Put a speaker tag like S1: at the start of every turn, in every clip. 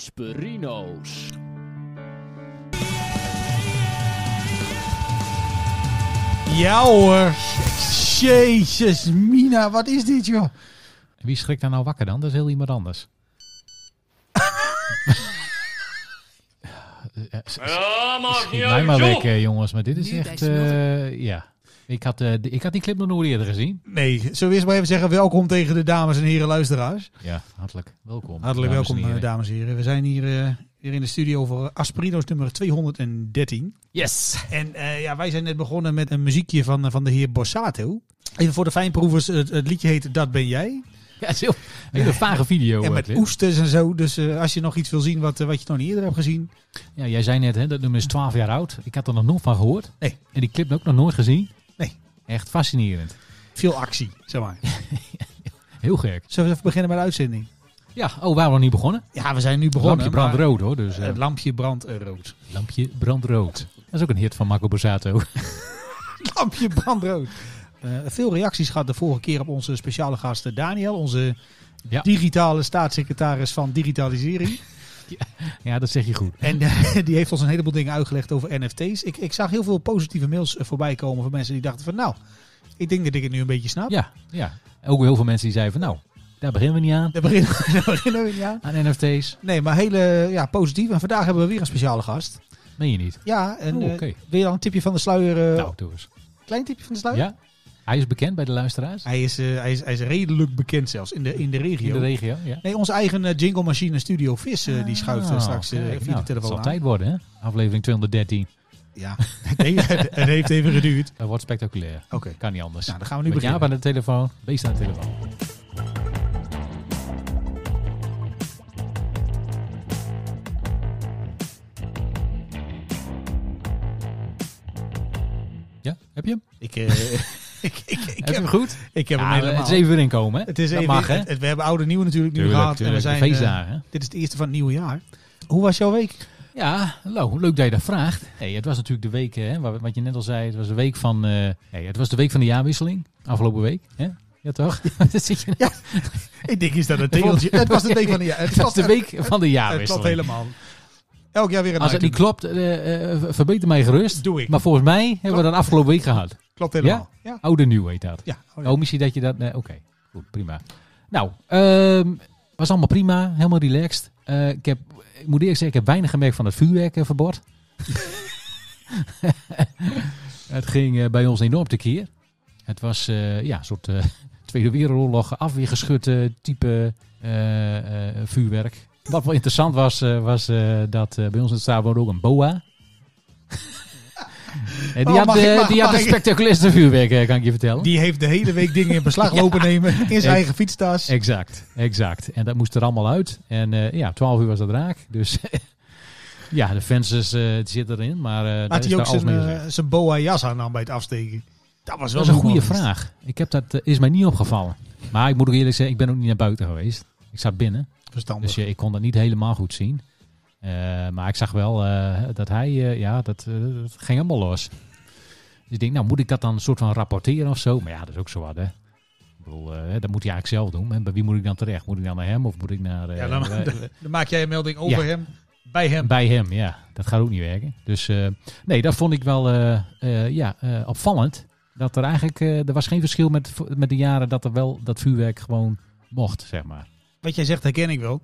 S1: Gasperino's.
S2: Ja hoor. Jezus, Mina, wat is dit joh?
S3: Wie schrikt daar nou wakker dan? Dat is heel iemand anders. Ja, s- s- Schiet mij maar weg, eh, jongens. Maar dit is
S4: Nu bij
S3: echt...
S4: Smulten.
S3: eh, ja. Ik had, eh, de- ik had die clip nog nooit eerder gezien.
S2: Nee, zullen we eerst maar even zeggen welkom tegen de dames en heren luisteraars.
S3: Ja, hartelijk welkom.
S2: Hartelijk
S3: dames en
S2: welkom, eh,
S3: heren.
S2: dames en heren. We zijn hier eh, weer in de studio voor Asperino's nummer 213.
S1: Yes.
S2: En eh, ja, wij zijn net begonnen met een muziekje van, eh, van de heer Borsato. Even voor de fijnproevers, het, het liedje heet Dat Ben Jij.
S3: Ja, het is heel- een hele vage video.
S2: en
S3: eh,
S2: met
S3: clip.
S2: oesters en zo. Dus eh, als je nog iets wil zien wat, eh, wat je nog niet eerder hebt gezien.
S3: Ja, jij zei net, hè, dat nummer is 12 jaar oud. Ik had er nog nooit van gehoord.
S2: Nee.
S3: En die clip ook nog nooit gezien.
S2: Nee.
S3: Echt fascinerend.
S2: Veel actie, zeg maar.
S3: Heel gek.
S2: Zullen we even beginnen met de uitzending?
S3: Ja, oh, waren we nog niet begonnen?
S2: Ja, we zijn nu begonnen.
S3: Lampje
S2: maar-
S3: brandrood hoor. Dus, eh,
S2: Het lampje brandt eh, rood.
S3: lampje brandrood. Dat is ook een hit van Marco Borsato.
S2: Lampje brandrood. Eh, veel reacties gehad de vorige keer op onze speciale gast eh, Daniel, onze
S3: Ja.
S2: digitale staatssecretaris van digitalisering.
S3: ja, dat zeg je goed.
S2: en eh, die heeft ons een heleboel dingen uitgelegd over NFT's. Ik, ik zag heel veel positieve mails eh, voorbij komen van mensen die dachten van nou, ik denk dat ik het nu een beetje snap.
S3: Ja, ja. Ook heel veel mensen die zeiden van nou, daar beginnen we niet aan.
S2: Daar beginnen, we- daar beginnen we niet aan.
S3: Aan NFT's.
S2: Nee, maar hele ja, positief. En vandaag hebben we weer een speciale gast.
S3: Meen je niet?
S2: Ja, en
S3: Oh,
S2: eh,
S3: oké.
S2: wil je dan een tipje van de sluier? eh,
S3: nou, doe eens.
S2: Klein tipje van de sluier?
S3: Ja? Hij is bekend bij de luisteraars.
S2: Hij, is, eh, hij, is, hij is redelijk bekend zelfs in de, in de regio.
S3: In de regio, ja.
S2: Nee, onze eigen eh, jingle machine Studio Vis, eh, die schuift eh,
S3: Ah,
S2: straks eh,
S3: kijk,
S2: via
S3: nou,
S2: de telefoon
S3: Het zal
S2: aan.
S3: tijd worden, hè? Aflevering 213.
S2: Ja, nee, het heeft even geduurd.
S3: Dat wordt spectaculair.
S2: Oké,
S3: Kan niet anders.
S2: nou dan gaan we nu
S3: Met Jaap
S2: beginnen.
S3: aan de telefoon, beest aan de telefoon. Ja, heb je hem?
S2: Ik, eh, ik, ik, ik,
S3: heb je
S2: heb,
S3: hem goed?
S2: ik heb hem
S3: Ja,
S2: helemaal.
S3: het is even weer inkomen, hè?
S2: Het is
S3: dat
S2: even-
S3: mag, hè?
S2: het- het- we hebben oude en nieuw natuurlijk nu gehad. en we
S3: de
S2: zijn, eh,
S3: feestdagen.
S2: dit is het eerste van het nieuwe jaar. Hoe was jouw week?
S3: Ja, hallo, leuk dat je dat vraagt. Hey, het was natuurlijk de week, hè, waar- wat je net al zei, het was de week van, eh, hey, het was de week van de jaarwisseling, afgelopen week. Hè? Ja, toch? Dat zit je-
S2: Ik denk is dat het tegeltje. het was de week van de jaar. Het
S3: Het was
S2: klopt,
S3: de
S2: het,
S3: week van de
S2: het klopt
S3: jaarwisseling.
S2: helemaal. Elk jaar weer een
S3: Als het niet
S2: item.
S3: klopt, eh, eh, verbeter mij gerust.
S2: Doe ik.
S3: Maar volgens mij hebben we dat afgelopen week gehad.
S2: Klopt helemaal. Ja.
S3: Oude nieuw heet dat.
S2: Ja. oh ja.
S3: Oh, misschien dat je dat... nee, Oké, goed, prima. Nou, ehm, was allemaal prima. Helemaal relaxed. Eh, ik, heb, ik moet eerlijk zeggen, ik heb weinig gemerkt van het eh, vuurwerkverbod. het ging eh, bij ons enorm tekeer. Het was eh, ja, een soort eh, Tweede Wereldoorlog afweergeschut eh, type eh, eh, vuurwerk. Wat wel interessant was, eh, was eh, dat eh, bij ons in het stadion woonde ook een boa. En die
S2: Oh,
S3: had,
S2: mag ik-
S3: eh,
S2: mag-
S3: die had
S2: mag
S3: het
S2: ik-
S3: spectaculairste vuurwerk, eh, kan ik je vertellen.
S2: Die heeft de hele week dingen in beslag lopen nemen. In zijn
S3: Ik-
S2: eigen fietstas.
S3: Exact, exact. En dat moest er allemaal uit. En eh, ja, 12 uur was dat raak. Dus ja, de fans is, eh, het zit erin. Maar eh daar
S2: Had
S3: is
S2: hij
S3: daar
S2: ook
S3: alles
S2: zijn,
S3: mee
S2: eh,
S3: gezegd.
S2: zijn boa jas aan dan bij het afsteken? Dat was wel
S3: Dat is een goede
S2: moeilijk.
S3: vraag. Ik heb dat, eh, is mij niet opgevallen. Maar ik moet ook eerlijk zeggen, ik ben ook niet naar buiten geweest. Ik zat binnen,
S2: Verstandig.
S3: dus eh, ik kon dat niet helemaal goed zien. Eh, maar ik zag wel eh, dat hij, eh, ja, dat, eh, dat ging helemaal los. Dus ik denk, nou moet ik dat dan een soort van rapporteren of zo? Maar ja, dat is ook zo wat, hè. Ik bedoel, eh, dat moet hij eigenlijk zelf doen. En bij wie moet ik dan terecht? Moet ik dan naar hem of moet ik naar... eh,
S2: ja, dan,
S3: eh,
S2: dan- dan maak jij een melding over hem, bij hem.
S3: Bij hem, ja. Dat gaat ook niet werken. Dus eh, nee, dat vond ik wel eh, eh, ja, eh, opvallend. Dat er eigenlijk, eh, er was geen verschil met, met de jaren dat er wel dat vuurwerk gewoon mocht, zeg maar.
S2: Wat jij zegt herken ik wel.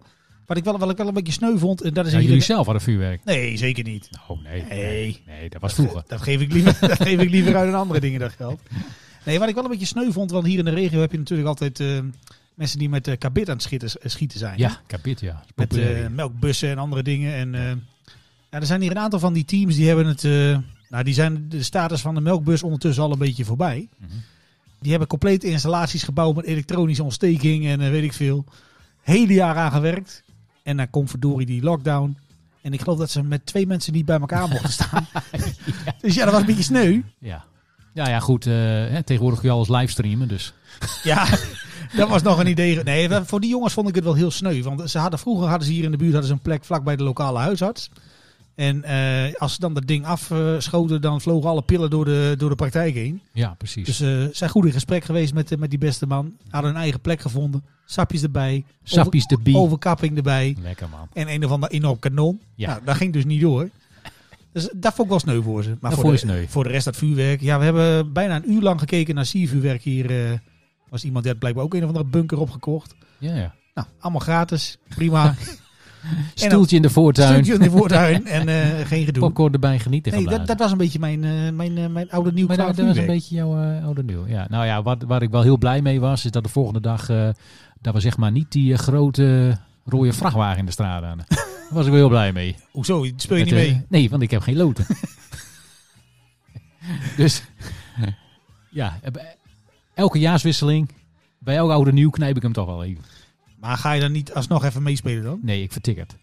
S2: Wat ik wel, wat ik wel een beetje sneu vond, en dat is
S3: Ja,
S2: Dus hier-
S3: jullie zelf hadden vuurwerk.
S2: Nee, zeker niet.
S3: Oh nee.
S2: Nee.
S3: Nee, dat was vroeger.
S2: Dat geef ik liever, dat geef ik liever uit aan andere dingen dat geld. Nee, wat ik wel een beetje sneu vond, want hier in de regio heb je natuurlijk altijd eh, mensen die met eh kabit aan het schieten, eh, schieten zijn.
S3: Ja, kapit, ja. Is
S2: Met
S3: populair.
S2: eh, melkbussen en andere dingen. En eh, ja, er zijn hier een aantal van die teams die hebben het. eh, nou, die zijn de status van de melkbus ondertussen al een beetje voorbij.
S3: Mhm.
S2: Die hebben complete installaties gebouwd met elektronische ontsteking en eh, weet ik veel. Hele jaar aan gewerkt. En dan komt verdorie die lockdown. En ik geloof dat ze met twee mensen niet bij elkaar mochten staan. Dus ja, dat was een beetje sneu.
S3: ja. Ja, ja, goed. eh, hè, tegenwoordig kun je alles livestreamen, dus.
S2: Ja, dat was nog een idee. Nee, wel, voor die jongens vond ik het wel heel sneu. Want ze hadden, vroeger hadden ze hier in de buurt hadden ze een plek vlak bij de lokale huisarts. En eh, als ze dan dat ding afschoten, dan vlogen alle pillen door de, door de praktijk heen.
S3: Ja, precies.
S2: Dus ze zijn goed in gesprek geweest met, eh, met die beste man. Hadden hun eigen plek gevonden. sapjes erbij,
S3: Sappies de bie.
S2: overkapping erbij
S3: Lekker man.
S2: en een of ander enorm kanon.
S3: Ja.
S2: Nou, dat ging dus niet door. Dus daar vond ik wel sneu voor ze. Maar
S3: Dat
S2: voor
S3: vond je
S2: de,
S3: sneu.
S2: voor de rest dat vuurwerk. Ja, we hebben bijna een uur lang gekeken naar siervuurwerk hier. eh, was iemand die had blijkbaar ook een of andere bunker opgekocht.
S3: Ja, ja.
S2: Nou, allemaal gratis. Prima.
S3: Stoeltje in de voortuin.
S2: Stukje in de voortuin en eh, geen gedoe.
S3: Popcorn erbij genieten.
S2: Nee,
S3: geblazen.
S2: dat, dat was een beetje mijn, eh, mijn, eh, mijn oude nieuw
S3: Maar
S2: qua
S3: dat, dat was een
S2: vuurwerk.
S3: beetje jouw eh, oude nieuw. Ja. Nou ja, wat, waar ik wel heel blij mee was, is dat de volgende dag eh, dat we zeg maar niet die eh, grote rode vrachtwagen in de straat hadden. Daar was ik wel heel blij mee.
S2: Hoezo? Speel je
S3: Met,
S2: niet
S3: eh,
S2: mee?
S3: nee, want ik heb geen loten. dus ja, eh, bij elke jaarswisseling, bij elke oude nieuw knijp ik hem toch wel even.
S2: Maar ga je dan niet alsnog even meespelen dan?
S3: Nee, ik vertik het.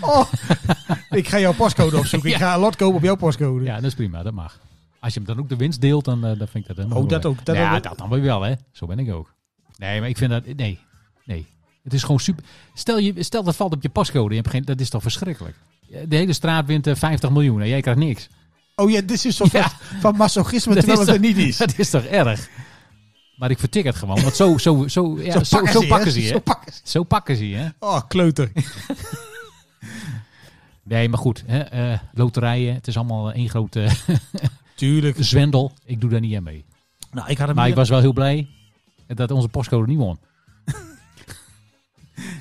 S2: Oh, ik ga jouw postcode opzoeken. Ik ga een lot kopen op jouw postcode.
S3: Ja, dat is prima, dat mag. Als je hem dan ook de winst deelt, dan, eh, dan vind ik dat helemaal
S2: Oh, dat
S3: mooi.
S2: ook, dat
S3: ja,
S2: ook.
S3: dat dan weer wel, hè. Zo ben ik ook. Nee, maar ik vind dat... Nee, nee. Het is gewoon super... Stel, je, stel dat valt op je pascode. Je hebt geen, dat is toch verschrikkelijk? De hele straat wint eh, 50 miljoen en jij krijgt niks.
S2: Oh ja, dit is een soort
S3: Ja.
S2: van- van masochisme
S3: Dat
S2: terwijl
S3: is
S2: het er niet is.
S3: Dat is toch erg? Maar ik vertik het gewoon. Want zo, zo, zo, ja, zo, zo pakken,
S2: hè?
S3: ze je.
S2: Zo
S3: hè.
S2: pakken ze.
S3: Zo pakken ze je. hè.
S2: Oh, kleuter.
S3: Nee, maar goed. Hè, eh, loterijen. Het is allemaal één grote eh,
S2: Tuurlijk.
S3: zwendel. Ik doe daar niet aan mee.
S2: Dus, Nou, ik had hem
S3: Maar ik
S2: niet-
S3: was wel heel blij dat onze postcode niet won.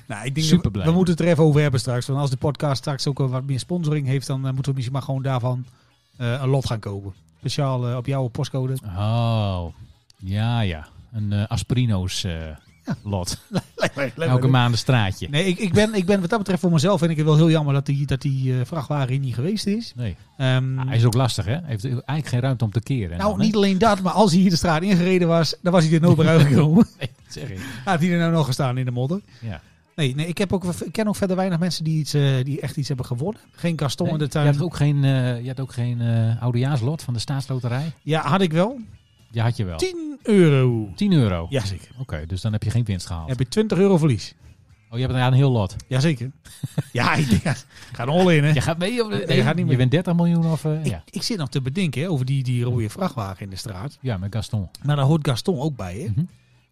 S2: nou, ik denk dat we,
S3: superblij.
S2: we moeten het er even over hebben straks. Want als de podcast straks ook wel wat meer sponsoring heeft, dan eh, moeten we misschien maar gewoon daarvan eh, een lot gaan kopen. Speciaal eh, op jouw postcode.
S3: Oh, ja, ja. Een eh, Asperino's eh, lot.
S2: Lijkt mij- lijkt mij
S3: Elke
S2: leuk.
S3: maand een straatje.
S2: Nee, ik, ik, ben, ik ben wat dat betreft voor mezelf vind ik het wel heel jammer dat die, dat die eh, vrachtwagen hier niet geweest is.
S3: Nee.
S2: Ehm,
S3: Ah, hij is ook lastig, hè? Hij heeft eigenlijk geen ruimte om te keren.
S2: nou,
S3: Dan, hè?
S2: niet alleen dat, maar als hij hier de straat ingereden was, dan was hij er nooit meer uitgekomen.
S3: Nee, dat zeg ik.
S2: Had hij er nou nog gestaan in de modder.
S3: Ja.
S2: Nee, nee ik, heb ook, ik ken ook verder weinig mensen die, iets, eh, die echt iets hebben gewonnen. Geen Gaston
S3: Nee,
S2: in de
S3: Je
S2: tuin.
S3: had ook geen, eh, je had ook geen eh, oudejaarslot van de staatsloterij?
S2: Ja, had ik
S3: Oh.
S2: wel.
S3: Die had je wel.
S2: 10 euro.
S3: 10 euro?
S2: Jazeker.
S3: Oké, dus dan heb je geen winst gehaald.
S2: Heb je 20 euro verlies?
S3: Oh, je hebt ja, een heel lot.
S2: Jazeker. ja, ik denk, ja, ga er all in, hè.
S3: Je gaat mee of...
S2: je gaat niet mee.
S3: Je bent 30 miljoen of... eh, ja.
S2: Ik, ik zit nog te bedenken hè, over die, die rode vrachtwagen in de straat.
S3: ja, met Gaston.
S2: Maar daar hoort Gaston ook bij, hè.
S3: Mhm.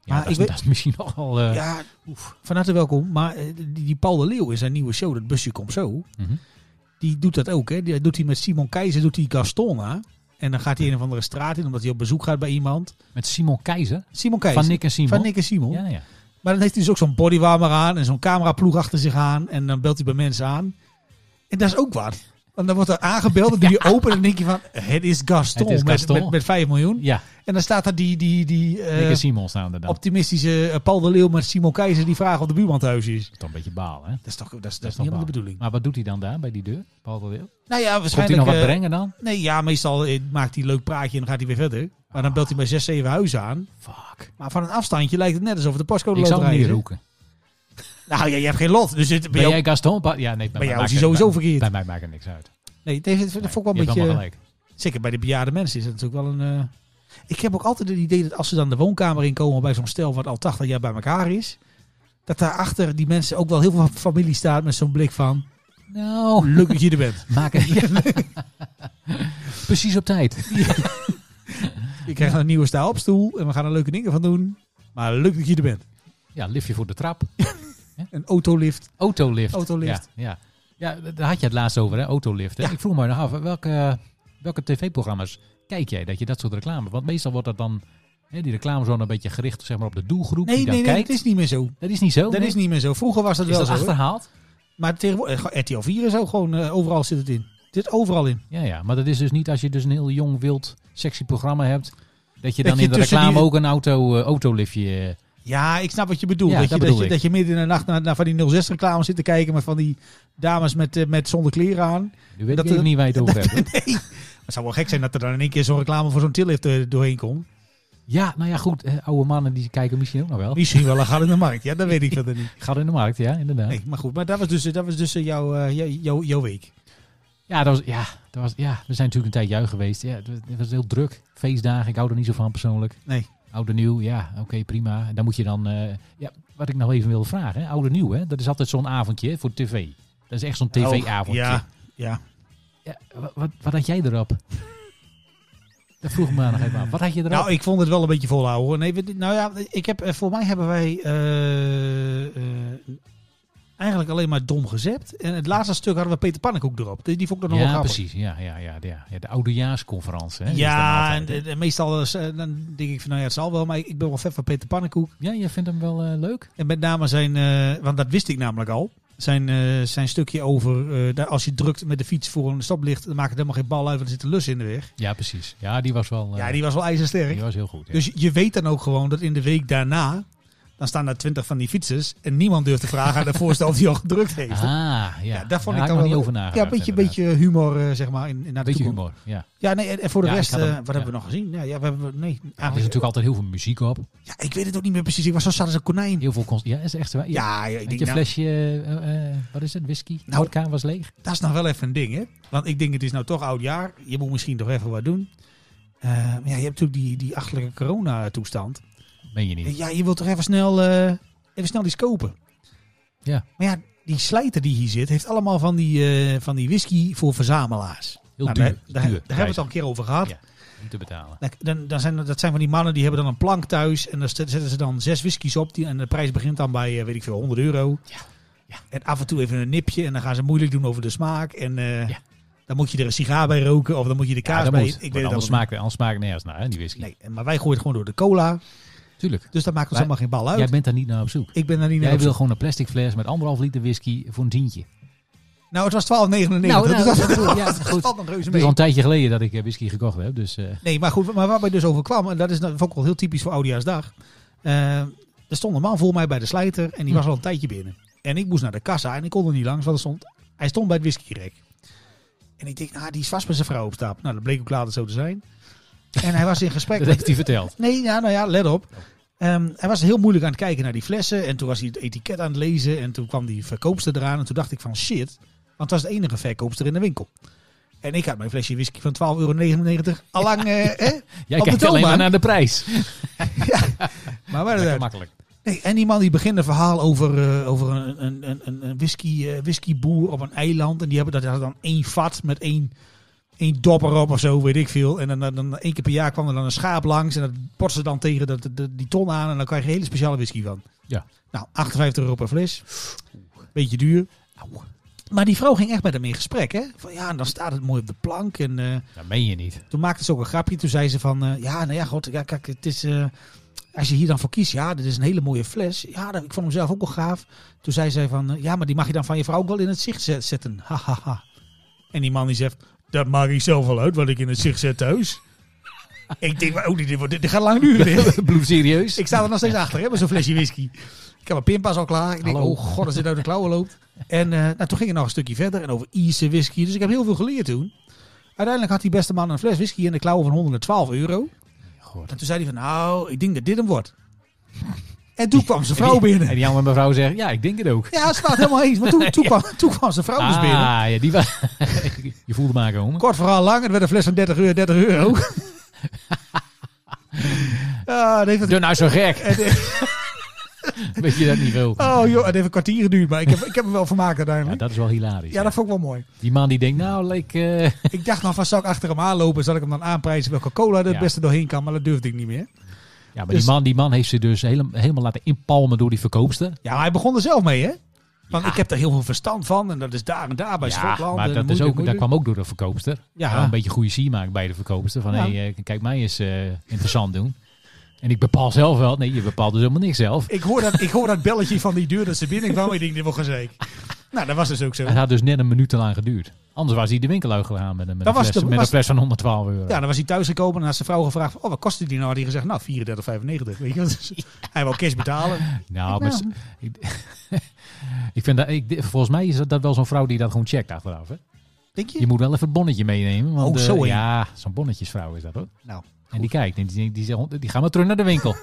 S3: Ja,
S2: Maar ik
S3: dat, is,
S2: weet-
S3: dat is misschien nogal... eh
S2: Ja, oef, van harte welkom. Maar eh, die, die Paul de Leeuw in zijn nieuwe show, dat busje komt zo.
S3: mhm.
S2: Die doet dat ook, hè. Die doet hij met Simon Keizer, doet hij Gaston na. En dan gaat hij een of andere straat in, omdat hij op bezoek gaat bij iemand.
S3: Met Simon Keizer?
S2: Simon Keizer.
S3: Van Nick en Simon?
S2: Van Nick en Simon.
S3: Ja, ja.
S2: Maar dan heeft hij dus ook zo'n bodywarmer aan en zo'n cameraploeg achter zich aan. En dan belt hij bij mensen aan. En dat is ook wat. Want dan wordt er aangebeld, dan doe je open en dan denk je van, het is Gaston,
S3: Het is Gaston.
S2: Met, met, met 5 miljoen.
S3: Ja,
S2: En dan staat daar die, die, die eh,
S3: Nick en Simon staan er dan.
S2: optimistische eh, Paul de Leeuw met Simon Keizer die vragen of de buurman thuis is.
S3: Dat is toch een beetje baal, hè?
S2: Dat is toch dat is, dat is niet
S3: is toch
S2: helemaal de
S3: waar.
S2: bedoeling.
S3: Maar wat doet hij dan daar bij die deur? Paul de Leeuw?
S2: Nou ja,
S3: Komt hij
S2: waarschijnlijk...
S3: nog wat
S2: eh,
S3: brengen dan?
S2: nee, ja, meestal eh, maakt hij een leuk praatje en dan gaat hij weer verder. Maar dan belt hij bij 6, 7 huizen aan.
S3: Fuck.
S2: Maar van een afstandje lijkt het net alsof het de pascode
S3: Ik zal hem
S2: loterij
S3: niet
S2: is, hè?
S3: roeken.
S2: Nou ja, je hebt geen lot. Dus het, bij
S3: Ben
S2: jou-
S3: jij Gaston? Pa- Ja, nee.
S2: jou
S3: Bij, mij
S2: is hij
S3: maakt het-
S2: sowieso
S3: bij-
S2: verkeerd.
S3: Bij mij maakt het niks uit.
S2: Nee, dat heeft- dat
S3: Nee,
S2: vond ik wel
S3: je
S2: een
S3: hebt
S2: beetje...
S3: helemaal gelijk.
S2: Zeker bij de bejaarde mensen is dat natuurlijk wel een... eh, Ik heb ook altijd het idee dat als ze dan de woonkamer inkomen bij zo'n stel wat al 80 jaar bij elkaar is... Dat daarachter die mensen ook wel heel veel familie staat met zo'n blik van...
S3: Nou,
S2: Leuk dat je er bent.
S3: maak het. Ja. Precies op tijd.
S2: Je krijgt een nieuwe staalopstoel en we gaan er leuke dingen van doen. Maar leuk dat je er bent.
S3: Ja, liftje voor de trap.
S2: Een autolift.
S3: Autolift.
S2: Autolift.
S3: Ja, ja. ja daar had je het laatst over, hè? Autolift. Hè?
S2: Ja.
S3: Ik vroeg me nog af, welke, welke tv-programma's kijk jij dat je dat soort reclame... Want meestal wordt dat dan... Hè, die reclame zo een beetje gericht zeg maar, op de doelgroep
S2: Nee,
S3: die dan
S2: nee, nee,
S3: kijkt.
S2: dat is niet meer zo.
S3: Dat is niet zo.
S2: Dat
S3: nee?
S2: is niet meer zo. Vroeger was dat
S3: Is
S2: wel
S3: dat
S2: zo. hoor.
S3: achterhaald?
S2: Maar tegenwoordig, eh, RTL 4 is ook gewoon, eh, overal zit het in. Dit overal in.
S3: Ja, ja, maar dat is dus niet als je dus een heel jong, wild, sexy programma hebt. Dat je
S2: Dat
S3: dan
S2: je
S3: in de
S2: tussen
S3: reclame
S2: die-
S3: ook een auto, eh, autoliftje... eh,
S2: Ja, ik snap wat je bedoelt.
S3: Ja,
S2: dat, je,
S3: dat
S2: dat,
S3: bedoel
S2: je,
S3: ik.
S2: dat je midden in de nacht naar, naar van die 06 reclame zit te kijken met van die dames met, eh, met zonder kleren aan.
S3: nu weet
S2: Dat-
S3: ik niet waar je het over hebt. hoor.
S2: Het zou wel gek zijn dat er dan in één keer zo'n reclame voor zo'n tillift er doorheen komt.
S3: Ja, nou ja, goed. eh, oude mannen die kijken misschien ook nog wel.
S2: Misschien wel een gat in de markt. Ja, dat weet ik verder niet.
S3: Gaat in de markt, ja, inderdaad.
S2: Nee, maar goed, maar dat was dus, eh, dat was dus eh, jouw, eh, jou- jou- jouw week.
S3: Ja, dat was, ja, dat was, ja, we zijn natuurlijk een tijdje uit geweest. Ja, het, was, het was heel druk. Feestdagen, ik hou er niet zo van persoonlijk.
S2: Nee.
S3: Oud en nieuw, ja, oké, prima. En dan moet je dan... eh, ja, wat ik nog even wil vragen, hè, oud en nieuw, hè, dat is altijd zo'n avondje hè, voor tv. Dat is echt zo'n
S2: Oh,
S3: tv-avondje.
S2: Ja, ja.
S3: Ja, wa- wat, wat had jij erop? Dat vroeg ik me nog even af. Wat had je erop?
S2: Nou, ik vond het wel een beetje volhouden. hoor. Nee, we- nou ja, ik heb, eh, voor mij hebben wij eh, eh, eigenlijk alleen maar dom gezept. En het laatste stuk hadden we Peter Pannenkoek erop. Die, die vond ik dan nog
S3: ja,
S2: wel grappig.
S3: precies. Ja, ja, ja, ja, ja. De oudejaarsconferentie. Hè, is dan
S2: Ja,
S3: altijd,
S2: en,
S3: hè.
S2: en meestal is, eh, dan denk ik van, nou ja, het zal wel. Maar ik, ik ben wel vet van Peter Pannenkoek.
S3: ja, je vindt hem wel eh, leuk?
S2: En met name zijn, eh, want dat wist ik namelijk al, zijn, eh, zijn stukje over, eh, daar, als je drukt met de fiets voor een stoplicht, dan maakt het helemaal geen bal uit, want er zit een lus in de weg.
S3: Ja, precies. Ja, die was wel eh,
S2: Ja, die was wel ijzersterk.
S3: die was heel goed. Ja.
S2: Dus je weet dan ook gewoon dat in de week daarna, dan staan daar twintig van die fietsers en niemand durft te vragen aan de voorstel of die al gedrukt heeft.
S3: ah, ja.
S2: ja, daar vond
S3: had
S2: ik dan
S3: nog niet
S2: wel-
S3: over
S2: ja,
S3: nagedacht.
S2: een beetje,
S3: inderdaad.
S2: beetje humor, eh, zeg maar, in, in naar de
S3: beetje
S2: toekomst.
S3: humor. Ja.
S2: Ja, nee, en, en voor de
S3: Ja, ik
S2: rest,
S3: had
S2: eh,
S3: hem.
S2: wat hebben we nog gezien? Ja, ja, we hebben, nee,
S3: Er is
S2: eigenlijk,
S3: natuurlijk altijd heel veel muziek op.
S2: ja, ik weet het ook niet meer precies. Ik was zo zat als een konijn.
S3: Heel veel const- Ja, is echt waar.
S2: Ja,
S3: Ja,
S2: ja, ik
S3: Had
S2: denk,
S3: je
S2: nou,
S3: flesje, eh, eh, wat is het, whisky?
S2: Nou.
S3: Vodka was leeg.
S2: Dat is nog wel even een ding, hè? Want ik denk, het is nou toch oud jaar. Je moet misschien toch even wat doen. Eh, maar ja, je hebt natuurlijk die, die achterlijke corona-toestand.
S3: Meen je niet?
S2: Ja, je wilt toch even snel, eh, even snel iets kopen.
S3: Ja.
S2: Maar ja, die slijter die hier zit, heeft allemaal van die, eh, van die whisky voor verzamelaars.
S3: Heel
S2: Nou,
S3: duur.
S2: daar- Daar,
S3: duur
S2: daar hebben we het al een keer over gehad.
S3: Ja. prijzen. Niet te betalen.
S2: Dan- Dan, dan zijn, er- dat zijn van die mannen die hebben dan een plank thuis. En dan st- zetten ze dan zes whiskies op. Die, en de prijs begint dan bij, eh, weet ik veel, 100 euro.
S3: Ja. Ja.
S2: En af en toe even een nipje. En dan gaan ze moeilijk doen over de smaak. En eh,
S3: Ja.
S2: dan moet je er een sigaar bij roken. Of dan moet je de kaas
S3: dat
S2: bij.
S3: moet. Want anders,
S2: allemaal
S3: smaakt, anders smaakt het nergens naar, hè, die whisky.
S2: niet. Nee, maar wij gooien het gewoon door de cola.
S3: Tuurlijk.
S2: Dus dat maakt ons
S3: Wij-
S2: helemaal geen bal uit.
S3: Jij bent daar niet naar op zoek.
S2: ik ben daar niet
S3: Jij
S2: naar
S3: wil gewoon een plastic fles met anderhalf liter whisky voor een tientje.
S2: Nou, het was 12,99.
S3: Nou,
S2: dus
S3: nou,
S2: dat,
S3: dat dus bedoel ik. Ja,
S2: dat
S3: goed.
S2: valt nog reuze
S3: Het is
S2: mee.
S3: al een tijdje geleden dat ik eh, whisky gekocht heb. Dus eh,
S2: Nee, maar goed, maar waar wij dus over kwamen, en dat is nou- vond ik wel heel typisch voor Oudejaarsdag. Eh, er stond een man voor mij bij de slijter en die
S3: Hm.
S2: was al een tijdje binnen. En ik moest naar de kassa en ik kon er niet langs, want er stond, hij stond bij het whiskyrek. En ik dacht, nou, die is vast met zijn vrouw op stap. Nou, dat bleek ook later zo te zijn. En hij was in gesprek
S3: dat
S2: met...
S3: heeft hij verteld.
S2: Nee, ja, nou ja, let op. Ehm, hij was heel moeilijk aan het kijken naar die flessen. En toen was hij het etiket aan het lezen. En toen kwam die verkoopster eraan. En toen dacht ik van shit. Want het was de enige verkoopster in de winkel. En ik had mijn flesje whisky van 12,99 euro. Allang, eh, hè?
S3: Jij
S2: Op de
S3: kijkt alleen maar
S2: toonbank.
S3: naar de prijs.
S2: Maar waar
S3: Lekker
S2: het
S3: makkelijk.
S2: Nee, en die man die begint een verhaal over, eh, over een, een, een- een, een whisky, eh, whiskyboer op een eiland. En die hebben dat hadden dan één vat met één, één dop erop of zo, weet ik veel. En dan, dan, dan één keer per jaar kwam er dan een schaap langs. En dat botst ze dan tegen dat, dat- die ton aan. En dan krijg je hele speciale whisky van.
S3: Ja.
S2: Nou, 58 euro per fles. Beetje duur. Maar die vrouw ging echt met hem in gesprek, hè? Van ja, en dan staat het mooi op de plank. En eh,
S3: Dat meen je niet.
S2: toen maakte ze ook een grapje. Toen zei ze van, eh, ja, nou ja, god, ja, kijk, het is, eh, als je hier dan voor kiest, ja, dit is een hele mooie fles. Ja, dat- ik vond hem zelf ook wel gaaf. Toen zei zij van, eh, ja, maar die mag je dan van je vrouw ook wel in het zicht zet- zetten. Ha, ha, ha. En die man die zegt, dat maak ik zelf wel uit, wat ik in het zicht zet thuis. ik denk, maar, oh, dit, wordt- dit, dit gaat lang duren. dit.
S3: Bloed serieus.
S2: ik sta er nog steeds achter, hè, met zo'n flesje whisky. Ik heb mijn pinpas al klaar. Ik denk,
S3: Hallo.
S2: oh god, als dit uit de klauwen loopt. En eh, nou, toen ging het nog een stukje verder en over Ierse whisky. Dus ik heb heel veel geleerd toen. Uiteindelijk had die beste man een fles whisky in de klauwen van 112 euro.
S3: Goed.
S2: En toen zei hij van, nou, ik denk dat dit hem wordt. En toen kwam zijn vrouw
S3: En
S2: binnen.
S3: die andere mevrouw zegt, ja, ik denk het ook.
S2: Ja, het staat helemaal eens. Maar toen, toen, kwam, toen kwam zijn vrouw dus
S3: Ah.
S2: binnen.
S3: ja, die was... je voelde maar komen.
S2: Kort verhaal lang, het werd een fles van 30 euro, 30 euro. Ah, dat heeft het
S3: Doe nou zo gek. Weet je dat niveau?
S2: Oh joh, het heeft een kwartier geduurd, maar ik heb, ik heb hem wel vermaakt
S3: Ja,
S2: uiteindelijk.
S3: dat is wel hilarisch.
S2: Ja, dat vond ik wel mooi.
S3: Die man die denkt, nou, leek... eh,
S2: Ik dacht nog van, zou ik achter hem aanlopen? Zal ik hem dan aanprijzen welke cola er het
S3: Ja.
S2: beste doorheen kan? Maar dat durfde ik niet meer.
S3: Ja, maar
S2: Dus-
S3: die, man, die man heeft ze dus hele- helemaal laten inpalmen door die verkoopster.
S2: Ja, maar hij begon er zelf mee, hè? Want
S3: Ja.
S2: ik heb er heel veel verstand van. En dat is daar en daar bij Schotland.
S3: maar
S2: en
S3: dat,
S2: moet
S3: is
S2: je-
S3: ook,
S2: moet
S3: dat
S2: je-
S3: kwam ook door de verkoopster.
S2: Ja.
S3: Ja. Een beetje goede sier maken bij de verkoopster. Van,
S2: Ja.
S3: hey, eh, kijk mij eens eh, interessant doen. En ik bepaal zelf wel. Nee, je bepaalt dus helemaal niks zelf.
S2: Ik hoor, dat, ik hoor dat belletje van die deur dat ze binnenkwam. ik denk, dit wordt gezeik. Nou, dat was dus ook zo.
S3: Het had dus net een minuut te lang geduurd. Anders was hij de winkel uitgegaan met een, met
S2: Dat
S3: een,
S2: was
S3: fles,
S2: de-
S3: met
S2: was-
S3: een fles van 112 euro.
S2: Ja, dan was hij thuisgekomen en had zijn vrouw gevraagd: van, Oh, wat kostte die nou? Had hij gezegd: Nou, 34,95. Weet je, wel. Dus hij wil cash betalen.
S3: nou,
S2: Nou.
S3: maar, s- ik, ik vind dat, ik, volgens mij is dat, dat wel zo'n vrouw die dat gewoon checkt achteraf. Hè?
S2: Denk je?
S3: Je moet wel even het bonnetje meenemen. Want,
S2: Oh,
S3: eh,
S2: zo een.
S3: ja, zo'n bonnetjesvrouw is dat hoor.
S2: Nou,
S3: En die kijkt en die, die, die, zegt, die gaat maar terug naar de winkel.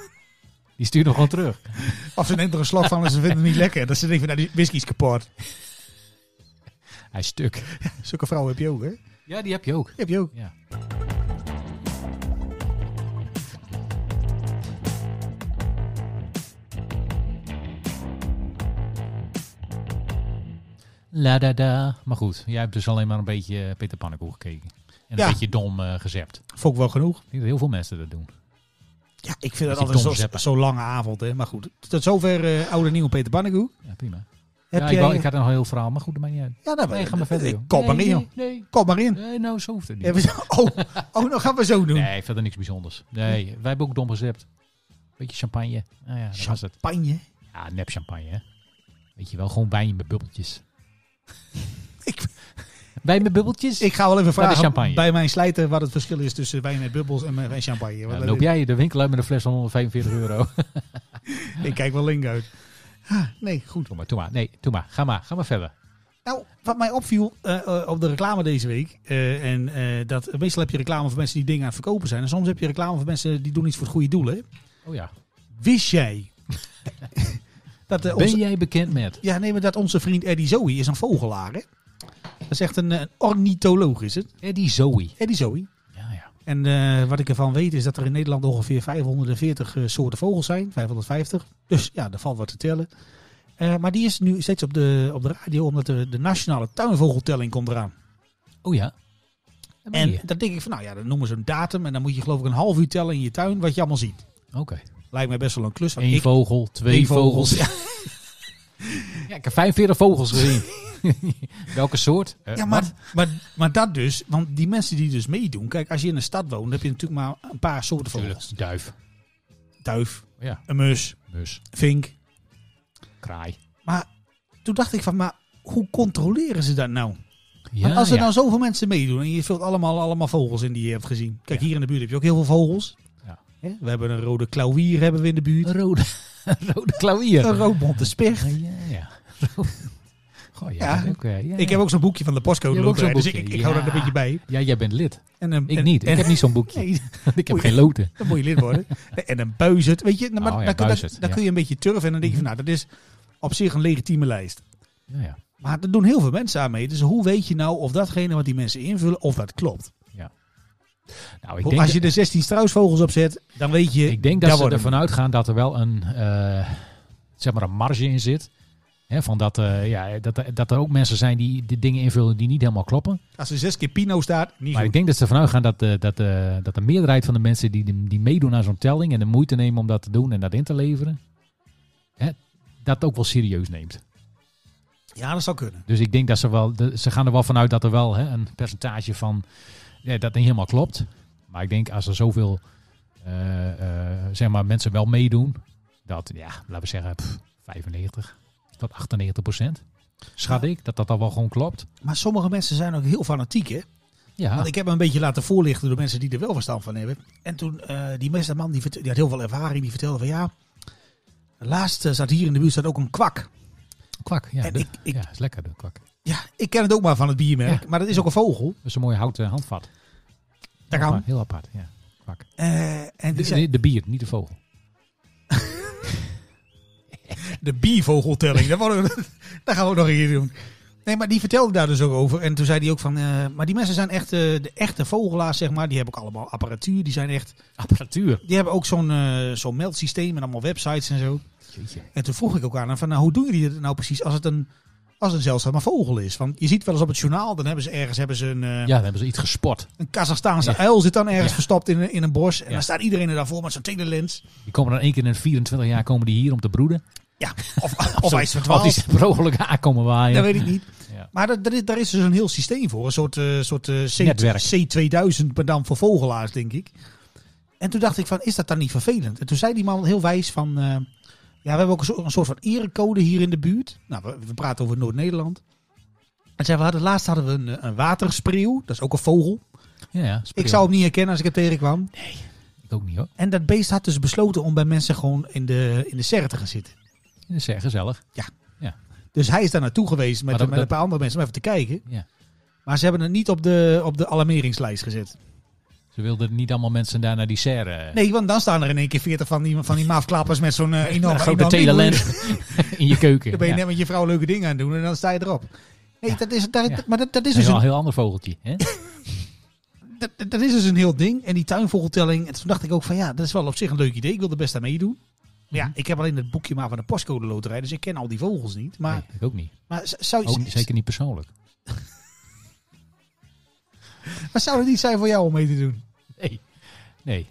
S3: die stuurt hem gewoon terug.
S2: of ze neemt er een slag van en ze vinden het niet lekker. Dat ze denken: van, Nou, die whisky is kapot.
S3: Hij is stuk.
S2: Zulke vrouwen heb je ook, hè? Die
S3: Ja, die heb je ook.
S2: heb je ook.
S3: Ja. La da da. Maar goed, jij hebt dus alleen maar een beetje eh, Peter Pannenkoek gekeken. En een
S2: Ja.
S3: beetje dom eh gezept.
S2: Vond ik wel genoeg.
S3: Ik denk dat heel veel mensen dat doen.
S2: Ja, ik vind dat
S3: Beetje
S2: altijd
S3: dom
S2: zo'n
S3: zappen.
S2: zo lange avond. Hè. Maar goed, tot zover eh oude nieuw Peter Bannegoe.
S3: Ja, prima.
S2: Heb
S3: ja,
S2: jij...
S3: ik, wou- ik had een heel verhaal, maar goed, dat maakt niet uit.
S2: ja, nou,
S3: Nee, ga maar verder, joh.
S2: Kom maar in,
S3: nee,
S2: joh.
S3: nee, nee,
S2: Kom maar in.
S3: nee, nou, zo hoeft het niet.
S2: Even zo- Oh, oh, nou gaan we zo doen.
S3: Nee, verder niks bijzonders. Nee, wij hebben ook dom gezept. Beetje champagne. Nou ja, dat was het.
S2: Champagne.
S3: Ja, nep champagne, hè. Weet je wel, gewoon wijn met bubbeltjes.
S2: Ik-
S3: wijn met bubbeltjes?
S2: Ik ga wel even
S3: is
S2: vragen
S3: champagne.
S2: bij mijn slijter wat het verschil is tussen wijn en bubbels en eh, en champagne.
S3: Ja,
S2: Want
S3: dan
S2: dat-
S3: loop jij de winkel uit met een fles van 145 euro.
S2: Ik kijk wel link uit. Ah, nee, goed.
S3: Doe maar, doe maar. Nee, doe maar. Ga maar, ga maar verder.
S2: Nou, wat mij opviel eh, eh, op de reclame deze week. eh, en eh, dat, meestal heb je reclame voor mensen die dingen aan het verkopen zijn. En soms heb je reclame voor mensen die doen iets voor het goede doel. Hè?
S3: Oh ja.
S2: Wist jij dat, eh,
S3: Ben
S2: onze,
S3: jij bekend met?
S2: ja, nee, maar dat onze vriend Eddie Zoe is een vogelaar? Hè? Dat is echt een, eh, een ornitholoog, is het?
S3: Eddie Zoe.
S2: Eddie Zoe.
S3: Ja, ja.
S2: En eh, wat ik ervan weet is dat er in Nederland ongeveer 540 eh, soorten vogels zijn. 550. Dus ja, er valt wat te tellen. Eh, maar die is nu steeds op de, op de radio omdat de, de nationale tuinvogeltelling komt eraan.
S3: Oh ja.
S2: En dan denk ik van nou ja, dan noemen ze een datum. En dan moet je geloof ik een half uur tellen in je tuin wat je allemaal ziet.
S3: Oké.
S2: Lijkt mij best wel een klus. want
S3: Eén
S2: ik-
S3: vogel, twee
S2: één
S3: vogels.
S2: Ja,
S3: Ja, ik heb 45 vogels gezien. Welke soort? Eh,
S2: ja, maar,
S3: wat?
S2: maar, maar dat dus. Want die mensen die dus meedoen. Kijk, als je in een stad woont, dan heb je natuurlijk maar een paar soorten
S3: Tuurlijk,
S2: vogels.
S3: duif.
S2: Duif,
S3: Ja,
S2: een mus,
S3: mus,
S2: vink,
S3: kraai.
S2: Maar toen dacht ik van, maar hoe controleren ze dat nou?
S3: Ja,
S2: Want als er
S3: ja.
S2: nou zoveel mensen meedoen en je vult allemaal, allemaal vogels in die je hebt gezien. Kijk,
S3: Ja.
S2: hier in de buurt heb je ook heel veel vogels.
S3: Ja.
S2: Hè? We hebben een rode klauwier hebben we in de buurt.
S3: Een rode, een rode klauwier.
S2: Een roodbonte specht.
S3: Ja, ja, ja. Goh,
S2: Ja.
S3: ja. Ook, eh, ja,
S2: Ik heb ook zo'n boekje van de postcode
S3: Je hebt ook
S2: loterij, dus
S3: zo'n
S2: ik, ik,
S3: boekje,
S2: ik hou
S3: ja.
S2: dat een beetje bij.
S3: ja, jij bent lid.
S2: En een,
S3: Ik
S2: en-
S3: niet.
S2: en-
S3: Ik heb niet zo'n boekje.
S2: Nee,
S3: ik heb
S2: Oei.
S3: geen loten.
S2: dan moet je lid worden. En een buizerd, weet je. Nou, maar
S3: Oh ja,
S2: dan, kun- dan-
S3: buizerd,
S2: dan
S3: ja. Mhm.
S2: kun je een beetje turven en dan denk je van, nou, dat is op zich een legitieme lijst.
S3: Ja, ja.
S2: Maar er doen heel veel mensen aan mee. Dus hoe weet je nou of datgene wat die mensen invullen, of dat klopt?
S3: Nou, ik denk,
S2: als je er 16 struisvogels op zet, dan weet je.
S3: ik denk dat
S2: daar
S3: ze
S2: worden
S3: ervan uitgaan dat er wel een, eh, zeg maar een marge in zit. Hè, van dat, eh, ja, dat, er- dat er ook mensen zijn die, die dingen invullen die niet helemaal kloppen.
S2: Als er zes keer Pino staat, niet
S3: Maar ik
S2: goed.
S3: denk dat ze ervan uitgaan dat, eh, dat, eh, dat de meerderheid van de mensen die, die meedoen aan zo'n telling en de moeite nemen om dat te doen en dat in te leveren, hè, dat ook wel serieus neemt.
S2: Ja, dat zou kunnen.
S3: Dus ik denk dat ze wel, de- ze gaan er wel vanuit dat er wel hè, een percentage van ja, dat niet helemaal klopt. Maar ik denk als er zoveel eh, eh, zeg maar mensen wel meedoen, dat ja, laten we zeggen pff, 95 tot 98 procent. Schat ik dat dat dan wel gewoon klopt.
S2: Maar sommige mensen zijn ook heel fanatiek, hè?
S3: Ja,
S2: Want ik heb me een beetje laten voorlichten door mensen die er wel verstand van hebben. En toen, eh, die meeste man, die, vert- die had heel veel ervaring, die vertelde van ja. Laatst eh, zat hier in de buurt staat ook een kwak.
S3: kwak. Ja,
S2: en
S3: dat-
S2: ik, ik, ja.
S3: ja, is lekker de kwak.
S2: ik ken het ook maar van het biermerk, maar dat is ook een vogel.
S3: Dat is een mooi houten handvat.
S2: Daar
S3: Apart,
S2: kan.
S3: Heel apart, ja. Kwak.
S2: Eh, en die zei,
S3: De, de bier, niet de vogel.
S2: De biervogeltelling. dat, worden we- dat gaan we ook nog een keer doen. Nee, maar die vertelde daar dus ook over. En toen zei hij ook van... eh, maar die mensen zijn echt eh, de echte vogelaars, zeg maar. Die hebben ook allemaal apparatuur. Die, zijn echt,
S3: Apparatuur.
S2: die hebben ook zo'n eh, zo'n meldsysteem en allemaal websites en zo. En toen vroeg ik ook aan hem van... Nou, hoe doen jullie dat nou precies als het een, als het een zeldzame vogel is? Want je ziet wel eens op het journaal... Dan hebben ze ergens hebben ze een, eh
S3: Ja, dan hebben ze iets gespot.
S2: een Kazachstaanse
S3: Ja.
S2: uil zit dan ergens
S3: Ja.
S2: verstopt in, een- in een bos. En
S3: Ja.
S2: dan staat iedereen er daarvoor met zo'n telelens.
S3: Die komen dan één keer in 24 jaar komen die hier om te broeden.
S2: Ja, of, of hij is
S3: Of die
S2: verdwaald.
S3: zijn per ongeluk aankomen waaien.
S2: Dat weet ik niet.
S3: Ja.
S2: Maar dat, dat is, daar is dus een heel systeem voor. Een soort, eh, soort eh, C,
S3: Netwerk.
S2: C2000, maar dan voor vogelaars, denk ik. En toen dacht ik van, is dat dan niet vervelend? En toen zei die man heel wijs van... eh, ja, we hebben ook een, soort- een soort van erecode hier in de buurt. Nou, we, we praten over Noord-Nederland. En zei, we hadden, laatst hadden we een, eh, een waterspreeuw. Dat is ook een vogel.
S3: Ja, ja,
S2: Ik zou hem niet herkennen als ik hem tegenkwam.
S3: Ik ook niet hoor.
S2: En dat beest had dus besloten om bij mensen gewoon in de, in de serre te gaan zitten.
S3: Dat is erg gezellig.
S2: Dus hij is daar naartoe geweest met,
S3: Maar dat-
S2: met een paar andere mensen om even te kijken.
S3: Ja.
S2: Maar ze hebben het niet op de, op de alarmeringslijst gezet.
S3: Ze wilden niet allemaal mensen daar naar die serre. eh,
S2: Nee, want dan staan er in één keer 40 van die, van die maafklappers met zo'n eh,
S3: met
S2: enorme
S3: een grote
S2: enorme-
S3: telelens in je keuken.
S2: Dan ben je
S3: Ja.
S2: net met je vrouw leuke dingen aan het doen en dan sta je erop. Nee,
S3: Ja.
S2: dat, is, daar,
S3: Ja.
S2: maar dat, dat, is
S3: Dat is
S2: dus
S3: wel een
S2: een,
S3: heel ander vogeltje. Hè?
S2: dat, dat- dat is dus een heel ding. En die tuinvogeltelling, en toen dacht ik ook van ja, dat is wel op zich een leuk idee. Ik wil er best aan meedoen. Maar
S3: Mhm.
S2: ja, ik heb alleen het boekje maar van de postcode loterij, dus ik ken al die vogels niet. Maar,
S3: Nee, ik ook niet.
S2: maar, z- zou,
S3: Ook niet- zeker niet persoonlijk.
S2: maar zou het niet zijn voor jou om mee te doen?
S3: Nee. Nee.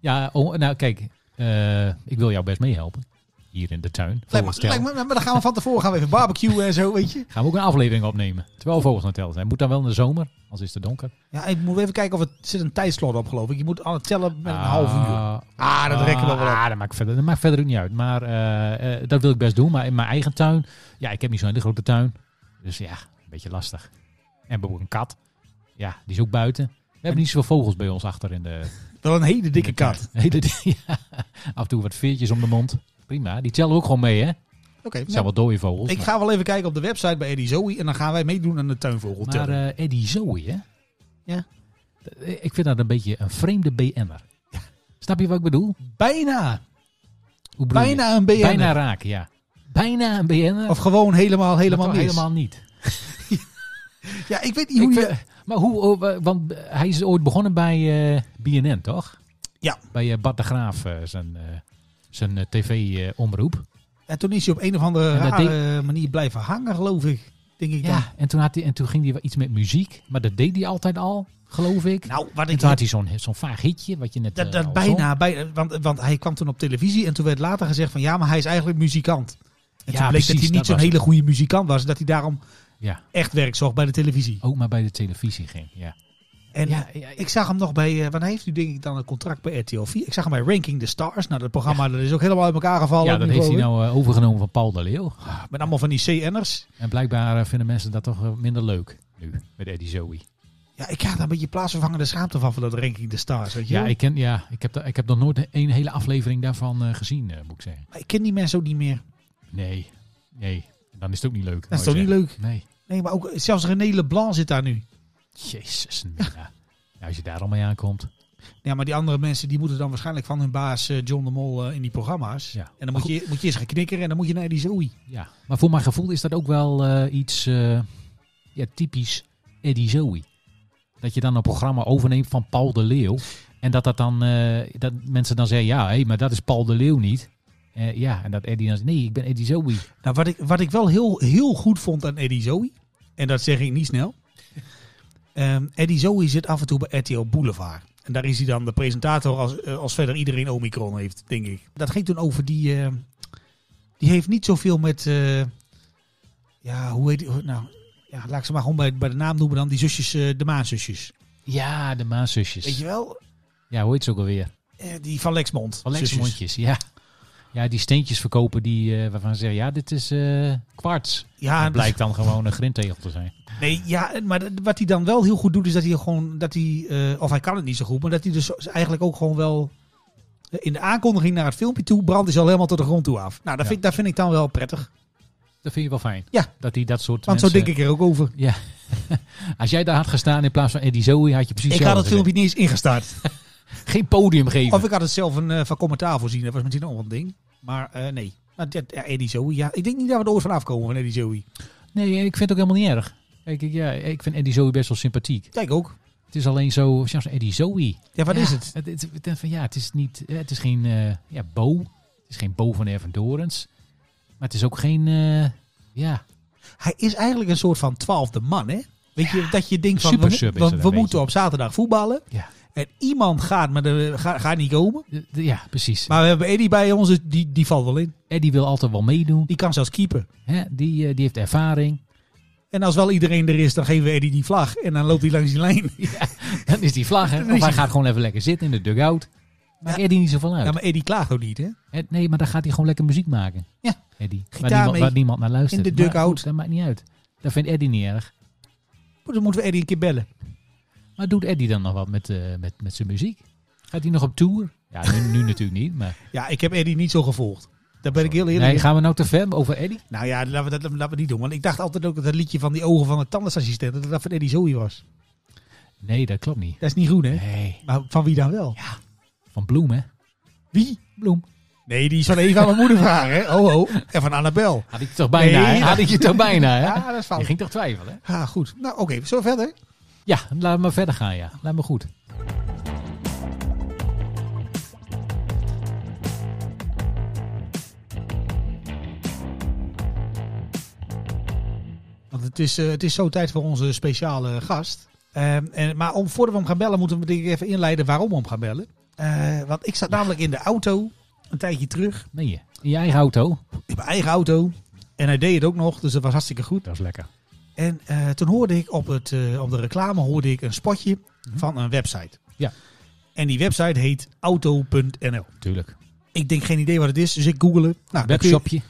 S3: Ja, oh, nou kijk, eh, ik wil jou best meehelpen. Hier in de tuin.
S2: Lijkt
S3: Vogels
S2: me, lijkt
S3: tellen.
S2: me- maar dan gaan we van tevoren gaan we even barbecuen en zo, weet je.
S3: Gaan we ook een aflevering opnemen. Terwijl we vogels aan het tellen zijn. Moet dan wel in de zomer, als is het donker.
S2: Ja, ik moet even kijken of het er zit een tijdslot op, geloof ik. Je moet alle tellen met een
S3: Ah,
S2: half uur. Ah, dat rekken we wel op.
S3: Ah, dat maakt verder, dat maakt verder ook niet uit. Maar eh, eh, dat wil ik best doen. Maar in mijn eigen tuin, ja, ik heb niet zo'n hele grote tuin. Dus ja, een beetje lastig. En we hebben ook een kat. Ja, die is ook buiten. We hebben niet zoveel vogels bij ons achter in de,
S2: Wel een hele dikke
S3: in de tuin.
S2: kat.
S3: Hele dikke- ja. Af en toe wat veertjes om de mond. Prima, die tellen we ook gewoon mee, hè? Het
S2: Oké,
S3: zijn
S2: nou,
S3: wel dode vogels.
S2: ik
S3: maar-
S2: ga wel even kijken op de website bij Eddie Zoe en dan gaan wij meedoen aan de tuinvogel
S3: Maar
S2: tellen.
S3: eh Eddie Zoe, hè?
S2: Ja.
S3: Eh, Ik vind dat een beetje een vreemde BN'er. Snap je wat ik bedoel?
S2: bijna,
S3: Hoe bedoel je?
S2: bijna een BN.
S3: Bijna raak, ja. Bijna een BN'er.
S2: Of gewoon helemaal, helemaal
S3: Maar
S2: mis.
S3: toch helemaal niet.
S2: Ja, ik weet niet hoe
S3: Ik
S2: je...
S3: vind- maar hoe, oh, want hij is ooit begonnen bij eh BNN, toch?
S2: Ja.
S3: Bij eh, Bart de Graaf, eh, zijn, eh, zijn tv-omroep.
S2: En toen is hij op een of andere
S3: En dat
S2: rare manier blijven hangen, geloof ik. Denk ik dan.
S3: ja, en toen, had hij, en toen ging hij wel iets met muziek. Maar dat deed hij altijd al, geloof ik.
S2: Nou, wat
S3: en
S2: ik...
S3: toen had hij zo'n zo'n vaag hitje, wat je net
S2: dat,
S3: eh,
S2: dat
S3: al zong.
S2: bijna, bijna want, want hij kwam toen op televisie en toen werd later gezegd van ja, maar hij is eigenlijk muzikant. En
S3: Ja,
S2: toen bleek
S3: precies,
S2: dat hij
S3: dat
S2: niet zo'n
S3: was
S2: hele goede muzikant was. Dat hij daarom
S3: Ja,
S2: echt werk zocht bij de televisie.
S3: ook maar bij de televisie ging. Ja.
S2: En
S3: ja, ja,
S2: ik zag hem nog bij, eh want hij heeft nu denk ik dan een contract bij RTL 4. Ik zag hem bij Ranking the Stars. Nou, dat programma dat is ook helemaal uit elkaar gevallen.
S3: ja, dat heeft hij
S2: geloof
S3: nou eh, overgenomen van Paul de Leeuw.
S2: ik. Met allemaal van die CN'ers.
S3: En blijkbaar eh, vinden mensen dat toch eh, minder leuk nu, met Eddie Zoe.
S2: Ja, ik ga daar een beetje plaatsvervangende schaamte van, van dat Ranking the Stars. Weet je
S3: Ja,
S2: wel?
S3: ik, ken, ja ik, heb, da- ik heb nog nooit een hele aflevering daarvan eh, gezien, eh, moet ik zeggen.
S2: Maar ik ken die mensen ook niet meer.
S3: Nee, nee. Dan is het ook niet leuk.
S2: Dat is toch niet leuk?
S3: Nee.
S2: Nee, maar ook zelfs René Leblanc zit daar nu.
S3: Jezus, Mina. Ja, als je daar al mee aankomt.
S2: Ja, maar die andere mensen die moeten dan waarschijnlijk van hun baas eh, John de Mol eh, in die programma's.
S3: Ja.
S2: En dan moet je, moet je eerst gaan knikkeren en dan moet je naar die Zoe.
S3: Ja. Maar voor mijn gevoel is dat ook wel eh, iets eh, ja, typisch Eddie Zoe. Dat je dan een programma overneemt van Paul de Leeuw. En dat, dat, dan, eh, dat mensen dan zeggen, ja, hé, maar dat is Paul de Leeuw niet. Eh, ja, en dat Eddie dan zegt, nee, ik ben Eddie Zoe.
S2: Nou, wat ik, wat ik wel heel, heel goed vond aan Eddie Zoe, en dat zeg ik niet snel. Ehm Eddie Zoe zit af en toe bij RTL Boulevard. En daar is hij dan de presentator als, eh, als verder iedereen Omicron heeft, denk ik. Dat ging toen over die... eh, die heeft niet zoveel met... eh, ja, hoe heet die? hoe- Nou, ja, laat ik ze maar gewoon bij, bij de naam noemen dan. Die zusjes, eh, de Maanzusjes.
S3: Ja, de
S2: Weet
S3: Maaszusjes.
S2: je wel?
S3: Ja, hoe heet ze ook alweer?
S2: Eh, die van Lexmond.
S3: Van
S2: zusjes.
S3: Lexmondjes, ja. Ja, die steentjes verkopen die, eh, waarvan ze zeggen, ja, dit is eh, kwarts.
S2: Ja, dus-
S3: Het blijkt dan gewoon een grindtegel te zijn.
S2: Nee, ja, maar dat- wat hij dan wel heel goed doet, is dat hij gewoon, dat hij, eh, of hij kan het niet zo goed, maar dat hij dus eigenlijk ook gewoon wel eh, in de aankondiging naar het filmpje toe brandt is al helemaal tot de grond toe af. Nou, dat,
S3: Ja.
S2: vind, dat vind ik dan wel prettig,
S3: Dat vind je wel fijn.
S2: Ja.
S3: Dat die dat soort
S2: want zo
S3: mensen-
S2: denk ik er ook over.
S3: Als jij daar had gestaan in plaats van Eddie Zoe, had je precies
S2: Ik had het
S3: hetzelfde
S2: filmpje niet eens ingestart.
S3: gedaan. Geen podium geven.
S2: Of ik had het zelf een, eh, van commentaar voorzien, dat was misschien nog wel een ding. Maar eh, nee, maar dat, ja, Eddie Zoe, ja, ik denk niet dat we er ooit van afkomen van Eddie Zoe.
S3: Nee, en ik vind het ook helemaal niet erg. Kijk, ik, ja, ik vind Eddie Zoe best wel sympathiek.
S2: Kijk ook.
S3: Het is alleen zo, zelfs Eddie Zoe.
S2: Ja, wat
S3: Ja,
S2: is het?
S3: Het, het, het- van, ja, het is niet, eh, het is geen eh, ja, Bo. Het is geen Bo van Erven Dorens. Maar het is ook geen, eh, ja,
S2: Hij is eigenlijk een soort van twaalfde man, hè? Weet je, dat je denkt van, we, mo-
S3: supersub is het
S2: we
S3: een
S2: moeten
S3: beetje.
S2: op zaterdag voetballen.
S3: ja,
S2: En iemand gaat, maar de, gaat, gaat niet komen.
S3: de- de- ja, precies.
S2: Maar we hebben Eddie bij ons, dus die, die valt wel in.
S3: Eddie wil altijd wel meedoen.
S2: Die kan zelfs keeper.
S3: Hè? Die, eh, die heeft ervaring.
S2: En als wel iedereen er is, dan geven we Eddie die vlag. En dan loopt hij langs die lijn.
S3: Dan is die vlag, hè?
S2: Dan is
S3: Of hij
S2: die-
S3: gaat gewoon even lekker zitten in de dugout. Maakt Eddie niet zoveel uit.
S2: Ja, maar Eddie klaagt ook niet, hè?
S3: Eh, Nee, maar dan gaat hij gewoon lekker muziek maken.
S2: Ja.
S3: Eddie. Waar
S2: Gitaar
S3: niemand,
S2: mee.
S3: waar niemand naar luistert.
S2: In de
S3: Maar
S2: dugout.
S3: goed, dat maakt niet uit. Dat vindt Eddie niet erg.
S2: Maar Dan moeten we Eddie een keer bellen.
S3: Maar doet Eddie dan nog wat met, eh, met, met zijn muziek? Gaat hij nog op tour? Ja, nu, nu natuurlijk niet. Maar...
S2: Ja, ik heb Eddie niet zo gevolgd. Daar ben ik heel eerlijk
S3: Nee,
S2: in.
S3: gaan we nou te ver over Eddie?
S2: Nou ja, laten we dat laten we niet doen. Want ik dacht altijd ook dat het liedje van die ogen van de tandartsassistent... dat dat van Eddie Zoe was.
S3: Nee, dat klopt niet.
S2: Dat is niet goed, hè?
S3: Nee,
S2: Maar van wie dan wel?
S3: van Bloem hè?
S2: Wie?
S3: Bloem.
S2: Nee, die is van even aan mijn moeder vragen, hè? Oh, oh. En van Annabel.
S3: Had ik je toch bijna,
S2: Nee,
S3: hè?
S2: dat-
S3: Had ik je toch bijna, hè?
S2: Ja, dat is
S3: Je
S2: fout.
S3: ging toch twijfelen, hè?
S2: Ah, goed. Nou, oké. zo verder.
S3: Ja, laat maar verder gaan, ja. Laat me goed.
S2: het is, eh, het is zo tijd voor onze speciale gast. Ehm, en, maar om, voordat we hem gaan bellen, moeten we denk ik even inleiden waarom we hem gaan bellen. Eh, want ik zat namelijk in de auto een tijdje terug,
S3: Nee, je. In je eigen auto.
S2: in mijn eigen auto. En hij deed het ook nog, dus dat was hartstikke goed.
S3: Dat is lekker.
S2: En eh, toen hoorde ik op, het, eh, op de reclame hoorde ik een spotje
S3: Mhm.
S2: van een website.
S3: Ja.
S2: En die website heet auto.nl.
S3: Tuurlijk.
S2: Ik denk geen idee wat het is, dus ik google het. Nou, dan kun je,
S3: Webshopje.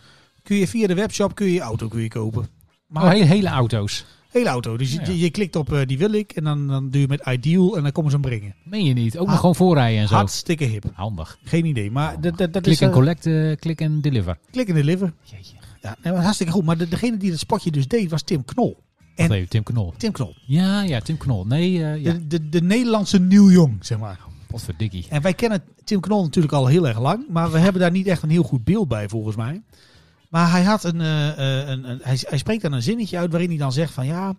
S2: kun je via de webshop kun je, je auto kun je kopen. Maar
S3: Oh, hele, hele auto's.
S2: hele auto. Dus je,
S3: Ja, ja.
S2: je klikt op eh, die wil ik en dan, dan duw je met ideal en dan komen ze hem brengen.
S3: Meen je niet. Ook
S2: Ah.
S3: nog gewoon voorrijden en zo.
S2: Hartstikke hip.
S3: Handig.
S2: Geen idee, maar dat, dat, dat
S3: Klik
S2: is
S3: en
S2: eh,
S3: collect, eh, klik en deliver.
S2: klik en deliver.
S3: Jeetje. Wacht
S2: Ja, nee, maar hartstikke goed. Maar de- degene die dat spotje dus deed was Tim Knol. En-
S3: even, Tim Knol.
S2: Tim Knol.
S3: Ja, ja, Tim Knol. Nee, eh ja.
S2: De, de, de Nederlandse Neil Young, zeg maar.
S3: Potverdikkie.
S2: En wij kennen Tim Knol natuurlijk al heel erg lang, maar we hebben daar niet echt een heel goed beeld bij volgens mij. Maar hij, had een, eh, eh, een, een- hij, hij spreekt dan een zinnetje uit waarin hij dan zegt van ja,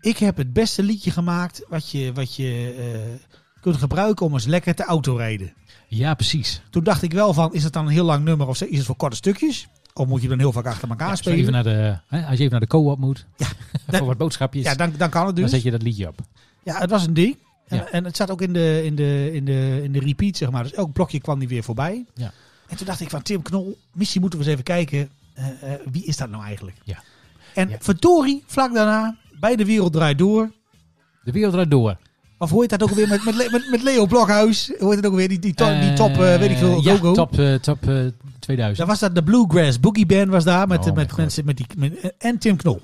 S2: ik heb het beste liedje gemaakt wat je, wat je eh, kunt gebruiken om eens lekker te autorijden.
S3: Ja, precies.
S2: Toen dacht ik wel van, is het dan een heel lang nummer of is het voor korte stukjes? Of moet je dan heel vaak achter elkaar
S3: Ja, als, je
S2: spelen?
S3: even naar de, hè, als je even naar de co-op moet.
S2: Ja, dat-
S3: voor wat boodschapjes.
S2: Ja, dan, dan kan het
S3: Dan
S2: dus.
S3: zet je dat liedje op.
S2: Ja, het was een ding. En,
S3: Ja.
S2: en het zat ook in de, in, de, in, de, in de repeat, zeg maar. Dus elk blokje kwam die weer voorbij.
S3: Ja.
S2: En toen dacht ik van Tim Knol, misschien moeten we eens even kijken. eh, eh, wie is dat nou eigenlijk?
S3: Ja.
S2: En
S3: Ja.
S2: verdorie, vlak daarna, bij De Wereld Draait Door.
S3: De wereld draait door.
S2: Of hoe heet dat ook weer met, met, Le- met, met Leo Blokhuis? Hoe heet dat ook weer? Die, die, to- die top, eh,
S3: Eh,
S2: weet ik veel,
S3: ja,
S2: go-go.
S3: top, eh, top eh, 2000.
S2: Daar was dat de Bluegrass Boogie Band was daar. Met,
S3: Oh,
S2: eh,
S3: mijn
S2: met
S3: God.
S2: mensen met die, met- eh, en Tim Knol.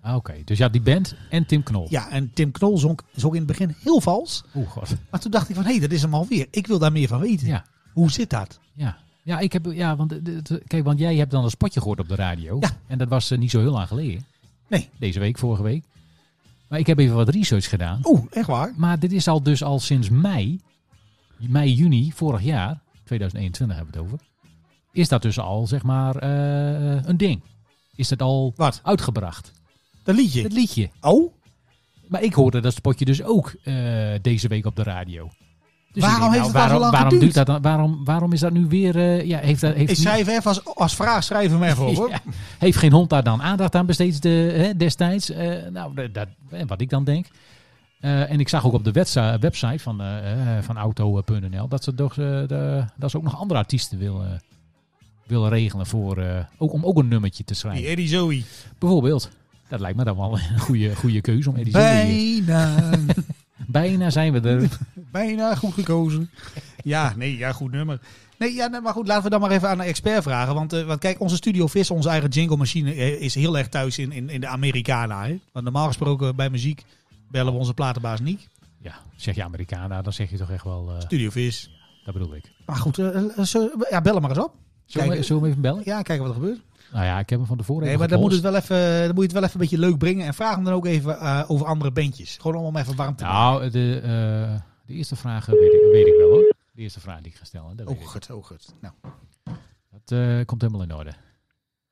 S3: Ah, Oké, dus ja, die band en Tim Knol.
S2: Ja, en Tim Knol zong, zong in het begin heel vals.
S3: Oeh, god.
S2: Maar toen dacht ik van, hé, dat is hem alweer. Ik wil daar meer van weten.
S3: Ja.
S2: Hoe zit dat?
S3: Ja. Ja, ik heb, ja want, eh, de- de- kijk, want jij hebt dan een spotje gehoord op de radio.
S2: Ja.
S3: En dat was eh, niet zo heel lang geleden.
S2: Nee.
S3: Deze week, vorige week. Maar ik heb even wat research gedaan.
S2: Oeh, echt waar?
S3: Maar dit is al dus al sinds mei, mei, juni vorig jaar, 2021 hebben we het over. Is dat dus al, zeg maar, eh, een ding? Is dat al
S2: Wat?
S3: uitgebracht?
S2: Dat liedje?
S3: Het liedje.
S2: Oh,
S3: Maar ik hoorde dat spotje dus ook eh, deze week op de radio. Dus
S2: Waarom
S3: ik denk,
S2: heeft het dan zo lang
S3: waarom
S2: geduurd?
S3: duurt dat dan? Waarom, waarom is dat nu weer... eh, ja, heeft, dat, heeft,
S2: ik
S3: niet-
S2: schrijf even als, als vraag, schrijf hem even op. hoor.
S3: Ja. heeft geen hond daar dan aandacht aan besteed de, hè, destijds? Eh, nou, dat, dat- eh, wat ik dan denk. Eh, en ik zag ook op de wetsa- website van, eh, eh, van auto.nl dat ze, toch, eh, de, dat ze ook nog andere artiesten willen, willen regelen voor, eh, ook, om ook een nummertje te schrijven.
S2: Die Eddie Zoe.
S3: Bijvoorbeeld. Dat lijkt me dan wel een goede, goede keuze om Eddie Zoe-
S2: Bijna,
S3: Bijna zijn we er.
S2: bijna goed gekozen. Ja, nee, ja, goed nummer. Nee, ja, nee, maar goed, laten we dan maar even aan een expert vragen. Want, eh, want kijk, onze Studio Vis, onze eigen jingle machine, eh, is heel erg thuis in, in, in de Americana. Hè? Want normaal gesproken bij muziek bellen we onze platenbaas niet.
S3: Ja, zeg je Americana, dan zeg je toch echt wel... eh,
S2: Studio Vis.
S3: dat bedoel ik.
S2: Maar goed, eh, eh, zullen we- ja, bel hem maar eens op.
S3: Zullen we,
S2: Kijk,
S3: zullen we even bellen?
S2: Ja, kijken wat er gebeurt.
S3: Nou ja, ik heb hem van tevoren
S2: Nee,
S3: even
S2: maar dan moet, het
S3: gepolst.
S2: wel even, dan moet je het wel even een beetje leuk brengen. En vraag hem dan ook even eh, over andere bandjes. Gewoon om hem even warm te maken.
S3: Nou, de, eh, de eerste vraag eh, weet ik, weet ik wel hoor. De eerste vraag die ik ga stellen, dat, weet
S2: Oh,
S3: ik.
S2: goed, oh, goed. Nou.
S3: dat eh, komt helemaal in orde.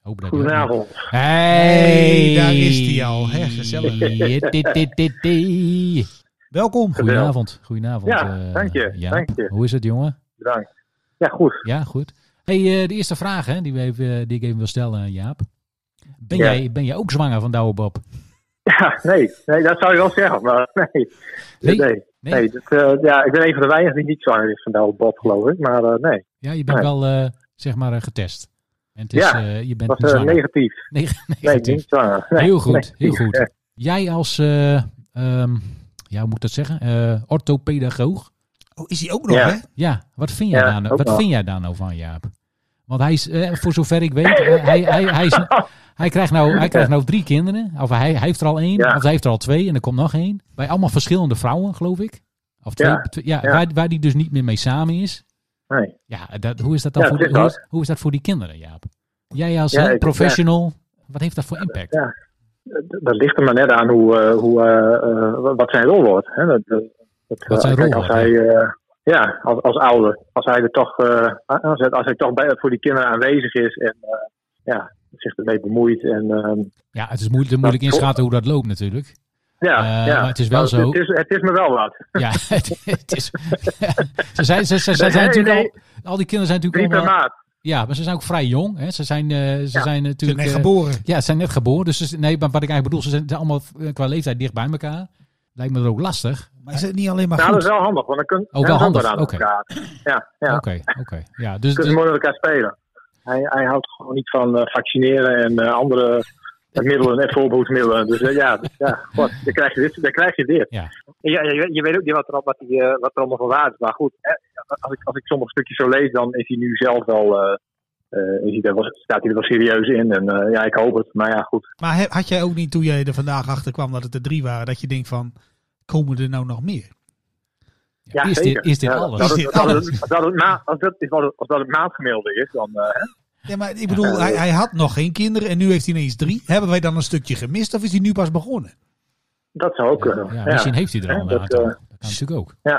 S3: Hoop dat
S1: Goedenavond.
S3: Hey,
S2: Hey, daar is die al, hè, gezellig.
S3: Dit, dit, dit, dit, dit.
S2: Welkom.
S3: Goedenavond, goedenavond.
S1: Ja,
S3: eh,
S1: dank je,
S3: Jaap.
S1: dank je.
S3: Hoe is het jongen?
S1: Bedankt. Ja, goed.
S3: Ja, goed. Hey, eh, de eerste vraag hè, die, we even, eh, die ik even wil stellen, Jaap. Ben,
S1: Ja.
S3: jij, ben jij ook zwanger van Douwe Bob?
S1: Ja, nee, nee, dat zou je wel zeggen, maar nee.
S3: Nee?
S1: Nee, nee.
S3: Nee?
S1: dat, eh, ja, ik ben een van de weinigen die niet zwanger is van de oude Bob, geloof ik. Maar eh, nee,
S3: Ja, je bent
S1: Nee.
S3: wel eh, zeg maar eh, getest. En het is,
S1: Ja,
S3: eh, je bent
S1: dat
S3: niet
S1: was eh,
S3: zwanger.
S1: negatief.
S3: Neg-
S1: Nee, ik
S3: negatief.
S1: ben niet zwanger. Nee,
S3: heel goed,
S1: nee.
S3: heel goed.
S1: Ja.
S3: Jij als, eh, ehm, ja, hoe moet ik dat zeggen? Eh, orthopedagoog.
S2: Oh, is hij ook nog,
S1: Ja.
S2: hè?
S3: Ja, wat vind jij,
S1: Ja,
S3: daar, nou-
S1: ook
S3: wat
S1: wel.
S3: vind jij daar nou van, Jaap? Want hij is, eh, voor zover ik weet, eh, hij, hij, hij, is, hij, krijgt nou, hij krijgt nou drie kinderen. Of hij, hij heeft er al één,
S1: Ja.
S3: of hij heeft er al twee en er komt nog één. Bij allemaal verschillende vrouwen, geloof ik. Of twee,
S1: Ja,
S3: twee- ja,
S1: ja.
S3: Waar, waar die dus niet meer mee samen is.
S1: Nee.
S3: Ja, dat, hoe, is dat dan
S1: Ja,
S3: voor,
S1: dat
S3: die-
S1: is
S3: hoe,
S1: dat.
S3: is, hoe is dat voor die kinderen, Jaap? Jij als
S1: Ja,
S3: eh,
S1: ik- ja.
S3: professional, wat heeft dat voor impact?
S1: Ja. Dat- Dat ligt er maar net aan hoe, eh, hoe, eh, eh, wat zijn rol wordt. Hè? Dat, dat, dat,
S3: Wat
S1: eh,
S3: zijn
S1: kijk,
S3: rol
S1: Als
S3: wordt,
S1: hij, eh, ja, als, als ouder. Als hij er toch, eh, als, hij, als hij toch bij, voor die kinderen aanwezig is en eh, ja, zich ermee bemoeit. En, ehm,
S3: Ja, het is moeilijk, moeilijk
S1: klopt.
S3: inschatten hoe dat loopt natuurlijk.
S1: ja,
S3: Eh,
S1: ja. Nou,
S3: maar het is wel zo-
S1: Het is, het is me wel wat.
S3: Ja, het, het is. ze zijn, ze, ze- ze zijn
S1: Nee,
S3: natuurlijk
S1: nee.
S3: Al, al die kinderen zijn
S1: Drie
S3: natuurlijk
S1: per
S3: allemaal.
S1: maand.
S3: Ja, maar ze zijn ook vrij jong. Hè. Ze zijn, eh, ze
S1: Ja.
S3: zijn
S2: Ze zijn
S3: natuurlijk...
S2: net
S3: eh,
S2: geboren.
S3: ja, ze zijn net geboren. Dus ze- nee, maar wat ik eigenlijk bedoel, ze zijn allemaal eh, qua leeftijd dicht bij elkaar. Lijkt me dat ook lastig.
S2: Maar is het niet alleen maar
S1: Nou, dat
S2: goed?
S1: is wel handig, want dan kun
S3: Ah, Oh, wel
S1: ja, dat is
S3: handig,
S1: wel aan
S3: oké. Dus
S1: elkaar. Dus Ja, ja.
S3: Oké, oké. Ja, dus,
S1: Dan kun
S3: dus-
S1: je mooi met elkaar spelen. Hij, hij houdt gewoon niet van eh, vaccineren en eh, andere middelen en voorbehoedsmiddelen. Dus eh, ja, dus, ja god, dan, krijg je dit, dan krijg je dit.
S3: Ja.
S1: Ja, je, weet- je weet ook niet wat er, al- wat, die, eh, wat er allemaal van waar is. Maar goed, eh, als, ik, als ik sommige stukjes zo lees, dan is hij nu zelf wel... eh, eh, is hij daar wel staat hij er wel serieus in. En eh, ja, ik hoop het. Maar ja, goed.
S2: Maar he- had jij ook niet toen jij er vandaag achter kwam dat het er drie waren, dat je denkt van, komen er nou nog meer?
S1: Ja,
S3: is, dit,
S1: zeker.
S3: is dit
S1: Ja,
S3: alles?
S1: dat
S2: Is
S1: het-
S2: dit
S1: dat het-
S2: alles?
S1: Als dat het ma- als dat is wat het- als dat het maandgemiddelde is, dan... eh,
S2: Ja, maar ik bedoel, hij, hij had nog geen kinderen en nu heeft hij ineens drie. Hebben wij dan een stukje gemist of is hij nu pas begonnen?
S1: dat zou ook kunnen.
S3: Ja,
S1: Ja,
S3: misschien heeft hij er al
S1: Ja,
S3: een
S1: dat,
S3: aantal.
S1: eh,
S3: Dat kan natuurlijk ook.
S2: Ja,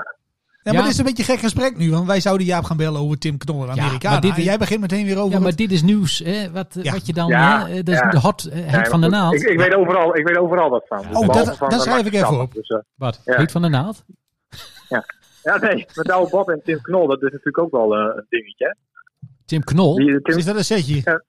S3: Ja.
S2: maar dit is een beetje een gek gesprek nu, want wij zouden Jaap gaan bellen over Tim Knol en
S3: Ja,
S2: Amerika.
S3: maar dit
S2: en
S3: is-
S2: jij begint meteen weer over.
S3: Ja, maar
S2: het-
S3: dit is nieuws. Hè? Wat,
S2: Ja.
S3: wat je dan...
S1: Ja,
S3: hè, dat is
S1: ja.
S3: de hot, eh,
S1: Nee,
S3: het
S1: maar
S3: van de
S1: goed,
S3: naald.
S1: Ik, ik, weet overal, ik weet overal wat van. Dus
S2: dat-
S1: behalve van,
S2: dat
S1: eh,
S2: schrijf
S1: Max
S2: ik even
S1: Verstappen.
S2: op.
S1: Dus, eh,
S3: Wat?
S1: Ja.
S3: Heet van de naald?
S1: ja, nee, met Douwe Bob en Tim Knol, dat is natuurlijk ook wel eh, een dingetje. hè.
S3: Tim Knol?
S1: Die, Tim-
S2: Is dat een setje?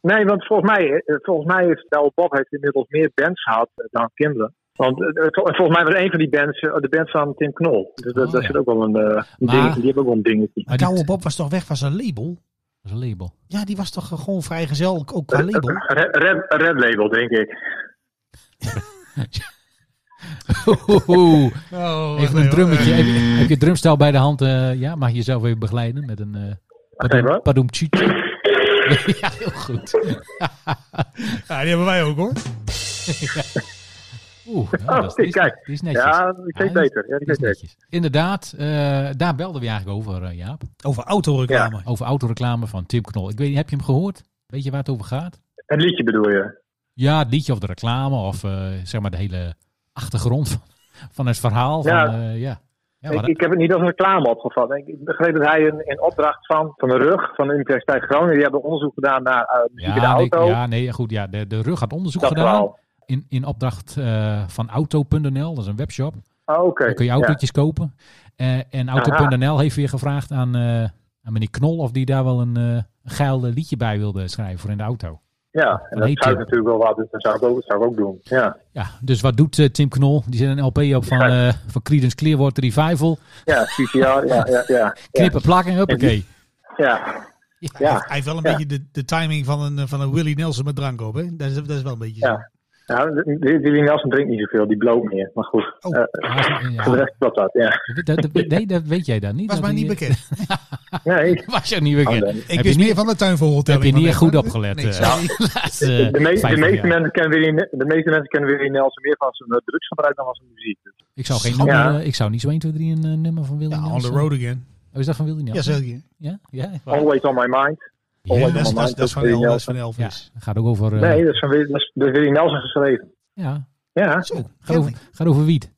S1: nee, want volgens mij, eh, volgens mij heeft Douwe Bob heeft inmiddels meer bands gehad eh, dan kinderen. Want eh, vol- volgens mij was een van die bands eh, de band van Tim Knol. Dus dat,
S3: Oh,
S1: daar
S3: ja.
S1: zit ook wel een, eh, een
S3: Maar-
S1: dingetje. Die hebben ook wel een dingetje.
S3: Maar
S2: Douwe
S3: dit-
S2: Bob was toch weg van zijn label?
S3: Dat is een label.
S2: Ja, die was toch gewoon vrijgezel, ook
S1: Eh,
S2: qua label?
S1: Red, red, red label, denk ik.
S3: Hohoho.
S2: Oh,
S3: Even een drummetje. Heb je, heb je drumstijl bij de hand? eh, ja, mag je jezelf even begeleiden met een... eh
S1: Even,
S3: padoem,
S1: hoor.
S3: padoem tjietje. ja, heel goed.
S2: Ja, die hebben wij ook hoor.
S3: Oeh, nou, dat is,
S1: zie,
S3: die is-
S1: kijk.
S3: die is netjes.
S1: Ja, die
S3: Ja,
S1: weet beter. Ja, die
S3: Dat is
S1: weet beter.
S3: netjes. Inderdaad, eh, daar belden we eigenlijk over, eh, Jaap.
S2: Over autoreclame.
S3: Over autoreclame van Tim Knol. Ik weet niet, heb je hem gehoord? Weet je waar het over gaat?
S1: Het liedje bedoel je?
S3: Ja, het liedje of de reclame of eh, zeg maar de hele achtergrond van, van het verhaal.
S1: Ja.
S3: Van, eh, ja. Ja,
S1: ik,
S3: maar,
S1: ik heb het niet als een reclame opgevat. Ik, ik begreep dat hij een, in opdracht van Van de Rug, van de Universiteit Groningen, die hebben onderzoek gedaan naar eh, muziek in de
S3: ja, nee,
S1: auto.
S3: ja, nee, goed. Ja, de, de rug had onderzoek
S1: dat
S3: gedaan
S1: verhaal.
S3: in, in opdracht eh, van auto.nl. Dat is een webshop.
S1: Oh, oké.
S3: Daar kun je autootjes kopen. Eh, en auto.nl heeft weer gevraagd aan, eh, aan meneer Knol of die daar wel een, eh, een geil eh, liedje bij wilde schrijven voor in de auto.
S1: Ja, ja. en dat
S3: heet
S1: zou
S3: die?
S1: ik natuurlijk wel wat, dus dat zou ik ook, dat zou ik ook doen. Ja,
S3: Ja, dus wat doet eh, Tim Knol? Die zet een LP op van, eh van Creedence Clearwater Revival.
S1: ja CCR, ja, ja, ja. ja,
S3: Knippen, plakken, huppakee.
S1: ja.
S2: Hij
S1: ja.
S2: heeft wel een
S1: Ja.
S2: beetje de, de timing van een, eh, van een Willie Nelson met drank op, hè? Dat is, dat is wel een beetje zo.
S1: Ja. Nou, die, die Nelson drinkt niet zoveel, die bloopt meer. Maar goed,
S2: Oh.
S1: eh,
S3: Ja, ze- ja,
S1: voor de rest klopt dat, ja.
S3: dat, dat- nee, dat weet jij dan niet.
S2: Was
S3: dat
S2: mij
S3: die- eh,
S2: niet bekend.
S1: Nee,
S3: Was jou niet bekend.
S1: Oh, nee.
S2: Ik
S3: heb je
S2: wist
S3: niet-
S2: meer van de tuinvogeltelling.
S3: heb je niet
S2: maar
S3: goed
S2: nee.
S3: opgelet,
S2: Nee,
S3: eh.
S2: sorry.
S3: Laatste, eh,
S1: de, me-
S3: 50
S1: de, meeste
S3: jaar.
S1: mensen kennen Willie, Ne- de meeste mensen kennen Willie Nelson meer van zijn eh, drugsgebruik dan van zijn muziek. Dus,
S3: Ik zou geen
S2: Schat.
S3: nummer,
S1: Ja.
S3: eh, ik zou niet zo 1, 2, 3 een eh, nummer van Willy
S2: Ja, on the
S3: Nelson.
S2: road again.
S3: Oh, is dat van Willy Nelson?
S2: Ja, zeker.
S3: Ja? Ja? echt waar.
S1: Always on my mind.
S2: Ja,
S1: Always
S2: dat, is,
S1: on my
S2: dat, is-
S1: mind.
S2: dat is van
S1: Willie
S2: El- dat is
S1: Nelson.
S2: van
S3: Ja,
S2: Elvis.
S3: het gaat ook over... eh,
S1: Nee, dat is van Willie- dat is door Willie Nelson geschreven.
S3: Ja,
S1: Ja,
S2: Zo,
S3: gaat over, gaat over wiet.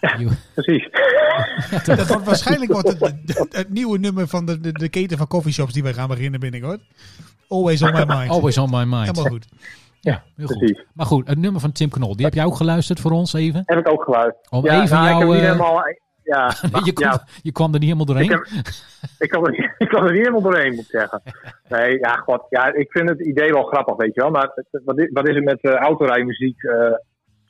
S3: Jo-
S1: precies.
S2: dat wordt waarschijnlijk wordt het, het, het nieuwe nummer van de, de, de keten van coffeeshops die wij gaan beginnen binnenkort. Always on my mind.
S3: Always on my mind.
S2: Helemaal goed.
S3: Ja, heel goed.
S1: Precies.
S3: Maar goed, het nummer van Tim Knol, die heb jij ook geluisterd voor ons even?
S1: Heb ik ook geluisterd.
S3: Om
S1: ja,
S3: even
S1: nou, ik heb
S3: jouw...
S1: niet
S3: eh,
S1: helemaal... Ja, maar-
S3: je, kwam,
S1: ja,
S3: je kwam er niet helemaal doorheen.
S1: Ik heb- ik, kan er, niet- ik kan er niet helemaal doorheen, moet ik zeggen. Nee, ja, god, ja, ik vind het idee wel grappig, weet je wel. Maar het- het- wat is, wat is het met eh, autorijmuziek? eh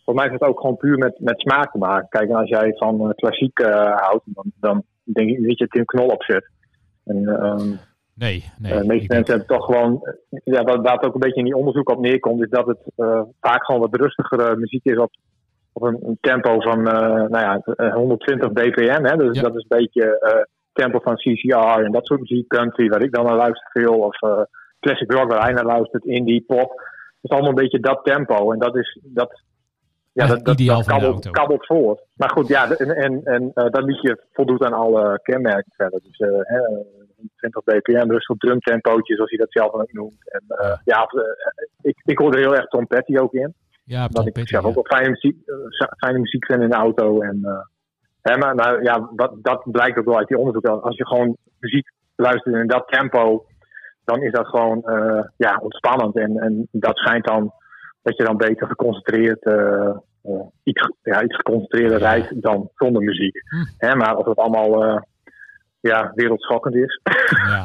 S1: voor mij heeft het ook gewoon puur met, met smaak te maken. Kijk, en als jij van eh, klassiek eh, houdt, dan, dan denk ik niet dat je Tim Knol opzet. En, ehm,
S3: Nee, nee.
S1: eh, de meeste
S3: ik denk-
S1: mensen hebben toch gewoon... eh, Ja, wat, waar het ook een beetje in die onderzoek op neerkomt, is dat het eh, vaak gewoon wat rustigere muziek is op, op een, een tempo van eh, nou ja, eh, 120 bpm. Hè? Dus
S3: Ja.
S1: dat is een beetje eh tempo van CCR en dat soort muziek. Country, waar ik dan naar luister veel. Of eh, classic rock, waar hij naar luistert. Indie, pop. Het is allemaal een beetje dat tempo. En dat is... Dat, ja,
S3: Ja,
S1: dat, dat,
S3: ideaal
S1: dat
S3: voor de
S1: kabbelt,
S3: auto.
S1: kabbelt voort. Maar goed, ja, en, en, en eh, dat liedje voldoet aan alle kenmerken verder. Dus eh, hè, 20 bpm, rustig drumtempootje, zoals hij dat zelf ook noemt. En eh,
S3: Ja.
S1: ja, of, eh, ik, ik hoor er heel erg Tom Petty ook in.
S3: ja, Tom
S1: Dat ik
S3: Petty,
S1: zelf
S3: ja.
S1: ook wel fijne muziek, eh, za- fijne muziek vind in de auto. En, eh, hè, maar nou, ja, wat, dat blijkt ook wel uit die onderzoek. Als je gewoon muziek luistert in dat tempo, dan is dat gewoon eh, ja, ontspannend. En, en dat schijnt dan dat je dan beter geconcentreerd, eh, eh, iets, ja, iets geconcentreerder rijdt dan zonder muziek.
S3: Hm.
S1: Hè, maar of het allemaal eh, ja, wereldschokkend is.
S3: Ja.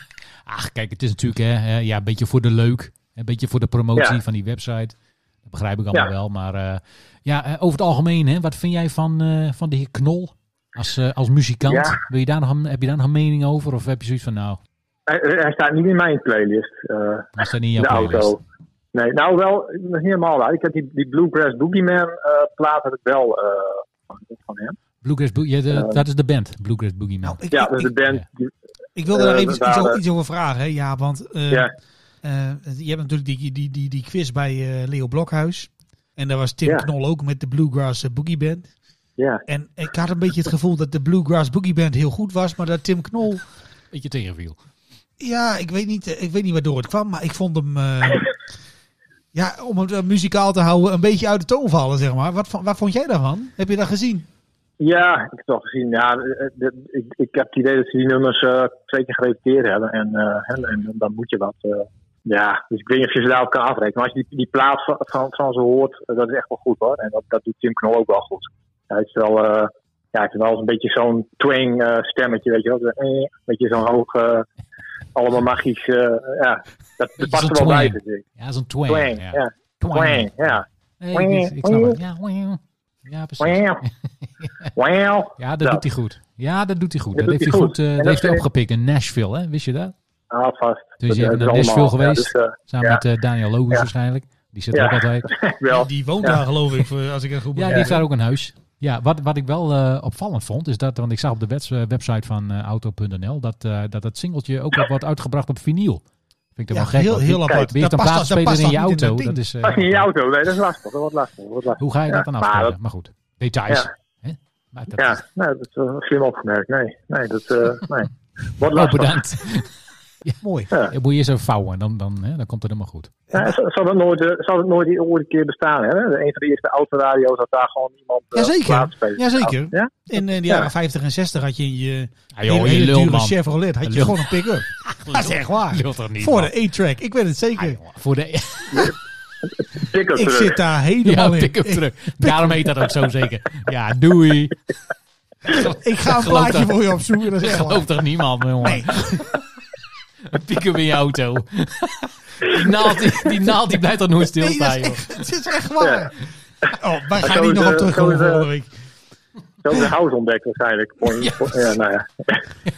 S3: Ach, kijk, het is natuurlijk hè, hè, ja, een beetje voor de leuk. Een beetje voor de promotie
S1: Ja.
S3: van die website. Dat begrijp ik allemaal
S1: Ja.
S3: wel. Maar eh, ja, eh, over het algemeen, hè, wat vind jij van, eh, van de heer Knol als, eh, als muzikant?
S1: Ja.
S3: Wil je daar nog, een- heb je daar nog een mening over? Of heb je zoiets van, nou,
S1: Hij, hij staat niet in mijn playlist. eh,
S3: dat staat niet in
S1: de
S3: jouw playlist?
S1: auto. Nee, nou wel, dat is niet helemaal waar. Ik heb die, die Bluegrass Boogeyman eh plaat heb ik wel eh, van hem.
S3: Bluegrass Boogie, ja, de- dat is de band, Bluegrass Boogie Man.
S2: Nou, ik,
S1: Ja,
S2: ik,
S1: dat is de
S2: ik,
S1: band.
S3: ja.
S1: die-
S2: ik wilde daar
S1: eh,
S2: even
S1: we
S2: iets,
S1: waren-
S2: iets over vragen, hè? Ja, want eh,
S1: ja,
S2: eh, je hebt natuurlijk die, die, die, die quiz bij eh, Leo Blokhuis. En daar was Tim
S1: Ja.
S2: Knol ook met de Bluegrass eh, Boogie Band.
S1: ja.
S2: En ik had een beetje het gevoel dat de Bluegrass Boogie Band heel goed was, maar dat Tim Knol
S3: Beetje tegenviel.
S2: Ja, ik weet niet, eh, ik weet niet waardoor het kwam, maar ik vond hem. eh, ja, om het eh, muzikaal te houden, een beetje uit de toon vallen, zeg maar. Wat, vo- wat vond jij daarvan? Heb je dat gezien?
S1: ja, ik heb het al gezien. Ja, eh, eh, ik, ik heb het idee dat ze die nummers eh, twee keer gerepeteerd hebben. En, eh, en, en dan moet je wat. eh, ja, dus ik weet niet of je ze daarop kan afrekenen. Maar als je die, die plaat van, van, van ze hoort, eh, dat is echt wel goed hoor. En dat, dat doet Tim Knol ook wel goed. Hij is wel, eh, ja, hij heeft wel eens een beetje zo'n twang eh, stemmetje, weet je wel. Zo, eh, Weet je, zo'n hoog, eh, allemaal magisch. eh, ja, dat, dat
S3: Beetje
S1: past
S3: zo'n
S1: er wel bij,
S3: twang. Oh
S1: vind ik.
S3: Ja, zo'n twang.
S1: Twang,
S3: ja.
S1: ja. Twang, ja.
S3: Nee, ik, ik snap het. Ja, twang. Ja, precies.
S1: Wauw. Wauw.
S3: Ja, dat
S1: Ja.
S3: doet hij goed. Ja, dat doet hij goed.
S1: Nou.
S3: Dat,
S1: Dat doet
S3: heeft hij
S1: hij
S3: goed,
S1: goed.
S3: eh, dat
S1: En dat
S3: heeft hij
S1: is-
S3: opgepikt in Nashville, hè? Wist je dat?
S1: Ah, vast.
S3: Dus je
S1: Dat,
S3: hebt
S1: eh,
S3: naar
S1: is
S3: Nashville
S1: allemaal. Ja,
S3: geweest,
S1: dus,
S3: samen
S1: Ja.
S3: met eh, Daniel Lowes
S1: Ja.
S3: waarschijnlijk. Die zit er
S1: Ja.
S3: ook altijd.
S1: eh, wel.
S2: Die woont
S1: Ja.
S2: daar, geloof ik, voor- als ik het goed
S3: Ja, die
S2: begrijp.
S3: heeft daar ook een huis. Ja, wat, wat ik wel eh, opvallend vond, is dat, want ik zag op de webs- eh, website van eh, auto.nl dat, eh, dat dat singeltje ook wel wordt uitgebracht op vinyl. Vind ik
S2: Ja,
S3: toch wel gek.
S2: heel,
S3: want
S2: heel
S3: wie-
S1: Kijk,
S2: apart.
S3: Wie heeft een
S2: Daar past dat- daar
S3: plaatspeler
S2: past
S3: in je
S2: dat niet
S3: auto?
S2: dat
S3: Dat
S2: ding.
S3: is, eh,
S1: Pas in je auto. Nee, dat is lastig. Dat wordt lastig. Dat wordt lastig.
S3: Hoe ga je dat dan
S1: Ja,
S3: afspelen?
S1: maar
S3: Maar, goed, details.
S1: Ja.
S3: hè? Maar dat
S1: Ja, nee, dat is eh, slim opgemerkt. Nee, nee, dat eh, nee. wordt
S3: Oh,
S1: lastig.
S3: bedankt.
S2: Mooi.
S3: Je moet je eerst even vouwen, dan, dan, hè, dan komt het helemaal goed.
S1: Ja, z- zal dat nooit, eh, zal dat nooit die ooit een keer bestaan? Hè? Een van de eerste autoradio's had daar gewoon iemand eh,
S2: Jazeker.
S1: plaatsspelen.
S2: Jazeker.
S1: Ja?
S2: In eh, de jaren 50 en 60 had je in je
S3: Ah,
S2: hele,
S3: joh,
S2: hele
S3: je lul,
S2: dure
S3: man.
S2: Chevrolet had je
S3: Lul.
S2: gewoon een pick-up. Dat is echt waar.
S3: Lul toch niet,
S2: Voor
S3: man.
S2: de A-track, ik weet het
S3: Ah,
S2: zeker.
S3: jongen, voor de
S1: Pick-up
S2: Ik
S1: truck.
S2: zit daar
S3: ja,
S2: helemaal in.
S3: pick-up
S2: Ik,
S3: truck. Daarom heet dat ook zo zeker. Ja, doei.
S2: ik ga een
S3: Geloof
S2: plaatje
S3: dat-
S2: voor je opzoeken, dat is echt waar.
S3: Gelooft toch niemand, jongen?
S2: Nee.
S3: Een pick-up in je auto. Die naald, die, die naald die blijft toch nooit
S2: Nee, dat
S3: stilstaan,
S2: is
S3: joh.
S2: echt, het is echt waar. Oh, wij gaan
S1: zo
S2: niet
S1: is,
S2: nog op
S1: eh,
S2: terug
S1: zo is,
S2: over
S1: eh,
S2: volgende week.
S1: Zo de house ontdekt waarschijnlijk. Voor- voor- Ja, nou ja.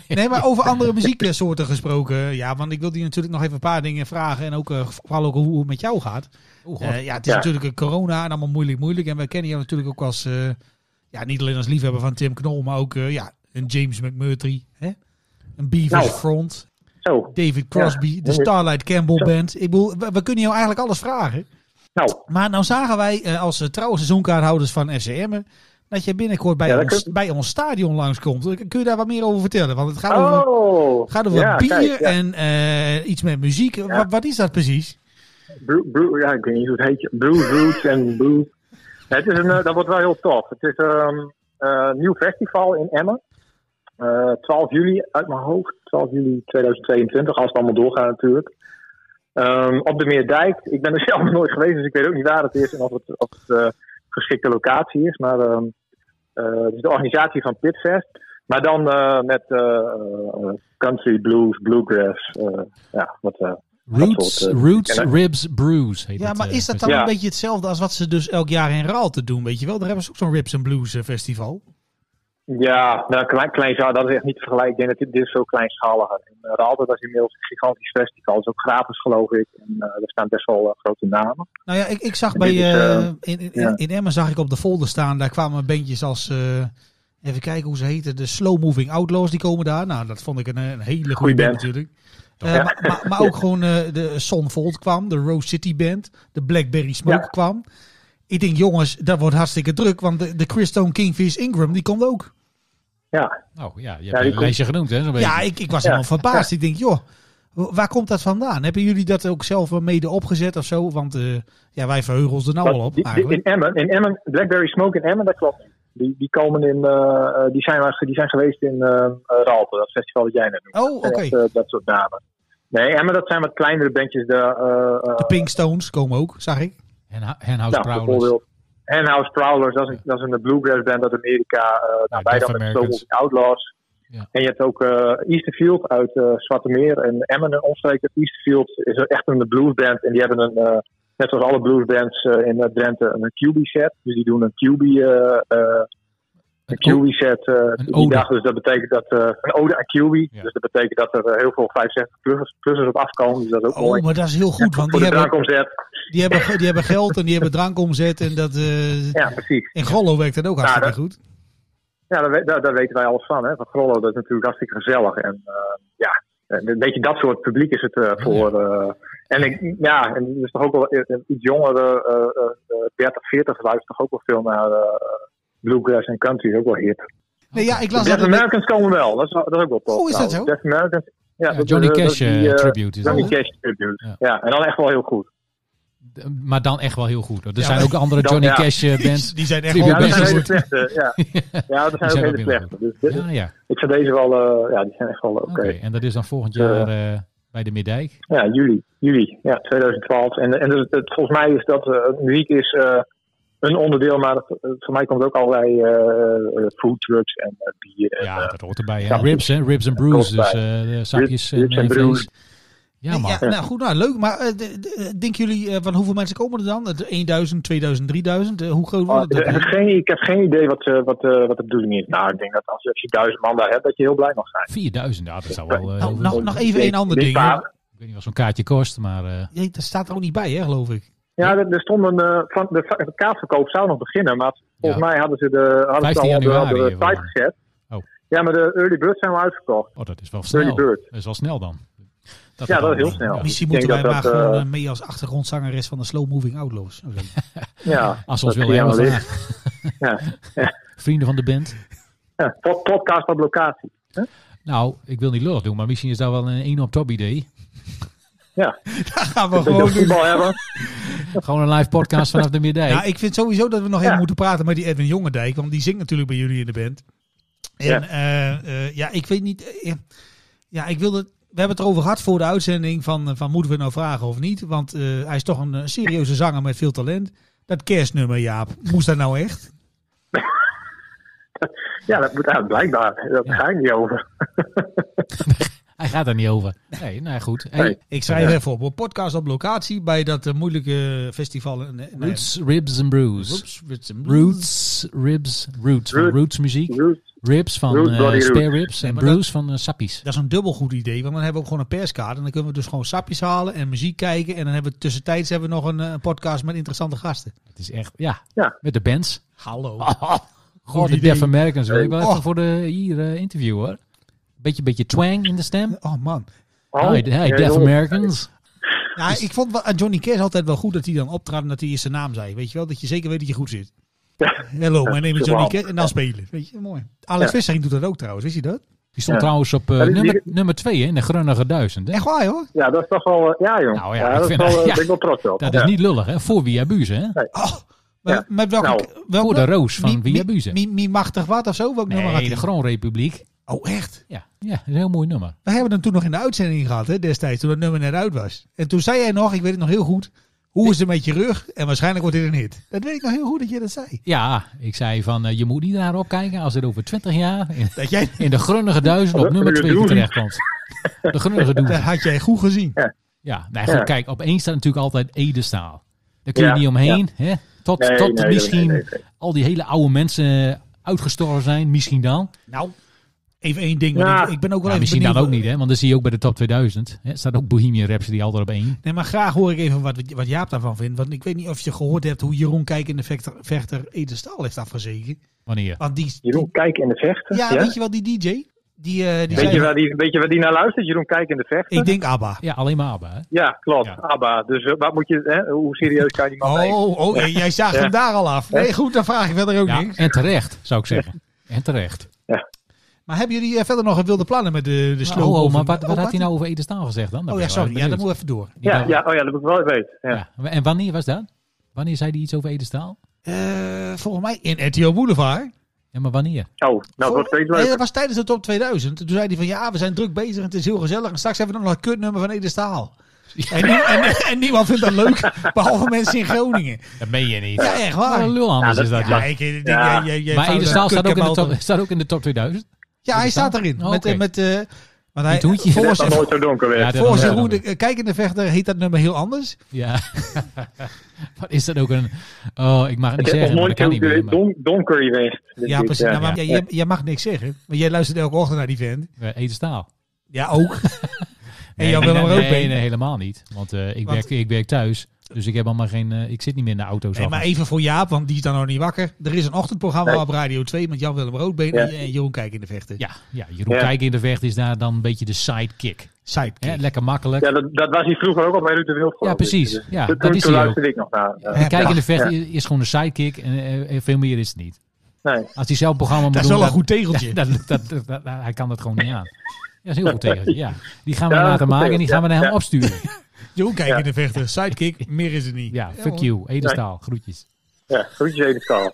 S2: Nee, maar over andere muzieksoorten gesproken. Ja, want ik wil die natuurlijk nog even een paar dingen vragen. En ook eh, vooral ook hoe het met jou gaat.
S3: Oeh, Oh, god.
S2: Eh, ja, het is
S1: Ja.
S2: natuurlijk een corona en allemaal moeilijk, moeilijk. En wij kennen jou natuurlijk ook als, eh, ja, niet alleen als liefhebber van Tim Knol, maar ook eh, ja, een James McMurtry. Hè? Een Beavers
S1: Nou.
S2: Front,
S1: Zo,
S2: David Crosby, de Starlight Campbell Band. Ik bedoel, we, we kunnen jou eigenlijk alles vragen.
S1: nou,
S2: Maar nou zagen wij eh, als eh, trouwe seizoenkaarthouders van FCM dat jij binnenkort bij,
S1: Ja, dat
S2: ons,
S1: kun-
S2: bij ons stadion langskomt. Kun je daar wat meer over vertellen? Want het gaat over
S1: oh,
S2: Gaat over
S1: Ja,
S2: bier
S1: kijk, ja.
S2: en eh, iets met muziek. Wa- Wat, is dat precies?
S1: Brew, brew- ja, ik weet niet hoe het heet. Brew Roots en Brew. Nee, het is een, eh, dat wordt wel heel tof. Het is ehm, eh, een nieuw festival in Emmen. Eh, 12 juli uit mijn hoofd. 12 juli 2022, als het allemaal doorgaat natuurlijk. Ehm, op de Meerdijk. Ik ben er zelf nog nooit geweest, dus ik weet ook niet waar het is en of het, of het eh, geschikte locatie is. Maar ehm, eh, het is de organisatie van Pitfest. Maar dan eh, met eh, eh, country, blues, bluegrass. eh, ja, wat, eh,
S3: Roots,
S1: dat soort, eh,
S3: roots
S1: kennen.
S3: Ribs, Brews heet
S2: Ja,
S3: het,
S2: maar
S3: eh,
S2: is dat dan
S1: Ja.
S2: een beetje hetzelfde als wat ze dus elk jaar in Raalte doen? Weet je wel, daar hebben ze ook zo'n Rips and Blues eh, festival.
S1: Ja, nou, klein, klein, zaal, dat is echt niet te vergelijken. Ik denk dat dit, dit is veel kleinschaliger is. En, eh, Raalte, dat is inmiddels een gigantisch festival. Dat is ook gratis, geloof ik. En eh er staan best wel eh, grote namen.
S2: Nou ja, ik, ik zag
S1: En
S2: bij,
S1: dit is,
S2: eh,
S1: eh,
S2: in, in,
S1: ja.
S2: in Emmen zag ik op de folder staan, daar kwamen bandjes als, eh, even kijken hoe ze heten, de Slow Moving Outlaws, die komen daar. Nou, dat vond ik een, eh, een hele goede
S1: Goeie
S2: band
S1: band.
S2: natuurlijk. Eh,
S1: Ja.
S2: maar, maar, maar ook gewoon eh, de Son Volt kwam, de Rose City Band, de Blackberry Smoke
S1: Ja.
S2: kwam. Ik denk, jongens, dat wordt hartstikke druk, want de, de Christone Kingfish Ingram, die komt ook.
S1: Ja,
S3: Nou ja, je hebt
S1: die
S3: een
S1: komt-
S3: lijstje genoemd, hè? zo'n beetje.
S2: Ja, ik, ik was helemaal verbaasd. Ik denk, joh, w- waar komt dat vandaan? Hebben jullie dat ook zelf wel mede opgezet of zo? Want eh, ja, wij verheugen ons er nou
S1: Wat-
S2: al op
S1: die- die-
S2: eigenlijk.
S1: in Emmen, in Emmen, Blackberry Smoke in Emmen, dat klopt. Die, die, komen in, eh, eh, die, zijn, wel- die zijn geweest in eh eh, Raalte, dat festival dat jij net noemt.
S2: Oh, oké.
S1: Dat zijn echt, eh, dat soort namen. Nee, Emmen, dat zijn wat kleinere bandjes. De, eh, eh,
S2: De Pink Stones komen ook, zag ik.
S3: Hen- Henhouse
S1: nou,
S3: Prowlers.
S1: bijvoorbeeld Henhouse Prowlers, dat is, een, dat is een bluegrass band uit Amerika. eh nou, wij
S3: Death
S1: dan met
S3: Americans.
S1: Slow Outlaws.
S3: Ja.
S1: En je hebt ook eh, Easterfield uit eh Zwarte Meer en Emmen en omstreken. Easterfield is echt een bluesband en die hebben een, eh, net zoals alle bluesbands eh, in eh, Drenthe, een QB-set. Dus die doen een QB, eh, eh, een
S3: Een o-
S1: QB-set eh,
S3: een
S1: die
S3: ode.
S1: dag. Dus dat betekent dat, eh, een ode aan QB,
S3: Ja.
S1: dus dat betekent dat er eh, heel veel 65-plussers op afkomen. Dus dat is ook
S2: Oh,
S1: mooi.
S2: maar dat is heel goed, want
S1: Voor
S2: die
S1: de
S2: hebben,
S1: drankomzet.
S2: die, hebben, die hebben geld en die hebben drankomzet. En dat, eh
S1: Ja, precies.
S2: in Grollo werkt dat ook hartstikke
S1: dat-
S2: goed.
S1: Ja, daar, we- daar, daar weten wij alles van. Hè. Van Grollo, dat is natuurlijk hartstikke gezellig. En eh, ja, een beetje dat soort publiek is het eh, voor. eh, en ik, ja, en dus toch ook wel eh, iets jongere, eh, eh, eh 30, 40 luistert toch ook wel veel naar eh, bluegrass en country. Ook wel hip.
S2: Nee, ja, ik
S1: De
S2: las
S1: Death
S2: dat... het-
S1: Americans komen wel. Dat is, dat is ook wel tof.
S2: Oh, is dat
S1: trouwens. Death Americans. Ja,
S3: Ja,
S1: dat-
S3: Johnny
S1: dat- dat
S3: Cash
S1: is
S3: eh,
S1: die, eh,
S3: tribute is
S1: Johnny
S3: dat, hè?
S1: Cash tribute.
S3: Ja.
S1: Ja. en dan echt wel heel goed.
S3: D- Maar dan echt wel heel goed. hoor. Er
S2: Ja,
S3: zijn
S2: maar-
S3: ook andere
S1: Dan-
S3: Johnny
S1: ja.
S3: Cash eh, bands.
S2: Die zijn echt
S3: Ja,
S2: wel
S1: Ja, dat
S3: best
S1: zijn
S2: best
S1: hele
S3: goed.
S1: slechte. Ja, ja dat zijn
S3: zijn
S1: ook
S3: ook
S1: hele
S3: heel
S1: slechte. Dus dit-
S3: Ja, ja.
S1: ik zou deze wel, eh, ja, die zijn echt wel oké.
S3: Oké. En dat is dan volgend jaar eh, bij de Middijk.
S1: Ja, juli. Juli, ja, 2012. En, en dus het, het- volgens mij is dat, eh, muziek is eh, een onderdeel, maar het- het- voor mij komt ook allerlei eh, eh, food trucks en eh, bier. en,
S3: Ja,
S1: eh,
S3: dat hoort erbij. Hè?
S1: Ja.
S3: Ribs, hè? Ribs en brews. Dus eh, de zakjes en,
S1: ribs en
S3: en
S1: brews.
S3: vlees. Ja, man.
S2: Ja, nou goed, nou leuk. Maar eh, de- de- denken jullie, eh, van hoeveel mensen komen er dan? Het 1000, 2000, 3000? Eh, hoe groot
S1: maar
S2: wordt het?
S1: ik, heb geen, ik heb geen idee wat, eh, wat, eh, wat de bedoeling is. Nou, ik denk dat als je, als je duizend man daar hebt, dat je heel blij mag zijn.
S3: 4000, ja, dat zou wel... eh,
S2: Nou,
S3: heel
S2: nou-
S3: veel-
S2: nog even
S1: Ik-
S2: één ander
S1: dit
S2: ding,
S1: paar-
S2: hè.
S3: Ik weet niet wat zo'n kaartje kost, maar... eh,
S2: Jee, dat staat er ook niet bij, hè, geloof ik.
S1: Ja, er, er stond een, eh, van, de, va- de kaartverkoop zou nog beginnen, maar volgens mij hadden ze de, hadden ze
S3: 15
S1: al op de- op de,
S3: januari, eh,
S1: site
S3: volgens
S1: gezet.
S3: Oh.
S1: Ja, maar de early birds zijn al uitverkocht.
S3: oh, dat is wel
S1: Early
S3: snel.
S1: bird.
S3: Dat is wel snel dan. Dat
S1: Ja,
S3: gaat
S1: dat is
S3: wel.
S1: heel snel.
S3: Ja.
S1: Mis-
S2: Misschien
S1: ik
S2: moeten wij
S1: denk
S2: maar
S1: dat dat,
S2: gewoon
S1: eh,
S2: eh, mee als achtergrondzangeres van de Slow Moving Outlaws. Oké.
S1: Ja,
S3: Als ze ons
S1: dat
S3: willen
S1: zie
S3: hebben
S1: je
S3: vandaag.
S1: wel
S3: Vrienden van de band.
S1: Ja, pod- podcast op locatie.
S3: Nou, ik wil niet lullig doen, maar misschien is dat wel een één op top idee.
S2: Dat gaan we
S1: Dat we
S2: gewoon doen.
S1: voetbal hebben.
S3: Gewoon een live podcast vanaf de Middijk.
S2: Nou, ik vind sowieso dat we nog even
S1: Ja.
S2: moeten praten met die Edwin Jongendijk. Want die zingt natuurlijk bij jullie in de band. En ja,
S1: Ja.
S2: ja ik weet niet... eh, ja, ja, ik wilde... We hebben het erover gehad voor de uitzending van, eh, van moeten we het nou vragen of niet. Want eh, hij is toch een eh, serieuze zanger met veel talent. Dat kerstnummer, Jaap, moest dat nou echt?
S1: Ja, dat moet uit, blijkbaar. Dat ga ik niet over.
S3: Hij gaat daar niet over. Nee, nou ja, goed. Hey,
S1: Nee.
S2: Ik schrijf even op een podcast op locatie bij dat eh, moeilijke festival. en, eh, nou ja,
S3: Roots, ribs en brews.
S2: Roots, roots en blues.
S3: Roots, ribs, roots. Van
S1: Roots.
S3: roots muziek.
S1: Roots.
S3: Ribs van
S1: Roots,
S3: eh,
S1: bloody
S3: spare
S1: roots.
S3: ribs.
S2: Nee,
S3: En
S2: maar dat-
S3: brews van eh, sappies.
S2: Dat is een dubbel goed idee, want dan hebben we ook gewoon een perskaart. En dan kunnen we dus gewoon sapjes halen en muziek kijken. En dan hebben we tussentijds hebben we nog een, eh, een podcast met interessante gasten.
S3: Het is echt, ja.
S1: Ja.
S3: Met de bands.
S2: Hallo.
S3: Goed de
S2: idee.
S3: Deaf Americans. hoor. Ik wil
S2: Oh.
S3: even voor de hier eh, interview hoor. Beetje, beetje twang in de stem.
S2: Oh man.
S1: Oh,
S3: hi, hi,
S1: ja,
S3: Deaf
S1: joh.
S3: Americans.
S2: Ja, ik vond wel aan Johnny Cash altijd wel goed dat hij dan optrad en dat hij eerst zijn naam zei. Weet je wel, dat je zeker weet dat je goed zit.
S1: Ja.
S2: Hello, mijn name is Johnny
S1: Jawel.
S2: Cash. En dan spelen. Weet je, mooi. Alex
S1: Ja.
S2: Vissering doet dat ook trouwens, wist je dat?
S3: Die stond
S1: Ja.
S3: trouwens op eh,
S1: Ja, die- die-
S3: nummer, nummer twee hè, in de Grunnige Duizend. Hè?
S2: Echt waar hoor.
S1: Ja, dat is toch wel... eh, Ja, joh.
S3: Nou ja,
S1: ja,
S3: ik
S1: dat is
S3: vind
S1: wel,
S3: dat-
S1: eh,
S3: ja.
S1: ben ik wel trots op.
S3: Dat is
S1: Ja.
S3: niet lullig hè, voor wie abuze hè.
S2: Oh, maar
S1: Ja.
S2: met welke...
S1: Nou,
S2: welke
S3: Voor de roos van Wie
S2: Mie,
S3: Abuze.
S2: Mie- Mie machtig wat of zo? Welk nummer had
S3: Nee, de
S2: hij?
S3: Groenrepubliek.
S2: Oh echt?
S3: Ja, ja, dat is een heel mooi nummer.
S2: We hebben hem toen nog in de uitzending gehad, hè, destijds, toen dat nummer net uit was. En toen zei jij nog, ik weet het nog heel goed, hoe is het met je rug? En waarschijnlijk wordt dit een hit. Dat weet ik nog heel goed dat je dat zei.
S3: Ja, ik zei van eh, je moet niet naar opkijken als het over 20 jaar in,
S2: Dat, jij,
S3: in de grunnige duizend op
S1: Dat
S3: nummer
S1: wil je
S3: 2
S1: doen.
S3: terechtkomt. De grunnige
S2: dat
S3: duizend.
S2: had jij goed gezien.
S3: Ja, nee, goed,
S1: Ja.
S3: kijk, op één staat natuurlijk altijd Edestaal. Daar kun je
S1: Ja,
S3: niet omheen. Hè? Tot,
S1: Nee,
S3: tot
S1: nee,
S3: misschien
S1: nee, nee, nee.
S3: al die hele oude mensen uitgestorven zijn, misschien dan.
S2: Nou, even één ding. want
S1: Ja.
S2: ik, ik ben ook wel
S3: Ja,
S2: even
S3: misschien
S2: benieuwd.
S3: dan ook niet, hè? want dan zie je ook bij de top 2000. Hè? Staat ook Bohemian Rhapsody altijd op één.
S2: Nee, maar graag hoor ik even wat, wat Jaap daarvan vindt. Want ik weet niet of je gehoord hebt hoe Jeroen Kijk in de vechter, vechter Ede Staal heeft afgezeken.
S3: Wanneer?
S2: Want die,
S1: Jeroen, kijk in de vechten.
S2: ja,
S1: Ja,
S2: weet je wel, die DJ? Die, eh, die
S1: Weet, je
S2: zei,
S1: waar die, weet je waar die naar luistert? Jeroen, kijk in de vechten.
S2: ik denk ABBA.
S3: Ja, alleen maar ABBA. Hè?
S1: Ja, klopt.
S3: Ja.
S1: Abba. Dus eh, wat moet je, hè, hoe serieus kan je die man nemen?
S2: Oh, oh, jij zaagt
S1: Ja.
S2: hem daar al af. Nee, goed, dan vraag ik verder ook
S3: Ja,
S2: niks.
S3: en terecht, zou ik zeggen. En terecht.
S2: Maar hebben jullie eh, verder nog een wilde plannen met de, de
S3: Maar,
S2: slow
S3: oh,
S2: motion?
S3: maar wat,
S2: Oh,
S3: wat had hij nou over Edestaal gezegd dan? Dan
S2: Oh
S3: ben
S2: ja,
S3: ik wel
S2: sorry. Ja, dat
S3: benieuwd.
S2: moet even door.
S1: Ja,
S3: Die-
S1: ja, oh ja, dat moet ik wel weten. Ja.
S3: Ja. En wanneer was dat? Wanneer zei hij iets over Edestaal?
S2: Eh, volgens mij in RTO Boulevard.
S3: Ja, maar wanneer?
S1: Oh, nou, dat
S2: Vol-
S1: wordt steeds
S2: nee,
S1: leuker.
S2: dat was tijdens de top 2000. Toen zei hij van ja, we zijn druk bezig en het is heel gezellig. En straks hebben we nog een kutnummer van Ede Staal. En, nie- en, en niemand vindt dat leuk, behalve mensen in Groningen.
S3: Dat meen je niet.
S2: Ja, echt
S3: Wat een
S2: waar.
S3: lul anders
S1: Ja, Nou, dat-
S3: is dat.
S2: Ja,
S3: Ja.
S2: ik, ik- ik-
S1: Ja.
S2: jij- jij- jij
S3: Maar
S2: fout-
S3: Edestaal staat ook, in de
S2: kutkenmerk.
S3: top, staat ook in de top 2000.
S2: Ja, hij
S3: er
S2: staat
S3: staan?
S2: erin.
S3: Oh,
S2: met, eh,
S3: oké.
S2: met, eh, want hij,
S3: Met hoedje.
S1: Het is
S2: volgens
S1: nog nooit zo donker weer.
S3: Ja, dat-
S2: volgens
S3: Ja,
S2: hoe
S3: dan-
S2: de eh, kijkende vechter heet dat nummer heel anders.
S3: Ja. Wat is dat ook een... Oh, ik mag het niet
S1: het is nog
S3: zeggen, maar dat
S1: nooit
S3: kan
S1: zo
S3: niet meer. maar-
S1: don- donker geweest. Dus
S2: Ja,
S1: dit,
S3: eh,
S2: precies. Nou, maar
S1: ja.
S2: jij- Jij, jij mag niks zeggen. Want jij luistert elke ochtend naar die vent.
S3: Eh, Eten staal.
S2: Ja, ook. en
S3: Nee,
S2: Jan Willem
S3: nee,
S2: Roodbeen.
S3: nee, nee, helemaal niet. Want eh, ik,
S2: Want-
S3: werk, ik werk thuis. Dus ik heb allemaal geen... eh, ik zit niet meer in de auto.
S2: Nee, maar even voor Jaap, want die is dan nog niet wakker. Er is een ochtendprogramma
S1: Nee.
S2: op Radio 2 met Jan-Willem Roodbeen
S1: Ja.
S2: en Jeroen Kijk in de vechten.
S3: Ja, ja Jeroen
S1: Ja.
S3: Kijk in de vecht is daar dan een beetje de sidekick.
S2: Sidekick.
S3: Hè? Lekker makkelijk.
S1: Ja, dat, dat was hij vroeger ook al bij Ruud de Wild. geloof ik.
S3: precies.
S1: Dus,
S3: Ja,
S1: toen-
S3: dat
S1: toen
S3: is hij ook.
S1: luisterde ik nog naar. eh,
S2: Ja,
S3: Kijk in de vecht
S1: ja.
S3: is- is gewoon een sidekick en eh, eh, veel meer is het niet.
S1: Nee.
S3: Als hij zelf een programma moet
S2: Dat is
S3: doen,
S2: wel een goed
S3: dat-
S2: tegeltje.
S3: dat, dat, dat- dat- hij kan dat gewoon niet aan. Ja, dat is heel goed tegen. Ja. Die gaan we
S1: Ja, dat is
S3: laten
S1: goed
S3: maken en die
S1: tegen,
S3: gaan we naar hem
S1: ja.
S3: opsturen.
S2: Jeroen Kijk
S1: Ja.
S2: in de vechten. Sidekick, meer is het niet.
S3: Ja,
S2: hoor.
S3: fuck you. Edenstaal, groetjes.
S1: Ja, groetjes Edenstal.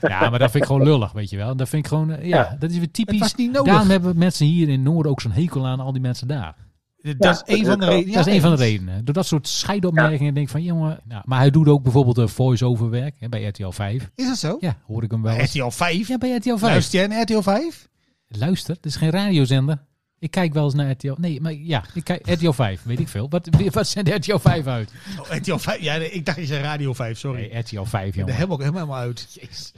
S3: ja, maar dat vind ik gewoon lullig, weet je wel. Dat vind ik gewoon, eh, ja,
S1: Ja.
S3: dat is weer
S2: Het
S3: typisch.
S2: was niet nodig.
S3: Daarom hebben mensen hier in Noord ook zo'n hekel aan al die mensen daar.
S2: dat is één
S1: dat
S2: van de
S1: is wel-
S2: redenen.
S3: dat is een van de
S2: eens.
S3: redenen. Door dat soort scheidopmerkingen denk ik van, jongen. Nou, maar hij doet ook bijvoorbeeld eh, voice-over werk hè, bij RTL 5.
S2: Is dat zo?
S3: Ja, hoor ik hem wel
S2: Bij
S3: eens.
S2: RTL 5?
S3: Ja, bij RTL 5. Luister.
S2: Luister jij naar RTL 5?
S3: het is geen radiozender. Ik kijk wel eens naar RTL. Nee, maar ja, ik kijk RTL 5, weet ik veel. Wat, wat zendt RTL 5 uit?
S2: Oh, RTL 5? Ja, nee, ik dacht je zei Radio 5, sorry.
S3: Nee, RTL 5,
S2: Daar
S3: jongen.
S2: hebben we ook helemaal uit.
S3: Jezus.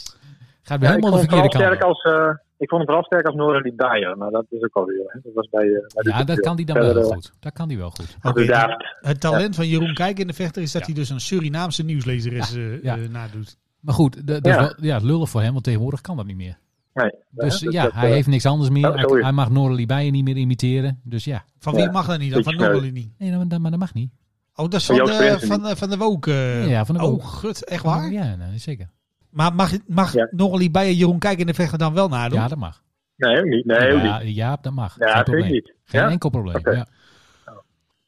S3: Gaat weer
S1: Ja, ik
S3: helemaal
S1: vond
S3: de
S1: het vooral
S3: verkeerde kant.
S1: sterk
S3: op.
S1: als, eh, ik vond het vooral sterk als Nora die Dyer, maar dat is ook alweer. Hè. Dat was bij, eh, bij Ruud
S3: Ja,
S1: de
S3: dat
S1: Wild.
S3: kan die dan
S1: Verder,
S3: wel heel
S1: eh,
S3: goed. Dat kan die wel goed.
S2: Oké,
S1: Ruud Daft.
S2: Het talent van Jeroen Kijk in de vechter is dat hij dus een Surinaamse nieuwslezer is, eh,
S3: ja.
S2: eh, nadoet.
S3: Maar goed, dat- dat is
S1: Ja.
S3: wel- ja, lullig voor hem, want tegenwoordig kan dat niet meer.
S1: Nee,
S3: Dus
S1: hè, dus
S3: ja,
S1: dat,
S3: hij
S1: eh,
S3: heeft niks anders meer.
S1: oh,
S3: hij,
S1: sorry.
S3: hij mag Noralie Bijen niet meer imiteren. Dus ja,
S2: Van wie
S1: Ja.
S2: mag dat niet dan? Van
S1: Beetje
S2: Norbert niet.
S3: nee, maar dat, maar dat mag niet.
S2: Oh, dat is
S1: Van
S2: van,
S1: Joost
S2: de,
S1: Prinsen
S2: van, eh, van de Wook. eh.
S3: Ja, van de Wook.
S2: Oh, gut, echt waar?
S3: Ja, nou, zeker.
S2: Maar mag, mag
S1: Ja.
S2: Norrie bij Jeroen Kijk in de vechter dan wel nadoen?
S3: Ja, dat mag.
S1: Nee, ook niet. Nee, ook niet.
S3: ja, Jaap, dat mag.
S1: Ja,
S3: Geen
S1: vind ik
S3: probleem.
S1: niet.
S3: Geen
S1: Ja?
S3: enkel probleem.
S1: Oké.
S3: Ja.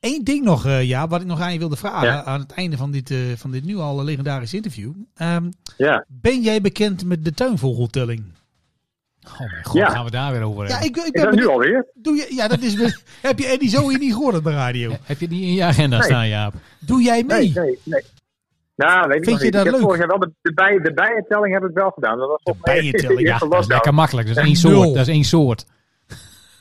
S2: Eén ding nog, eh Jaap, wat ik nog aan je wilde vragen.
S1: Ja.
S2: Aan het einde van dit, eh, van dit nu al legendarische interview. Ehm,
S1: Ja.
S2: ben jij bekend met de tuinvogeltelling?
S3: Oh mijn god,
S1: Ja.
S3: gaan we daar weer over
S2: Ja,
S3: hebben.
S2: ik, ik
S1: Is
S2: ben
S1: dat nu
S2: benieuwd.
S1: alweer?
S2: Doe je, ja, dat is, heb je Eddie zo hier niet gehoord op de radio?
S3: He- Heb je die in je agenda
S1: Nee.
S3: staan, Jaap?
S2: Doe jij mee?
S1: Nee, nee, nee. Nou, weet ik
S2: Vind
S1: nog
S2: je
S1: niet.
S2: dat
S1: ik heb
S2: leuk?
S1: vorig jaar wel de, de, bij, de bijentelling heb ik wel gedaan. Dat was nou volgens mij
S2: bijentelling,
S1: de
S2: ja,
S1: eerste
S3: Dat is
S1: lockdown.
S3: lekker makkelijk. Dat is één
S2: Nul.
S3: soort. Dat is één soort.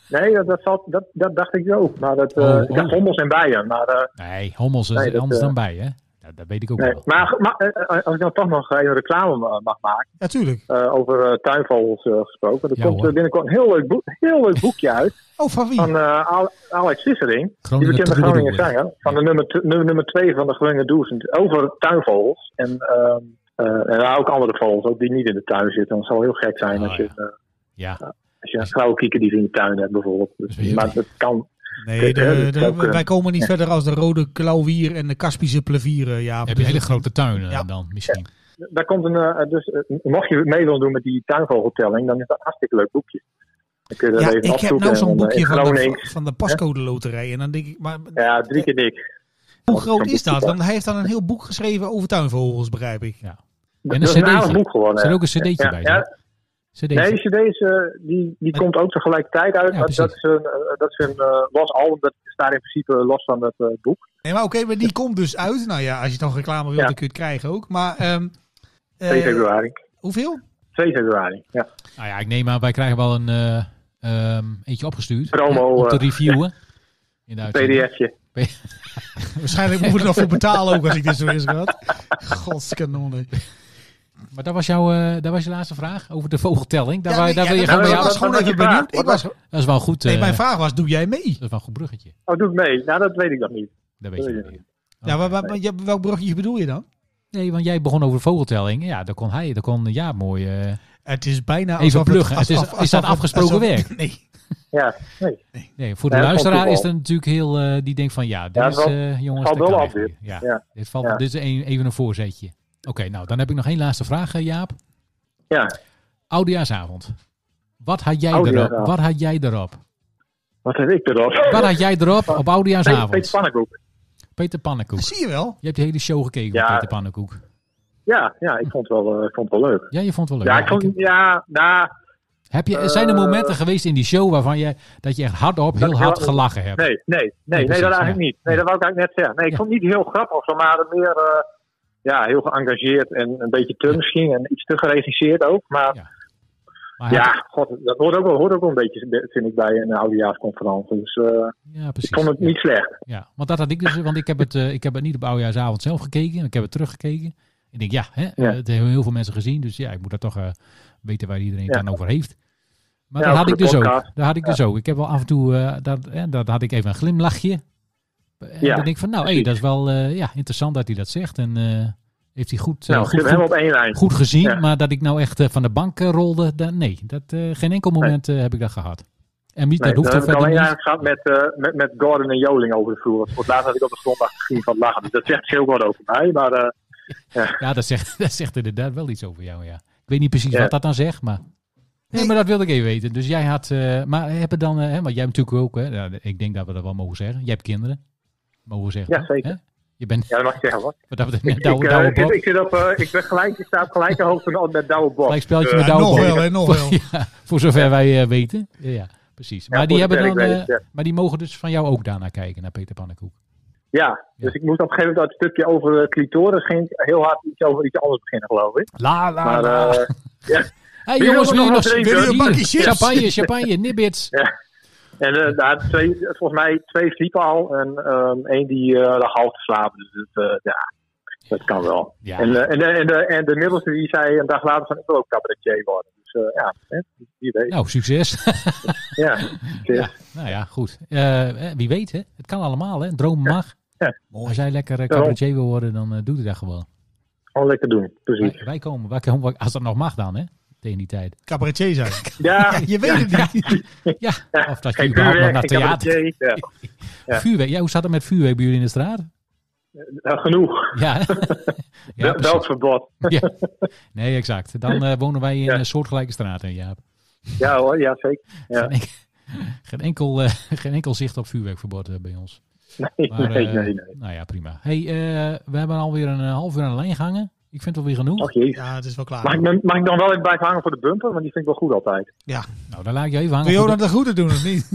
S1: Nee, dat, dat, valt, dat, dat dacht ik ook. Maar dat, eh,
S3: Oh,
S1: ik dacht
S3: oh.
S1: hommels en bijen. Maar, eh,
S3: Nee, hommels is
S1: Nee, dat,
S3: anders
S1: eh,
S3: dan bij, hè? Dat, dat weet ik ook
S1: nee.
S3: wel.
S1: maar, maar eh, als ik dan toch nog even reclame ma- mag maken.
S2: Natuurlijk.
S1: eh, over eh, tuinvogels eh, gesproken. Er
S3: Ja,
S1: komt eh,
S3: hoor.
S1: binnenkort een heel leuk, boek, heel leuk boekje uit.
S2: oh, van wie?
S1: van eh, Ale- Alex Sissering. Die
S3: Groningen
S1: bekende
S3: Troubadour.
S1: Groningen zanger. Van de nummer, tw- nummer, nummer twee van de Groningen Doezend. Over tuinvogels. En, ehm, eh, en ook andere vogels. Ook die niet in de tuin zitten. Want het zal heel gek zijn
S3: Oh,
S1: als, je,
S3: ja.
S1: eh,
S3: Ja,
S1: als je een grauwe kiekendief in je tuin hebt bijvoorbeeld. Dus-
S3: Dat is
S1: maar dat kan.
S2: Nee,
S1: Ja,
S2: de,
S1: dat
S2: de-
S1: zou kunnen.
S2: wij komen niet verder als de rode klauwier en de Kaspische plevieren. Ja,
S3: heb je
S2: Dus
S3: hele
S2: dat-
S3: grote tuinen
S2: Ja.
S3: dan misschien.
S1: Daar komt een, eh, dus, eh, mocht je mee willen doen met die tuinvogeltelling. Dan is dat een hartstikke leuk boekje. Dan kun je dat
S2: ja,
S1: even
S2: ik heb
S1: opzoeken
S2: nou zo'n
S1: en, eh, in
S2: boekje van de,
S1: Groningen.
S2: van de pascode loterij. En dan denk ik, maar
S1: Ja, drie keer dik.
S2: hoe groot
S1: zo'n
S2: is dat?
S1: boekje.
S2: Want hij heeft dan een heel boek geschreven over tuinvogels, begrijp ik.
S3: En
S1: dat is
S3: een
S1: een aardig
S3: cd'tje.
S1: boek geworden.
S3: Er zit
S1: hè.
S3: ook een cd'tje
S1: Ja,
S3: bij.
S1: ja,
S3: Ja. CD'tje.
S1: Nee, de CD's eh, die, die
S3: Maar-
S1: komt ook tegelijkertijd uit.
S3: Ja,
S1: maar dat
S3: precies.
S1: is een, eh, dat is een eh, los album. Dat staat in principe los van het eh, boek.
S2: Nee, maar oké, maar die komt dus uit. Nou ja, als je dan reclame wilt,
S1: Ja.
S2: dan kun je het krijgen ook. Maar ehm,
S1: 2
S2: eh,
S1: februari.
S2: hoeveel?
S1: 2 februari. Ja.
S3: Nou ja, ik neem aan, wij krijgen wel een eh, ehm, eentje opgestuurd.
S1: Promo,
S3: om te
S1: eh,
S3: reviewen. In de uitzending.
S1: PDFje.
S2: Waarschijnlijk moeten we er nog voor betalen ook als ik dit zo eens had. Godskanonnen.
S3: Maar dat was, jouw, eh, dat was je laatste vraag over de vogeltelling. Daar,
S2: Ja,
S3: wa-
S2: nee,
S3: daar
S2: ja,
S3: Nou, wil je
S2: dat- ik
S3: gewoon bij
S1: dat
S2: was
S3: jou-
S1: wat-
S2: gewoon
S1: wat
S2: even
S1: was je
S2: benieuwd.
S1: vraag?
S2: Ik was,
S3: Dat is wel een goed,
S2: nee,
S3: eh,
S2: mijn vraag was, doe jij mee?
S3: dat is wel een goed bruggetje.
S1: Oh, doe het mee. Nou, dat weet ik nog niet.
S3: Dat weet je
S1: Nee.
S3: wel weer.
S2: Ja,
S3: Oh.
S2: maar, maar- maar- ja, welk bruggetje bedoel je dan?
S3: Nee, want jij begon over vogeltelling. Ja, daar kon hij, daar kon ja mooi. eh,
S2: Het is bijna
S3: Even
S2: alsof
S3: pluggen.
S2: als-
S3: Het is-
S2: als-
S3: is dat
S2: alsof-
S3: afgesproken
S2: alsof-
S3: werk?
S2: Nee.
S1: Ja, nee.
S3: nee, voor de
S1: Ja, dat valt
S3: luisteraar
S1: toch
S3: is
S1: wel.
S3: dat natuurlijk heel. eh, die denkt van ja, dit
S1: Ja,
S3: is
S1: dat valt-
S3: eh, jongens.
S1: valt
S3: dat
S1: wel
S3: kan
S1: op
S3: even
S1: dit.
S3: niet. Ja,
S1: Ja.
S3: Dit, valt,
S1: Ja.
S3: dit is een, even een voorzetje. Oké, nou dan heb ik nog één laatste vraag, eh, Jaap.
S1: Ja.
S3: Oudejaarsavond. Wat had jij
S1: Oudejaarsavond.
S3: erop? Wat had jij erop?
S1: Wat heb ik erop?
S3: Wat had jij erop op
S1: Peter, Peter
S3: Oudejaarsavond?
S1: Pannenkoek.
S3: Peter Pannenkoek.
S2: Zie je wel?
S3: Je hebt de hele show gekeken
S1: Ja.
S3: van Peter Pannenkoek.
S1: Ja, ja, ik vond het wel, eh, ik vond het wel leuk.
S3: Ja, je vond het wel
S1: Ja,
S3: leuk.
S1: ik vond,
S3: Ik-
S1: ja, nou,
S3: heb je, zijn er
S1: eh,
S3: momenten geweest in die show waarvan je, dat je echt hardop,
S1: Dat
S3: heel
S1: ik
S3: hard
S1: heel-
S3: gelachen hebt?
S1: nee, nee, nee, nee,
S3: precies,
S1: dat eigenlijk
S3: ja.
S1: niet. Nee, dat wou ik eigenlijk net zeggen. Nee, ik
S3: Ja.
S1: vond het niet heel grappig of zo, maar meer, eh, ja, heel geëngageerd en een beetje te misschien en iets te geregisseerd ook. Maar
S3: Ja. Maar hij-
S1: Ja, god, dat hoort ook, wel, hoort ook wel een beetje, vind ik, bij een oudejaarsconferentie. Dus eh,
S3: ja, precies.
S1: ik vond het
S3: Ja.
S1: niet slecht.
S3: Ja, want dat had ik dus, want ik heb het, eh, ik heb het niet op oudejaarsavond zelf gekeken, ik heb het teruggekeken. Ik denk, ja, hè, eh, het hebben heel veel mensen gezien, dus ja, ik moet dat toch eh, weten waar iedereen het
S1: Ja.
S3: aan over heeft. Maar dat
S1: Ja, ook
S3: had ik
S1: voor de
S3: dus ook.
S1: podcast.
S3: Dat had ik dus ook. Ik heb wel af en toe, eh, dat, eh, dat had ik even een glimlachje. En
S1: Ja,
S3: dan denk ik van, nou, hey,
S1: precies.
S3: dat is wel eh, ja, interessant dat hij dat zegt. En eh, heeft hij goed, eh,
S1: Nou,
S3: goed,
S1: zit
S3: goed,
S1: helemaal op één lijn.
S3: goed gezien,
S1: Ja.
S3: maar dat ik nou echt eh, van de bank eh, rolde, dat, nee, dat, eh, geen enkel moment eh, heb ik dat gehad. En niet,
S1: Nee,
S3: dat hoeft
S1: dan
S3: er
S1: heb ik
S3: verder
S1: alleen
S3: niet.
S1: eigenlijk gehad met, eh, met, met Gordon en Joling over de vloer. Want Voor het laatst had ik op de zondag gezien van lachen. Dus dat zegt heel wat over mij. Maar eh,
S3: Ja, dat zegt, dat zegt inderdaad wel iets over jou, ja. Ik weet niet precies
S1: Ja.
S3: wat dat dan zegt, maar... Nee, maar dat wilde ik even weten. Dus jij had... eh, maar hebben dan... eh, hè, want jij hebt natuurlijk ook... Hè, nou, ik denk dat we dat wel mogen zeggen. Jij hebt kinderen. Mogen we zeggen.
S1: Ja,
S3: toch?
S1: zeker.
S3: Hè? Je bent...
S1: ja, dat mag ik zeggen hoor.
S3: Wat dat
S1: Ik,
S3: betreft,
S1: ik,
S3: douwe,
S1: eh,
S3: douwe
S1: ik, zit-
S3: Bob.
S1: ik, zit op, eh, ik ben gelijk, ik sta op gelijke hoogte al met Douwe Bob.
S3: Gelijk speltje met
S1: eh,
S3: douwe
S2: nog
S3: Bob.
S2: wel, hè, nog wel.
S3: Ja, nou voor zover wij eh, weten. Ja, ja, precies. Maar,
S1: voor
S3: die hebben
S1: zover
S3: dan,
S1: ik weet,
S3: eh,
S1: ja.
S3: maar die mogen dus van jou ook daarna kijken, naar Peter Pannenkoek.
S1: Ja, dus ik moest op een gegeven moment dat stukje over de clitoris ging heel hard iets over iets anders beginnen, geloof ik.
S3: La, la,
S1: Maar
S3: la.
S1: eh,
S3: hey,
S1: wil je
S3: jongens,
S1: ook
S3: wil je
S1: nog
S3: nog...
S1: wat drinken?
S3: wil je
S2: Wil je een
S3: bier?
S2: bakje chips?
S3: Champagne, champagne, nibbits.
S1: en eh, daar had twee, volgens mij twee sliepen al en ehm, één die eh, lag half te slapen. Dus het, eh, ja, dat kan wel.
S3: Ja.
S1: En, eh, en, de, en, de, en de middelste die zei een dag later van ik wil ook cabaretier worden. Dus eh, ja, hè, wie weet.
S3: Nou, succes.
S1: Ja, Dus,
S3: Ja, nou ja, goed. Eh, eh, wie weet, hè? Het kan allemaal, hè? Droom mag. Als jij lekker uh, cabaretier wil worden, dan eh, doe je dat gewoon.
S1: gewoon lekker doen, precies.
S3: Wij, wij komen, wij komen, als dat nog mag dan, hè? Tegen die tijd.
S2: Cabaretier zijn.
S1: Ja, eh,
S2: Je weet het niet.
S3: Ja,
S1: Ja,
S3: of dat je
S1: geen
S3: überhaupt nog
S1: vuurwerk,
S3: naar
S1: geen
S3: theater...
S1: cabaretier. Ja, ja.
S3: Vuurwerk. Ja, hoe staat het met vuurwerk bij jullie in de straat?
S1: eh, genoeg.
S3: Ja, hè? ja
S1: Wel- Welk
S3: precies.
S1: verbod.
S3: Ja. Nee, exact. Dan eh, wonen wij in
S1: Ja.
S3: een soortgelijke straat, hè, Jaap.
S1: Ja hoor, ja zeker. Ja.
S3: Geen, enk- geen, enkel, eh, geen enkel zicht op vuurwerkverbod eh, bij ons.
S1: Nee,
S3: Maar,
S1: nee,
S3: eh,
S1: nee, nee.
S3: Nou ja, prima. hey, eh, we hebben alweer een eh, half uur aan de lijn gehangen. Ik vind het alweer genoeg.
S1: Och jee.
S2: Ja, het is wel
S3: Ah.
S1: Mag
S2: klaar.
S1: ik, me- mag ik dan wel even blijven hangen voor de bumper? Want die vind ik wel goed altijd.
S3: Nou, dan laat ik je even hangen.
S2: Wil je ook
S3: voor de-
S2: nog de goede doen of niet?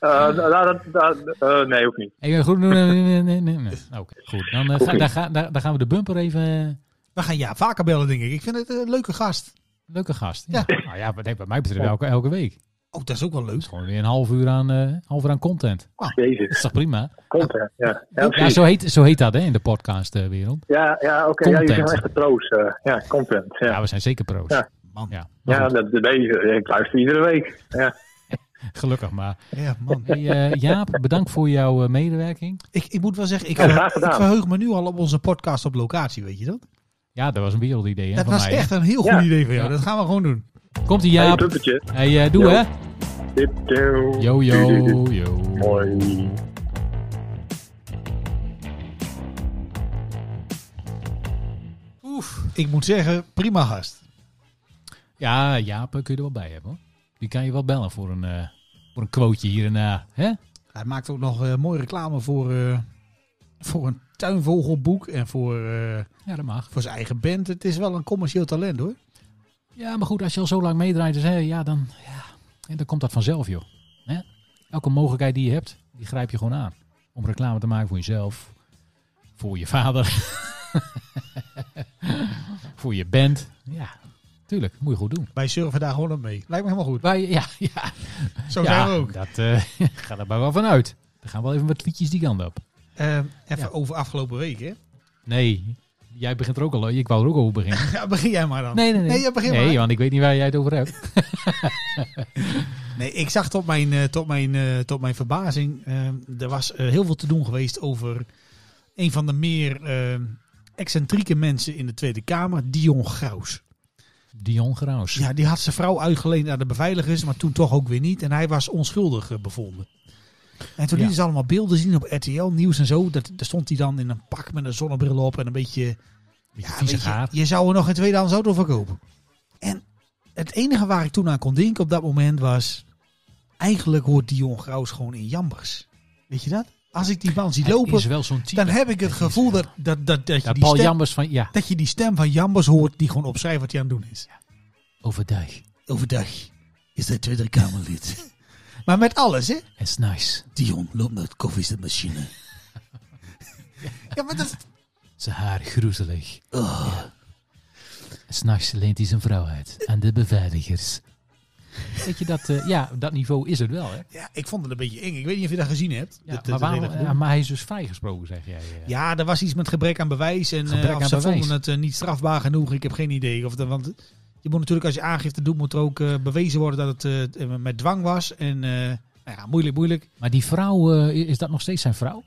S1: Eh, nou, dat- dat- eh, nee, hoeft niet.
S3: Ik ben goed. Nee, nee, nee, nee, nee, nee. Oké, goed. Dan, eh,
S1: Hoeft
S3: ga,
S1: niet.
S3: daar, ga- daar, daar gaan we de bumper even. eh,
S2: We gaan ja vaker bellen, denk ik. Ik vind het een leuke gast.
S3: leuke gast. Ja. Nou ja, wat, nee, wat mij betreft elke, elke week. Het
S2: Oh, dat is ook wel leuk.
S3: is gewoon weer een half uur aan, eh, half uur aan content. Dat
S1: Jezus,
S3: is toch prima?
S1: komt hè. Ja, ja,
S3: Ja,
S1: precies.
S3: zo heet, zo heet dat hè, in de podcastwereld.
S1: ja, ja oké. Ja, jullie zijn
S3: Content.
S1: wel echt de pro's. eh, ja, content. Ja,
S3: Ja, we zijn zeker pro's.
S1: Ja.
S2: Man.
S3: Ja, maar
S1: ja
S3: goed,
S1: dat, dat weet je. Ik luister iedere week. Ja.
S3: gelukkig maar.
S2: Ja, man.
S3: Hey, eh, Jaap, bedankt voor jouw eh, medewerking.
S2: Ik, ik moet wel zeggen, ik,
S1: Ja,
S2: ver-
S1: graag gedaan.
S2: ik verheug me nu al op onze podcast op locatie, weet je dat?
S3: Ja, dat was een wereldidee hè,
S2: dat
S3: van
S2: was
S3: mij. hè.
S2: echt een heel goed
S1: Ja.
S2: idee van jou.
S3: Ja.
S2: Dat gaan we gewoon doen.
S3: Komt ie
S1: Hey,
S3: Jaap.
S1: puppetje.
S3: Hey, eh, doe
S1: Jo.
S3: hè.
S1: Dit, doe.
S3: Yo,
S1: Doe, doe,
S3: yo,
S1: doe.
S3: yo.
S1: Mooi.
S2: Oef. Ik moet zeggen, prima gast.
S3: Ja, Jaap eh, kun je er wel bij hebben. Hoor. Die kan je wel bellen voor een, eh voor een quoteje hier en daar. Hè?
S2: Hij maakt ook nog eh mooie reclame voor, eh, voor een tuinvogelboek en voor, eh,
S3: Ja, dat mag.
S2: voor zijn eigen band. Het is wel een commercieel talent hoor.
S3: Ja, maar goed, als je al zo lang meedraait, dus, hè, ja, dan, ja, en dan komt dat vanzelf, joh. Hè? Elke mogelijkheid die je hebt, die grijp je gewoon aan. Om reclame te maken voor jezelf, voor je vader, voor je band. Ja, tuurlijk, moet je goed doen.
S2: Wij surfen daar gewoon op mee. Lijkt me helemaal goed.
S3: Wij, ja, ja,
S2: Zo
S3: ja,
S2: zijn we ook.
S3: dat eh gaat er maar wel van uit. Dan gaan we wel even wat liedjes die kant op.
S2: Eh, even
S3: Ja.
S2: over afgelopen week hè.
S3: Nee, jij begint er ook al, ik wou er ook over beginnen.
S2: Ja, begin jij maar dan.
S3: Nee, nee, nee.
S2: Nee, ja, begin
S3: nee
S2: maar.
S3: want ik weet niet waar jij het over hebt.
S2: Nee, ik zag tot mijn, eh, tot mijn, eh, tot mijn verbazing. eh, er was eh, heel veel te doen geweest over een van de meer eh, excentrieke mensen in de Tweede Kamer, Dion Graus.
S3: Dion Graus.
S2: Ja, die had zijn vrouw uitgeleend aan de beveiligers, maar toen toch ook weer niet. En hij was onschuldig eh, bevonden. En toen
S3: Ja.
S2: lieten ze allemaal beelden zien op RTL Nieuws en zo. Dat, daar stond hij dan in een pak met een zonnebril op en een beetje...
S3: Beetje
S2: Ja,
S3: viezig
S2: weet je,
S3: haar.
S2: Je zou er nog een tweedehands auto voor kopen. En het enige waar ik toen aan kon denken op dat moment was... Eigenlijk hoort Dion Graus gewoon in jambers. Weet je dat? Als ik die man zie
S3: Hij
S2: lopen,
S3: is wel zo'n type.
S2: dan heb ik het
S3: Het is
S2: gevoel
S3: wel-
S2: dat, dat, dat, dat, je
S3: Ja,
S2: die
S3: Paul
S2: stem,
S3: Jambers van, ja,
S2: dat je die stem van jambers hoort die gewoon opschrijft wat hij aan het doen is.
S3: overdag.
S2: Overdag is hij Tweede Kamerlid. maar met alles, hè?
S3: It's nice.
S2: Dion loopt naar het koffiezemachine. ja, maar dat...
S3: Zijn haar groezelig.
S2: oh.
S3: S'nachts leent hij zijn vrouw uit aan de beveiligers. Weet je dat? eh, ja, dat niveau is het wel, hè?
S2: Ja, ik vond het een beetje eng. Ik weet niet of je dat gezien hebt.
S3: Ja,
S2: Dat- dat- dat
S3: maar, waarom,
S2: hele gedoe.
S3: ja, maar hij is dus vrijgesproken, zeg jij. eh.
S2: Ja, er was iets met gebrek aan bewijs. En eh,
S3: Gebrek
S2: of
S3: aan
S2: ze
S3: bewijs.
S2: vonden het eh, niet strafbaar genoeg. Ik heb geen idee. Of dat, want je moet natuurlijk als je aangifte doet, moet er ook eh, bewezen worden dat het eh, met dwang was. En eh, nou ja, moeilijk, moeilijk.
S3: Maar die vrouw, eh, is dat nog steeds zijn vrouw?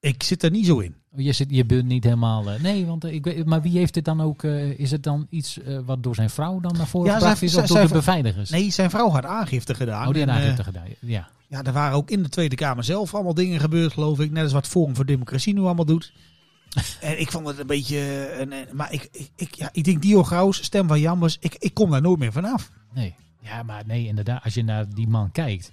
S2: Ik zit er niet zo in.
S3: Oh, Je, zit, je bent niet helemaal... eh, nee, want eh, ik weet, maar wie heeft dit dan ook... eh, is het dan iets eh, wat door zijn vrouw dan naar voren
S2: Ja,
S3: gebracht
S2: zij-
S3: is? Of
S2: zij-
S3: door
S2: zij-
S3: de beveiligers?
S2: Nee, zijn vrouw had aangifte gedaan.
S3: Oh, die
S2: En,
S3: had
S2: eh,
S3: aangifte gedaan. Ja.
S2: ja, er waren ook in de Tweede Kamer zelf allemaal dingen gebeurd, geloof ik. Net als wat Forum voor Democratie nu allemaal doet. en ik vond het een beetje... eh, een- een- maar ik, ik, ik- ja, ik denk Dio Graus, Stem van Jambers, ik, ik kom daar nooit meer vanaf.
S3: Nee. Ja, maar nee, inderdaad. Als je naar die man kijkt,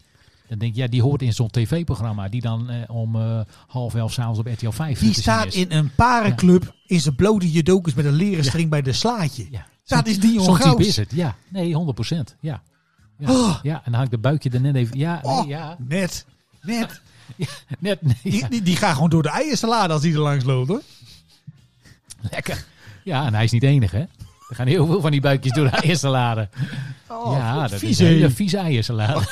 S3: dan denk je, ja, die hoort in zo'n tv-programma. Die dan eh, om eh, half elf s'avonds op RTL 5 te
S2: Die
S3: zien
S2: staat
S3: is.
S2: in een parenclub in zijn blote judokus met een leren string bij de slaatje.
S3: Ja.
S2: Dat is Dion
S3: Zo'n type
S2: Graus.
S3: is het, ja. Nee, 100 procent. Ja. Ja.
S2: Oh.
S3: ja, en dan had ik de buikje er net even... Ja, nee,
S2: Oh,
S3: ja.
S2: net. Net.
S3: Net, nee,
S2: Die,
S3: ja.
S2: die, die gaat gewoon door de eiersalade als die er langs loopt hoor.
S3: Lekker. Ja, en hij is niet de enige, hè. Er gaan heel veel van die buikjes door de eiersalade.
S2: Oh,
S3: ja,
S2: goed,
S3: dat
S2: vies,
S3: is een
S2: hè.
S3: hele vieze eiersalade.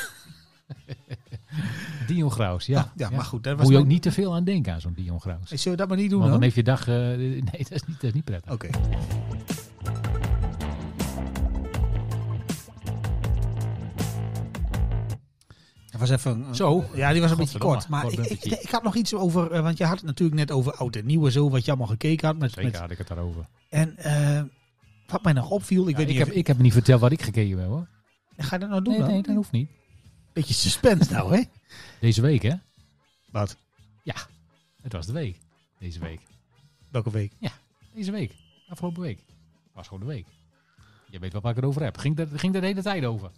S3: Dion Graus, ja.
S2: Ah, Ja, maar goed. Dat was
S3: Moet je ook
S2: mijn-
S3: niet te veel aan denken aan zo'n Dion Graus.
S2: Hey, Zullen we dat maar niet doen
S3: Want dan
S2: dan?
S3: heeft je dag... eh, nee, dat is niet, dat is niet prettig.
S2: Oké. Dat was even... een-
S3: Zo.
S2: Ja, die was een beetje
S3: Godverdomme,
S2: kort. Maar
S3: kort
S2: ik, ik,
S3: bumpertje.
S2: ik had nog iets over... eh, want je had het natuurlijk net over oud en nieuw en zo. Wat je allemaal gekeken had. Met,
S3: Zeker
S2: met-
S3: had ik het daarover.
S2: en eh, wat mij nog opviel... Ik
S3: Ja,
S2: weet
S3: ik,
S2: niet
S3: heb,
S2: of-
S3: ik heb niet verteld wat ik gekeken heb hoor.
S2: Ga je dat nou doen
S3: Nee,
S2: dan?
S3: nee, dat hoeft niet.
S2: Beetje suspense nou, hè?
S3: Deze week hè?
S2: Wat?
S3: Het was de week. Deze week.
S2: Welke week?
S3: Deze week. Afgelopen week. Was gewoon de week. Je weet wel waar ik het over heb. Ging er, ging er de hele tijd over.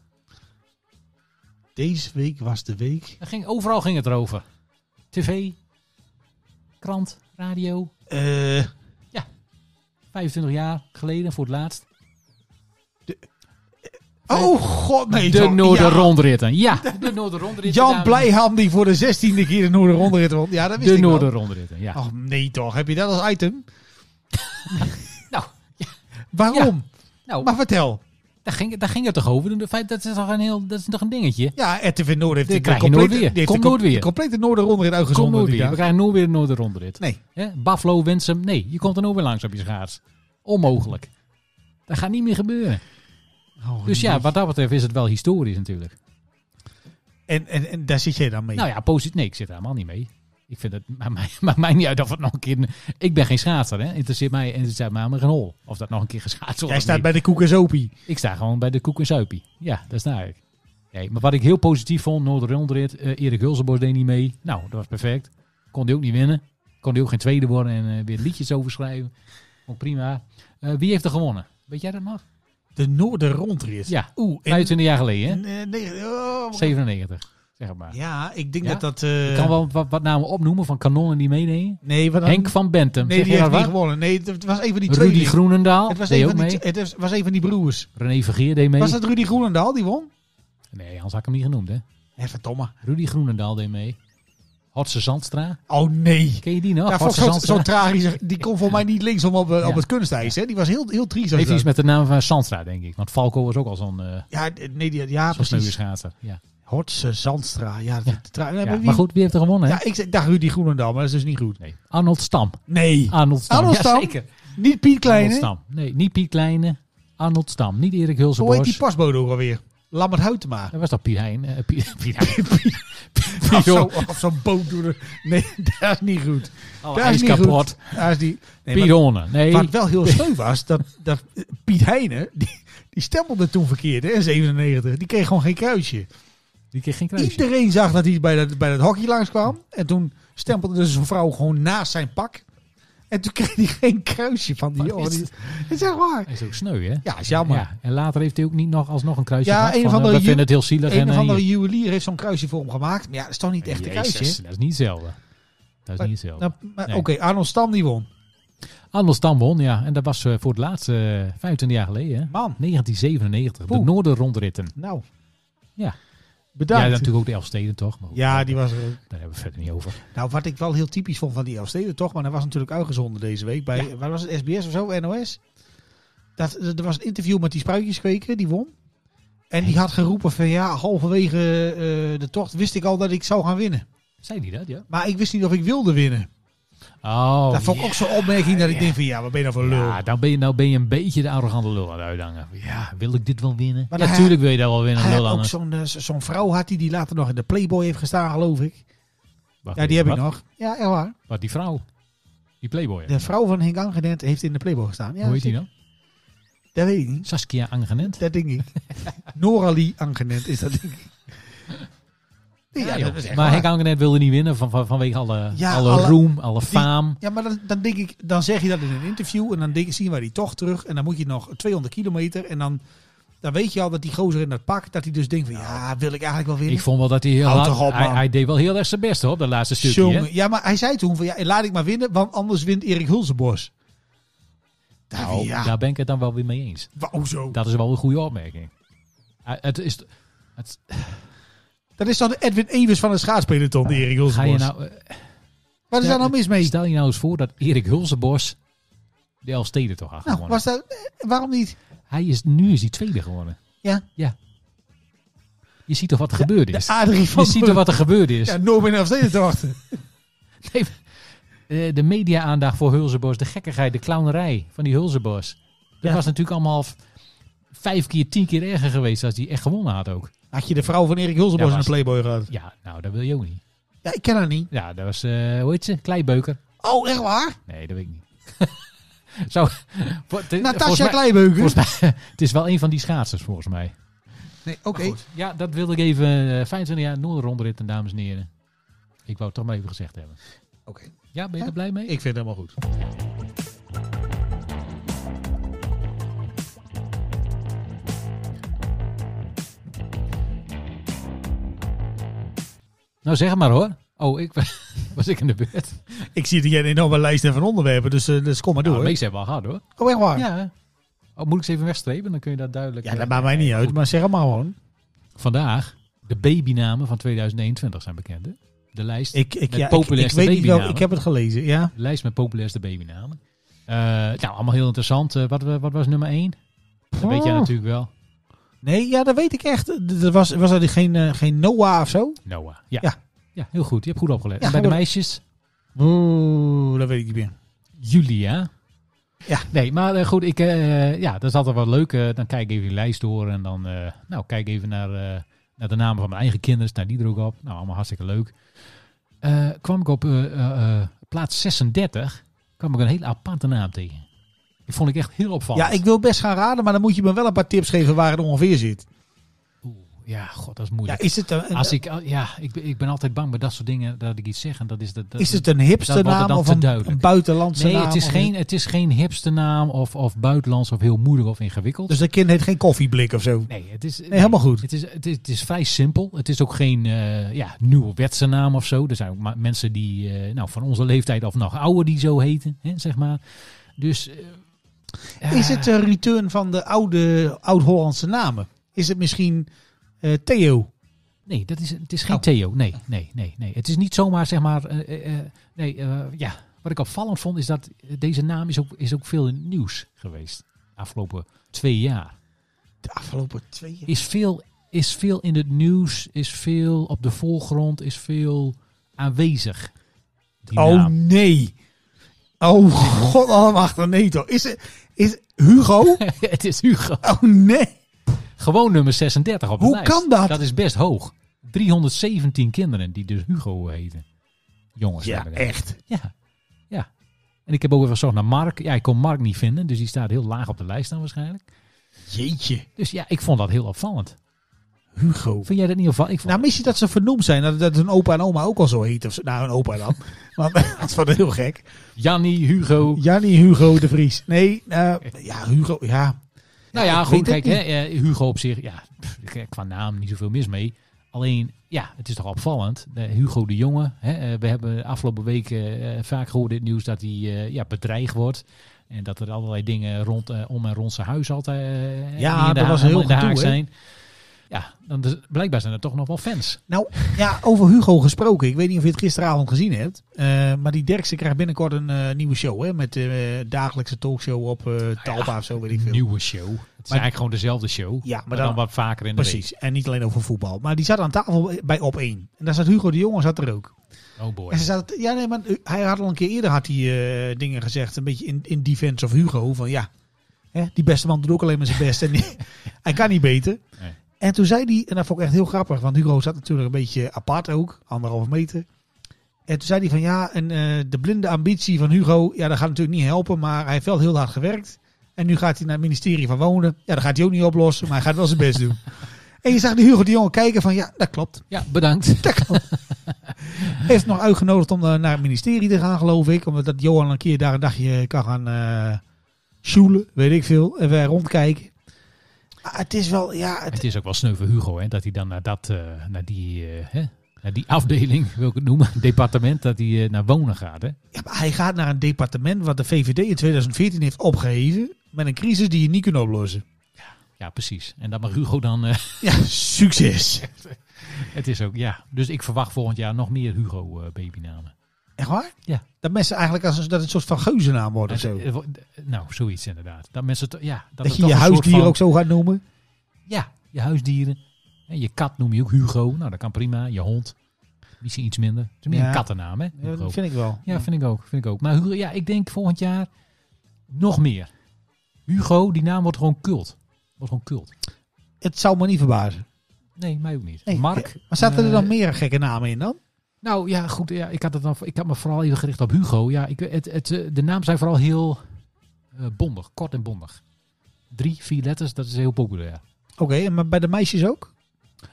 S2: Deze week was de week.
S3: Er ging, overal ging het erover. TV, krant, radio.
S2: Eh,
S3: 25 jaar geleden voor het laatst.
S2: oh god, nee.
S3: De
S2: Jan-
S3: Noorder
S2: ja,
S3: Rondritten. Ja, de Noorder Rondritten.
S2: Jan
S3: dames.
S2: Blijham die voor de zestiende keer de Noorderrondrit won. Ja, dat wist
S3: De
S2: ik wel.
S3: Noorder Rondritten, ja.
S2: Ach Oh, nee toch, heb je dat als item?
S3: Nou,
S2: Waarom?
S3: Nou,
S2: Maar vertel.
S3: daar ging, daar ging het toch over. De feit, dat, is toch een heel, dat is toch een dingetje.
S2: Ja, RTV Noord heeft
S3: Dan
S2: de
S3: krijg je
S2: complete,
S3: nooit weer.
S2: die heeft
S3: Kom
S2: de, com-
S3: nooit weer.
S2: de complete Noorderrondrit
S3: Kom
S2: uitgezonden.
S3: nooit
S2: die
S3: weer. We
S2: dag.
S3: krijgen nooit weer een Noorder Rondrit.
S2: Nee,
S3: Hè? Buffalo, Winsum. Nee, je komt er nooit weer langs op je schaats. Onmogelijk. Dat gaat niet meer gebeuren.
S2: Oh,
S3: Dus ja,
S2: nee.
S3: wat dat betreft is het wel historisch natuurlijk.
S2: En, en, en daar zit jij dan mee.
S3: Nou ja, positief. Nee, ik zit er helemaal niet mee. Ik vind het, maakt mij, maakt mij niet uit of het nog een keer... Ik ben geen schaatser, hè. Interesseert mij, interesseert mij helemaal geen hol. Of dat nog een keer geschaatst wordt
S2: jij
S3: of
S2: staat
S3: niet.
S2: bij de koek en sopie.
S3: Ik sta gewoon bij de koek en suipie. Ja, daar sta ik. Nee, maar wat ik heel positief vond, Noord-Rondrit, eh Erik Hulsenbos deed niet mee. Nou, dat was perfect. Kon hij ook niet winnen. Kon hij ook geen tweede worden en eh, weer liedjes overschrijven. Vond ik prima. Eh, wie heeft er gewonnen? Weet jij dat nog?
S2: De Noorderrondrit.
S3: Ja,
S2: Oeh, en-
S3: 25 jaar geleden, hè?
S2: en, eh, nee, oh,
S3: 97, zeg het maar.
S2: Ja, ik denk
S3: Ja?
S2: dat dat... eh,
S3: Ik kan wel wat, wat namen opnoemen van kanonnen die meededen.
S2: Nee, want dan-
S3: Henk van Bentum,
S2: Nee,
S3: zeg
S2: die
S3: je
S2: heeft
S3: dat
S2: niet
S3: waar?
S2: gewonnen. Nee, het was een van die twee.
S3: Rudy Groenendaal,
S2: Het was
S3: deed
S2: een
S3: ook
S2: van die,
S3: mee.
S2: tw- het is- was een van die broers.
S3: René Vergeer deed mee.
S2: Was dat Rudy Groenendaal die won?
S3: Nee, anders had ik hem niet genoemd, hè.
S2: Even domme.
S3: Rudy Groenendaal deed mee. Hotse Zandstra.
S2: Oh nee.
S3: Ken je die nog?
S2: Ja,
S3: Hotse
S2: vond ik zo,
S3: Zandstra.
S2: zo tragisch. Die kon voor mij niet links om op, eh,
S3: Ja.
S2: op het kunstijs. Hè? Die was heel, heel triest. als
S3: Even iets
S2: dat.
S3: met de naam van Sandstra, denk ik. Want Falco was ook al zo'n eh
S2: Ja, d- nee, die, ja
S3: zo'n sneuwe
S2: precies.
S3: schaatser. Ja.
S2: Hortse Zandstra. Ja, dat- tra- nee,
S3: Ja,
S2: maar, wie-
S3: maar goed, wie heeft er gewonnen? hè?
S2: Ja, ik zeg- dacht Rudy Groenendaal, maar dat is dus niet goed.
S3: Nee. Ah, Arnold Stam.
S2: Nee,
S3: Arnold Stam.
S2: Arnold Stam?
S3: Jazeker.
S2: niet Piet
S3: Arnold
S2: Kleine.
S3: Stam. Nee, niet Piet Kleine. Arnold Stam. Niet Erik
S2: Hoe heet die
S3: Hulsenbos.
S2: pasbode ook alweer? Lammert Huytema.
S3: Dat was toch Piet Hein? eh, Piet, Piet Hein.
S2: Of zo-
S3: Pion.
S2: of zo'n boot door de- Nee, dat is niet goed.
S3: Alle
S2: Dat
S3: ijs
S2: is niet
S3: Oh, kapot.
S2: goed. Dat is die... Nee, maar-
S3: Pionnen. Nee.
S2: Wat wel heel sneu was, dat, dat Piet Heijnen, die, die stempelde toen verkeerd hè, in 97. Die kreeg gewoon geen kruisje.
S3: Die kreeg geen kruisje.
S2: Iedereen zag dat hij bij dat, bij dat hockey langskwam. En toen stempelde dus een vrouw gewoon naast zijn pak. En toen kreeg hij geen kruisje van die
S3: Wat
S2: jongen.
S3: is
S2: Die- Dat is echt waar.
S3: Hij is ook sneu, hè?
S2: Ja, is jammer.
S3: Ja, en later heeft hij ook niet nog alsnog een kruisje
S2: Ja,
S3: gehad.
S2: een of
S3: van, eh,
S2: andere
S3: we
S2: ju-
S3: vinden het heel zielig.
S2: Een
S3: en,
S2: of
S3: eh,
S2: andere juwelier heeft zo'n kruisje voor hem gemaakt. Maar ja, dat is toch niet echt een
S3: Jezus,
S2: kruisje. hè?
S3: Dat is niet hetzelfde. Dat is
S2: Maar-
S3: niet hetzelfde.
S2: Nou, maar
S3: Nee.
S2: Oké, Arnold Stam die won.
S3: Arnold Stam won, ja. En dat was eh, voor het laatst eh 25 jaar geleden, hè?
S2: Man,
S3: 1997, de
S2: Poeh.
S3: Noorderrondritten.
S2: nou.
S3: Ja. Ja,
S2: Bedankt. Ja,
S3: natuurlijk ook de Elfsteden, toch? Maar goed,
S2: die was er ook.
S3: Daar hebben we het verder niet over.
S2: Nou, wat ik wel heel typisch vond van die Elfsteden, toch? Maar dat was natuurlijk uitgezonden deze week bij, waar was het, SBS of zo, NOS? dat, er was een interview met die spruitjeskweker, die won. En die had geroepen van ja, halverwege eh, de tocht wist ik al dat ik zou gaan winnen.
S3: Zei die dat, ja?
S2: Maar ik wist niet of ik wilde winnen.
S3: Oh,
S2: dat vond ik
S3: ja.
S2: ook zo'n opmerking dat ik
S3: ja.
S2: denk van ja, wat ben je nou voor lul.
S3: Ja, dan ben je, nou ben je een beetje de arrogante lul aan het uithangen. Ja, wil ik dit wel winnen?
S2: Maar hij-
S3: Natuurlijk wil je dat wel winnen,
S2: Hij had
S3: lul
S2: ook
S3: anders.
S2: zo'n eh, zo- zo'n vrouw had die, die later nog in de Playboy heeft gestaan, geloof ik.
S3: Wacht
S2: Ja, die
S3: even,
S2: heb ik
S3: wat?
S2: nog. Ja, echt waar.
S3: Wat, die vrouw? Die playboy.
S2: De vrouw van Henk Angenent heeft in de Playboy gestaan. Ja,
S3: Hoe heet die
S2: zeker.
S3: dan?
S2: Dat weet ik niet.
S3: Saskia Angenent?
S2: Dat denk ik. Noralie Angenent is dat denk ik. Nee, ja,
S3: joh.
S2: dat is echt
S3: maar
S2: waar.
S3: Henk Angenent wilde niet winnen van, van, vanwege alle,
S2: Ja,
S3: alle,
S2: alle-
S3: roem, alle faam.
S2: Ja, maar dan, dan denk ik, dan zeg je dat in een interview en dan denk, zien wij die toch terug en dan moet je nog 200 kilometer en dan, dan weet je al dat die gozer in dat pak, dat hij dus denkt van ja, wil ik eigenlijk wel winnen.
S3: Ik vond wel dat hij heel
S2: Houd
S3: hard...
S2: toch op,
S3: hij,
S2: man.
S3: hij deed wel heel erg zijn best hoor, op dat laatste stukje. hè?
S2: Jongen, ja, maar hij zei toen van ja, laat ik maar winnen, want anders wint Erik Hulsenbos. Daar,
S3: Nou,
S2: ja,
S3: Daar ben ik het dan wel weer mee eens.
S2: wa- hoezo? Dat,
S3: Dat is wel een goede opmerking. Eh, het is, het,
S2: is dan de Edwin Evers van het schaatspeloton, die Erik
S3: ga
S2: Hulsenbos.
S3: je nou, eh,
S2: Wat is daar nou mis mee?
S3: Stel je nou eens voor dat Erik Hulsenbos de Elfstede toch had
S2: Nou,
S3: gewonnen.
S2: was dat, eh, waarom niet?
S3: Hij is, nu is hij tweede geworden.
S2: Ja.
S3: Ja. Je ziet toch wat er gebeurd
S2: De
S3: is?
S2: Adrie
S3: Je
S2: van
S3: ziet toch wat er gebeurd is?
S2: Ja, Norbin nog steeds te wachten.
S3: Nee, eh, de media-aandacht voor Hulzenbos, de gekkigheid, de clownerij van die Hulzenbos. Dat
S2: Ja.
S3: was natuurlijk allemaal v- vijf keer, tien keer erger geweest als hij echt gewonnen had ook.
S2: Had je de vrouw van Erik Hulsenbos
S3: Ja,
S2: in de
S3: was-
S2: Playboy gehad?
S3: Ja, nou, dat wil je ook niet.
S2: Ja, ik ken haar niet.
S3: Ja, dat was, eh hoe heet ze? Kleibeuker.
S2: Oh, echt waar?
S3: Nee, dat weet ik niet. Zo, voor- het is- volgens
S2: Natasja
S3: mij-
S2: Kleibeuken.
S3: Volgens mij, het is wel een van die schaatsers, volgens mij.
S2: Nee, oké.
S3: Maar goed, Ja, dat wilde ik even. eh, 25 jaar Noorderrondritten, dames en heren. Ik wou het toch maar even gezegd hebben.
S2: Oké.
S3: Ja, ben je er blij mee?
S2: Ik vind het helemaal goed.
S3: Nou, zeg maar hoor. Oh, ik was ik in de beurt.
S2: Ik zie dat jij een enorme lijst hebt van onderwerpen, dus, eh, dus kom maar
S3: Nou,
S2: door.
S3: de meeste hebben we al gehad hoor.
S2: oh, echt waar? Ja,
S3: Ja. Oh, moet ik ze even wegstrepen? Dan kun je dat duidelijk... eh,
S2: dat maakt mij niet uit, maar zeg het maar gewoon.
S3: Vandaag, de babynamen van 2021 zijn bekend. hè? De lijst,
S2: Ik, ik,
S3: Met
S2: ja, ik, ik
S3: populairste
S2: weet niet wel,
S3: babynamen.
S2: ik heb het gelezen, ja.
S3: de lijst met populairste babynamen. Eh, nou, allemaal heel interessant. Eh, wat, wat was nummer 1? Dat weet jij
S2: Oh.
S3: natuurlijk wel.
S2: Nee, ja, dat weet ik echt. D- Er was, was er geen, eh, geen Noah of zo?
S3: Noah. Ja. ja.
S2: Ja.
S3: heel goed. Je hebt goed opgelet.
S2: Ja,
S3: en bij de
S2: goed.
S3: meisjes,
S2: Oeh, dat weet ik niet meer.
S3: Julia.
S2: Ja.
S3: Nee, maar eh, goed, ik, eh, ja, dat is altijd wel leuk. eh, dan kijk ik even die lijst door en dan eh, nou, kijk even naar, eh, naar de namen van mijn eigen kinderen. Staan die er ook op? Nou, allemaal hartstikke leuk. Eh, kwam ik op eh, eh, eh, plaats 36, kwam ik een hele aparte naam tegen. Die vond ik echt heel opvallend.
S2: Ja, ik wil best gaan raden, maar dan moet je me wel een paar tips geven waar het ongeveer zit.
S3: Oeh, ja, god, dat is
S2: Ja,
S3: moeilijk.
S2: is het een,
S3: Als ik, oh, ja, ik, ben- ik ben altijd bang bij dat soort dingen dat ik iets zeg en dat is dat. dat
S2: is het een hipster
S3: dat wordt er
S2: naam
S3: dan
S2: of
S3: te
S2: een,
S3: duidelijk.
S2: een buitenlandse
S3: Nee,
S2: naam?
S3: het is,
S2: of
S3: geen, het is geen hipsternaam of, of buitenlands of heel moeilijk of ingewikkeld.
S2: Dus dat kind heet geen koffieblik of zo.
S3: nee, het is, nee,
S2: helemaal goed.
S3: Het is, het, is, het is vrij simpel. Het is ook geen eh ja, nieuwwetse naam of zo. Er zijn ook ma- mensen die eh, nou, van onze leeftijd of nog ouder die zo heten, hè, zeg maar. Dus, eh, ja,
S2: Is het een return van de oude oud-Hollandse namen? Is het misschien eh, Theo?
S3: Nee, dat is, het is geen
S2: Oh.
S3: Theo. Nee, nee, nee, nee. Het is niet zomaar, zeg maar... eh, eh, eh, nee, eh, ja. Wat ik opvallend vond is dat eh, deze naam is ook, is ook veel in het nieuws geweest. Afgelopen twee jaar.
S2: De afgelopen twee jaar.
S3: is veel, is veel in het nieuws, is veel op de voorgrond, is veel aanwezig. Die
S2: Oh
S3: naam.
S2: nee. Oh god allemachtig, nee toch. Is het is Hugo?
S3: het is Hugo.
S2: Oh nee.
S3: Gewoon nummer 36 op de
S2: Hoe
S3: lijst.
S2: kan dat?
S3: Dat is best hoog. 317 kinderen die dus Hugo heten. Jongens.
S2: Ja,
S3: hebben we dat.
S2: echt.
S3: Ja. ja. En ik heb ook even gezocht naar Mark. Ja, ik kon Mark niet vinden, dus die staat heel laag op de lijst dan waarschijnlijk.
S2: Jeetje.
S3: Dus ja, ik vond dat heel opvallend.
S2: Hugo.
S3: Vind jij dat niet opvallend? Ik vond...
S2: Nou, misschien dat ze vernoemd zijn. Dat, dat hun opa en oma ook al zo heet. Of zo. Nou, een opa dan. Want dat is wel heel gek.
S3: Jannie, Hugo.
S2: Jannie Hugo de Vries. Nee, eh, ja, Hugo. Ja.
S3: Nou ja,
S2: ik
S3: goed,
S2: weet
S3: kijk,
S2: het
S3: hè, eh, Hugo op zich, ja, pff, qua naam niet zoveel mis mee. Alleen, ja, het is toch opvallend. Eh, Hugo de Jonge, hè, eh, we hebben afgelopen week eh, eh, vaak gehoord in het nieuws dat hij eh, ja, bedreigd wordt. En dat er allerlei dingen rond, eh, om en rond zijn huis altijd eh,
S2: Ja,
S3: in de
S2: dat
S3: ha-
S2: was heel
S3: in de haak
S2: gedoe, hè?
S3: zijn. Ja, dan dus, blijkbaar zijn er toch nog wel fans.
S2: Nou, ja, over Hugo gesproken. Ik weet niet of je het gisteravond gezien hebt. eh, maar die Derksen krijgt binnenkort een eh, nieuwe show. Hè, met eh dagelijkse talkshow op eh Talpa of zo, weet ik veel.
S3: Nieuwe show. Het is eigenlijk gewoon dezelfde show.
S2: Ja, maar
S3: maar dan,
S2: dan-
S3: wat vaker in de
S2: Precies. En niet alleen over voetbal. Maar die zat aan tafel bij Op 1. En daar zat Hugo de Jonge zat er ook.
S3: week. Oh boy.
S2: En ze zat, ja, nee, maar eh, hij had al een keer eerder had hij, eh, dingen gezegd. Een beetje in, in defense of Hugo. Van ja, hè, die beste man doet ook alleen maar zijn best. en die- hij kan niet beter.
S3: Nee.
S2: En toen zei hij, en dat vond ik echt heel grappig. Want Hugo zat natuurlijk een beetje apart ook. Anderhalve meter. En toen zei hij van ja, en eh, de blinde ambitie van Hugo. Ja, dat gaat natuurlijk niet helpen. Maar hij heeft wel heel hard gewerkt. En nu gaat hij naar het ministerie van Wonen. Ja, dat gaat hij ook niet oplossen. Maar hij gaat wel zijn best doen. En je zag die Hugo de Jonge kijken van ja, dat klopt
S3: Ja, bedankt.
S2: heeft nog uitgenodigd om eh, naar het ministerie te gaan, geloof ik. Omdat dat Johan een keer daar een dagje kan gaan eh sjoelen, weet ik veel. En wij rondkijken. Ah, het is wel, ja, het,
S3: Het is ook wel sneu voor Hugo, hè, dat hij dan naar, dat, eh, naar, die, eh, hè, naar die afdeling, wil ik het noemen, departement, dat hij eh, naar wonen gaat. Hè.
S2: ja, maar hij gaat naar een departement wat de VVD in 2014 heeft opgeheven. Met een crisis die je niet kunt oplossen.
S3: Ja, precies. En dat mag Hugo dan. eh,
S2: Ja, succes.
S3: het is ook, ja. Dus ik verwacht volgend jaar nog meer eh, Hugo-babynamen.
S2: Echt waar?
S3: Ja.
S2: Dat mensen eigenlijk als een, dat het een soort van geuzennaam worden. Zo. Dat,
S3: nou, zoiets inderdaad. Dat mensen, to- ja, dat, het
S2: je
S3: toch
S2: je
S3: een soort
S2: huisdier
S3: van-
S2: ook zo gaat noemen.
S3: Ja, je huisdieren. En je kat noem je ook Hugo. Nou, dat kan prima. Je hond. Misschien iets minder. Het is meer
S2: Ja.
S3: een kattennaam, hè?
S2: Ja,
S3: Hugo.
S2: dat vind ik wel.
S3: Ja, vind ik ook. Vind ik ook. Maar Hugo, ja, ik denk volgend jaar nog meer. Hugo, die naam wordt gewoon cult. Wordt gewoon cult.
S2: Het zou me niet verbazen.
S3: Nee, mij ook niet.
S2: Nee.
S3: Mark.
S2: Maar zaten er
S3: eh,
S2: dan meer gekke namen in dan?
S3: Nou ja, goed. Ja, ik, had het dan, ik had me vooral even gericht op Hugo. Ja, ik, het, het, eh, de naam zijn vooral heel eh, bondig, kort en bondig. Drie, vier letters, dat is heel populair.
S2: Oké, en maar bij de meisjes ook?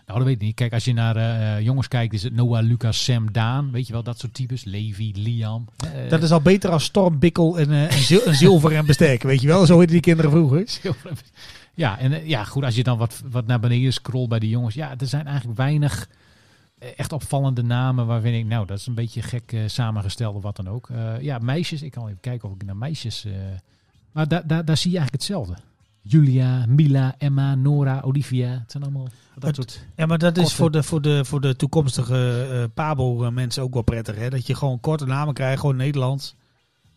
S3: Nou, dat weet ik niet. Kijk, als je naar eh, jongens kijkt, is het Noah, Lucas, Sam, Daan. Weet je wel, dat soort types. Levi, Liam. Eh,
S2: Dat is al beter als Storm, Bikkel en, eh, en zil- en zilver en bestek. Weet je wel, zo heetten die kinderen vroeger.
S3: Ja, en eh, ja, goed, als je dan wat, wat naar beneden scrolt bij de jongens. Ja, er zijn eigenlijk weinig eh, echt opvallende namen waarvan ik, nou, dat is een beetje gek eh, samengesteld of wat dan ook. Eh, ja, meisjes, ik kan even kijken of ik naar meisjes... eh, maar daar daar daar zie je eigenlijk hetzelfde. Julia, Mila, Emma, Nora, Olivia. Het zijn allemaal dat
S2: Het-
S3: soort...
S2: Ja, maar dat is
S3: Korte.
S2: voor de, voor, de, voor de toekomstige Pabo-mensen ook wel prettig. Hè? Dat je gewoon korte namen krijgt, gewoon Nederlands.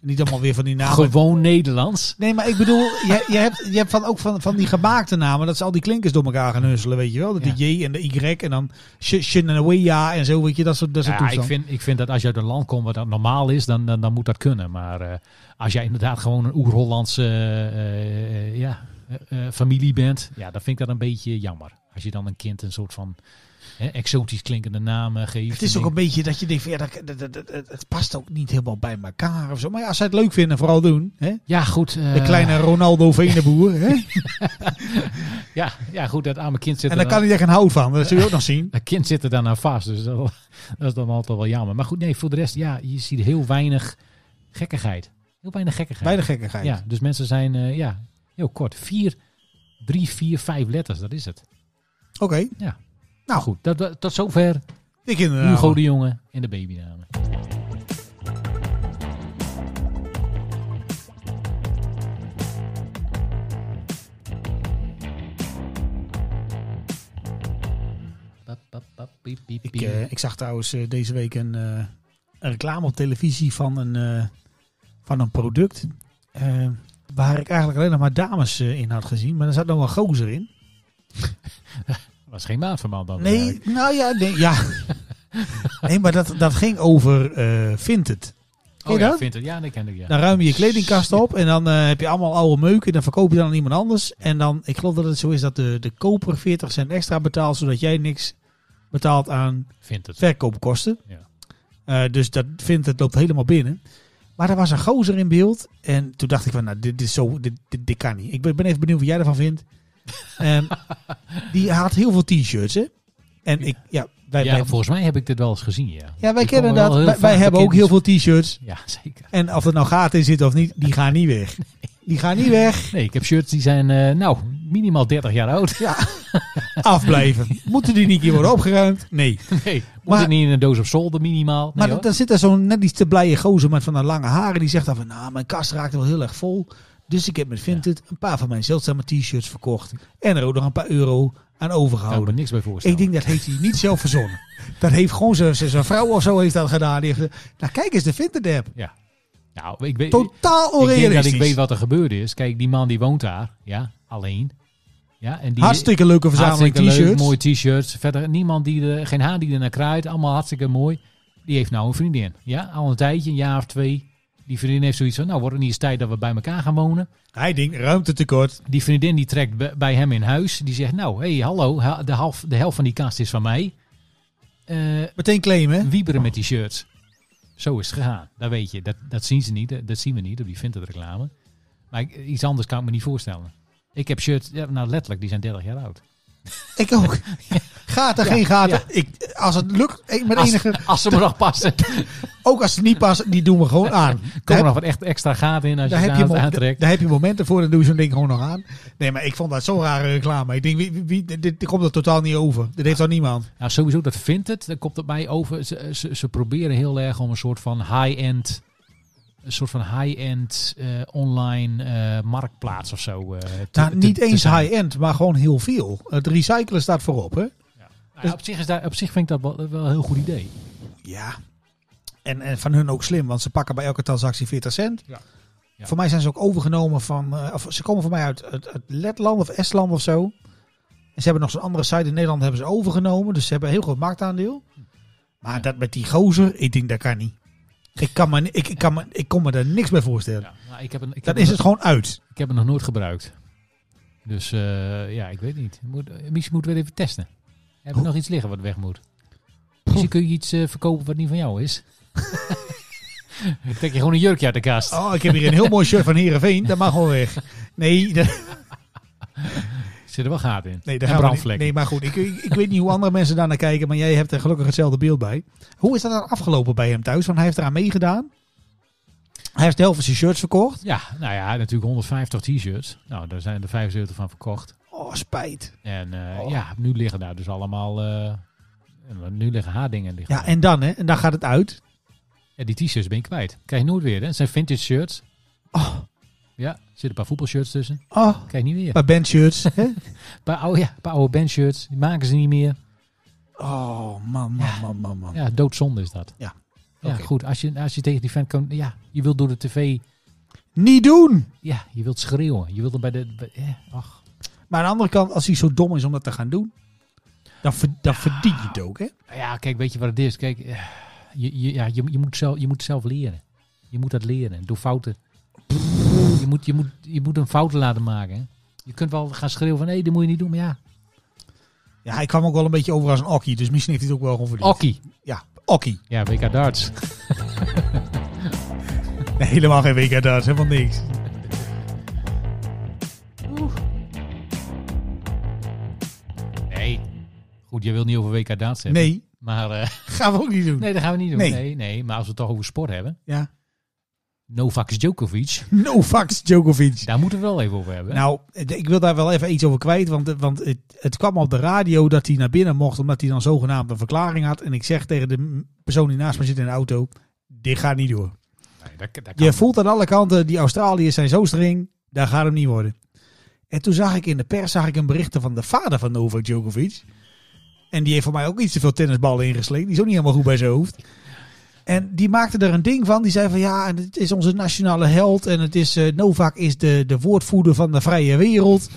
S2: Niet allemaal weer van die namen.
S3: Gewoon Nederlands.
S2: Nee, maar ik bedoel, je, je hebt, je hebt van, ook van, van die gemaakte namen, dat ze al die klinkers door elkaar gaan husselen, weet je wel. Dat De J en de Y en dan Sh- Shinawaya en zo, weet je, dat soort, dat soort
S3: Ja, ik
S2: toestand.
S3: vind, ik vind dat als je uit een land komt waar dat normaal is, dan, dan, dan moet dat kunnen. Maar eh, als jij inderdaad gewoon een Oer-Hollandse eh, eh, ja, eh, eh, familie bent, ja, dan vind ik dat een beetje jammer. Als je dan een kind een soort van hè, exotisch klinkende naam eh, geeft.
S2: Het is
S3: dan
S2: ook een
S3: denk
S2: beetje dat je denkt, van, ja, dat, dat, dat- dat- het past ook niet helemaal bij elkaar of zo. Maar ja, als zij het leuk vinden, vooral doen. Hè?
S3: ik, Ja, goed. eh,
S2: De kleine Ronaldo Veneboer, hè?
S3: Ja, ja, goed. Dat arme kind
S2: En
S3: zit er
S2: dan kan
S3: dan,
S2: hij er geen hout van. Dat zul je ook nog zien.
S3: dat kind zit er dan aan vast. Dus dat, dat is dan altijd wel jammer. Maar goed, nee, voor de rest, ja, je ziet heel weinig gekkigheid. Heel weinig gekkigheid.
S2: Bij de gekkigheid.
S3: Ja, dus mensen zijn eh, ja, heel kort. Vier, drie, vier, vijf letters, dat is het.
S2: Oké.
S3: Nou goed, dat, dat- tot zover
S2: Ik eh, inderdaad.
S3: Hugo de Jonge en de babynamen. Pap, pap, pap, piep, piep,
S2: Ik,
S3: piep.
S2: eh, ik zag trouwens eh, deze week een, eh, een reclame op televisie van een, eh, van een product. eh, waar ik eigenlijk alleen nog maar dames eh, in had gezien. Maar er zat nog wel gozer in.
S3: Dat was geen maatverband dan.
S2: Nee,
S3: eigenlijk.
S2: nou ja. Nee, ja. nee maar dat, dat ging over eh Vinted. Ken
S3: Oh
S2: je
S3: ja,
S2: dat? Nou,
S3: vindt het. Ja, dat ken ik ja.
S2: Dan ruim je je kledingkast op en dan eh, heb je allemaal oude meuken. Dan verkoop je dan aan iemand anders. En dan, ik geloof dat het zo is dat de, de koper 40 cent extra betaalt, zodat jij niks betaalt aan
S3: Vindt het.
S2: verkoopkosten.
S3: Ja.
S2: Eh, dus dat vindt het loopt helemaal binnen. Maar er was een gozer in beeld. En toen dacht ik van, nou, dit, dit, is zo, dit, dit, dit kan niet. Ik ben, ben even benieuwd wat jij ervan vindt. Ehm, die had heel veel t-shirts, hè? En ik, ja, wij,
S3: Ja,
S2: wij,
S3: volgens mij heb ik dit wel eens gezien, ja.
S2: ja, wij
S3: Die
S2: kennen
S3: komen wel
S2: dat.
S3: heel
S2: Wij,
S3: vaak
S2: wij hebben ook
S3: bekend.
S2: heel veel t-shirts.
S3: Ja, zeker.
S2: En of er nou gaten in zitten of niet, die gaan niet weg. Die gaan niet weg.
S3: Nee, ik heb shirts die zijn, eh, nou, minimaal 30 jaar oud.
S2: Ja, afblijven. Moeten die niet een keer worden opgeruimd? Nee.
S3: Nee, moet
S2: Maar-
S3: het niet in een doos op zolder minimaal? Nee,
S2: Maar
S3: hoor.
S2: dan- dan zit er zo'n net iets te blije gozer met van de lange haren. Die zegt dan van, nou, mijn kast raakt wel heel erg vol. Dus ik heb met Vinted een paar van mijn zeldzame t-shirts verkocht. En er ook nog een paar euro aan
S3: Kan ik me
S2: overgehouden.
S3: niks bij
S2: ik
S3: voorstellen.
S2: denk, dat heeft hij niet zelf verzonnen. Dat heeft gewoon zijn- zijn zijn vrouw of zo heeft dat gedaan. Die heeft gezegd, nou kijk eens, de Vinted app.
S3: nou, ik weet,
S2: Totaal
S3: ik denk dat
S2: onrealistisch.
S3: ik weet wat er gebeurd is. Kijk, die man die woont daar, ja, alleen. Ja, en die,
S2: Hartstikke leuke verzameling
S3: hartstikke leuk,
S2: t-shirts.
S3: mooie t-shirts. Verder niemand die er, geen haar die er naar kraait. Allemaal hartstikke mooi. Die heeft nou een vriendin. Ja, al een tijdje, een jaar of twee. Die vriendin heeft zoiets van, nou wordt het niet eens tijd dat we bij elkaar gaan wonen.
S2: Hij denkt, ruimtetekort.
S3: Die vriendin die trekt be- bij hem in huis. Die zegt, nou, hé, hey, hallo, ha- de, half, de helft van die kast is van mij. Eh,
S2: Meteen claimen.
S3: wieberen met die shirts. Zo is het gegaan. Dat weet je. Dat, dat zien ze niet. eh, Dat zien we niet op die Vinted reclame. Maar ik- iets anders kan ik me niet voorstellen. Ik heb shirts, ja, nou letterlijk, die zijn 30 jaar oud.
S2: Ik ook. Gaten, geen gaten.
S3: ja.
S2: Ik, als het lukt, ik met
S3: Als-
S2: enige...
S3: Als ze me nog passen.
S2: Ook als het niet past, die doen we gewoon aan.
S3: Kom er
S2: Daar,
S3: nog wat echt extra gaten in als
S2: daar
S3: je
S2: heb
S3: het
S2: je
S3: aan,
S2: mo-
S3: aantrekt.
S2: daar heb je momenten voor, dan doe je zo'n ding gewoon nog aan. Nee, maar ik vond dat zo'n rare reclame. Ik denk, wie, wie- wie, dit, dit komt er totaal niet over. Dit heeft al niemand.
S3: Nou, sowieso, dat vindt het. Dat komt op mij over. Ze, eh, ze, ze proberen heel erg om een soort van high-end... Een soort van high-end eh, online eh, marktplaats of zo. eh, te-
S2: Nou,
S3: te-
S2: niet
S3: te
S2: eens
S3: zijn.
S2: high-end, maar gewoon heel veel. Het recyclen staat voorop, hè?
S3: Nou ja, op, zich is daar, op zich vind ik dat wel, wel een heel goed idee.
S2: Ja. En, en van hun ook slim, want ze pakken bij elke transactie 40 cent.
S3: Ja. Ja.
S2: Voor mij zijn ze ook overgenomen van... eh, of ze komen voor mij uit, uit, uit Letland of Estland of zo. En ze hebben nog zo'n andere site in Nederland hebben ze overgenomen. Dus ze hebben een heel groot marktaandeel. Maar
S3: Ja.
S2: dat met die gozer, ik denk dat kan niet. Ik, kan me, ni- ik, ik, kan me, ik kon me daar niks bij voorstellen.
S3: Ja, maar ik heb een, ik
S2: Dan
S3: heb
S2: is
S3: een-
S2: het gewoon uit.
S3: Ik heb het nog nooit gebruikt. Dus eh, ja, ik weet niet. Moet, eh, misschien moeten we het even testen. Heb je
S2: Hoe-
S3: nog iets liggen wat weg moet? Misschien kun je iets eh, verkopen wat niet van jou is. Dan trek je gewoon een jurkje uit de kast.
S2: Oh, ik heb hier een heel mooi shirt van Herenveen. Dat mag gewoon weg. Nee, dat,
S3: Zit er wel gaten in.
S2: Nee,
S3: En
S2: daar gaan we niet-
S3: brandvlekken.
S2: Nee, maar goed, ik, ik, ik weet niet hoe andere mensen daar naar kijken, maar jij hebt er gelukkig hetzelfde beeld bij. Hoe is dat dan afgelopen bij hem thuis? Want hij heeft eraan meegedaan. Hij heeft de helft van zijn shirts verkocht.
S3: Ja, nou ja, natuurlijk 150 t-shirts. Nou, daar zijn er 75 van verkocht.
S2: Oh, spijt.
S3: En eh,
S2: Oh.
S3: ja, nu liggen daar dus allemaal... eh, en nu liggen haar dingen. Liggen
S2: Ja, en dan, hè? En dan gaat het uit.
S3: Ja, die t-shirts ben ik kwijt. Krijg je nooit weer, hè. Het zijn vintage shirts.
S2: Oh,
S3: Ja, er zitten een paar voetbalshirts tussen.
S2: oh.
S3: Krijg je niet weer.
S2: Maar bandshirts, hè?
S3: Een paar oude, ja, een paar oude bandshirts. Die maken ze niet meer.
S2: Oh, man, man, man, man, man.
S3: Ja, doodzonde is dat.
S2: Ja.
S3: Ja,
S2: Oké.
S3: goed. Als je, als je tegen die fan kan... Ja, je wilt door de tv...
S2: Niet doen!
S3: Ja, je wilt schreeuwen. Je wilt er bij de... bij- eh, ach.
S2: Maar aan de andere kant, als hij zo dom is om dat te gaan doen, dan, ver- dan verdien je het ook, hè?
S3: Ja, kijk, weet je wat het is? Kijk, eh, je, je, ja, je, je, moet zelf, je moet zelf leren. Je moet dat leren. Door fouten. Je moet, je, moet, je moet een fouten laten maken. hè. Je kunt wel gaan schreeuwen van... Hé, dit moet je niet doen. Maar ja,
S2: Ja, hij kwam ook wel een beetje over als een okkie, dus misschien heeft hij het ook wel gewoon verdiend.
S3: okkie.
S2: Ja, okkie.
S3: Ja, WK darts.
S2: Nee, helemaal geen WK darts, helemaal niks.
S3: Nee. Goed, je wilt niet over WK darts hebben.
S2: Nee,
S3: Maar... eh,
S2: gaan we ook niet doen.
S3: nee, dat gaan we niet doen.
S2: Nee.
S3: nee, nee. Maar als we het toch over sport hebben...
S2: Ja.
S3: Novak Djokovic.
S2: No fucks, Djokovic.
S3: Daar moeten we het wel even over hebben.
S2: Nou, d- ik wil daar wel even iets over kwijt. Want, eh, want het, het kwam op de radio dat hij naar binnen mocht. Omdat hij dan zogenaamd een verklaring had. En ik zeg tegen de m- persoon die naast me zit in de auto. Dit gaat niet door.
S3: Nee, dat, dat kan
S2: Je voelt aan alle kanten, die Australiërs zijn zo streng. Daar gaat hem niet worden. En toen zag ik in de pers zag ik een berichten van de vader van Novak Djokovic. En die heeft voor mij ook iets te veel tennisballen ingeslingerd. Die is ook niet helemaal goed bij zijn hoofd. En die maakte er een ding van. Die zei van ja, en het is onze nationale held. En het is, eh, Novak is de, de woordvoerder van de vrije wereld.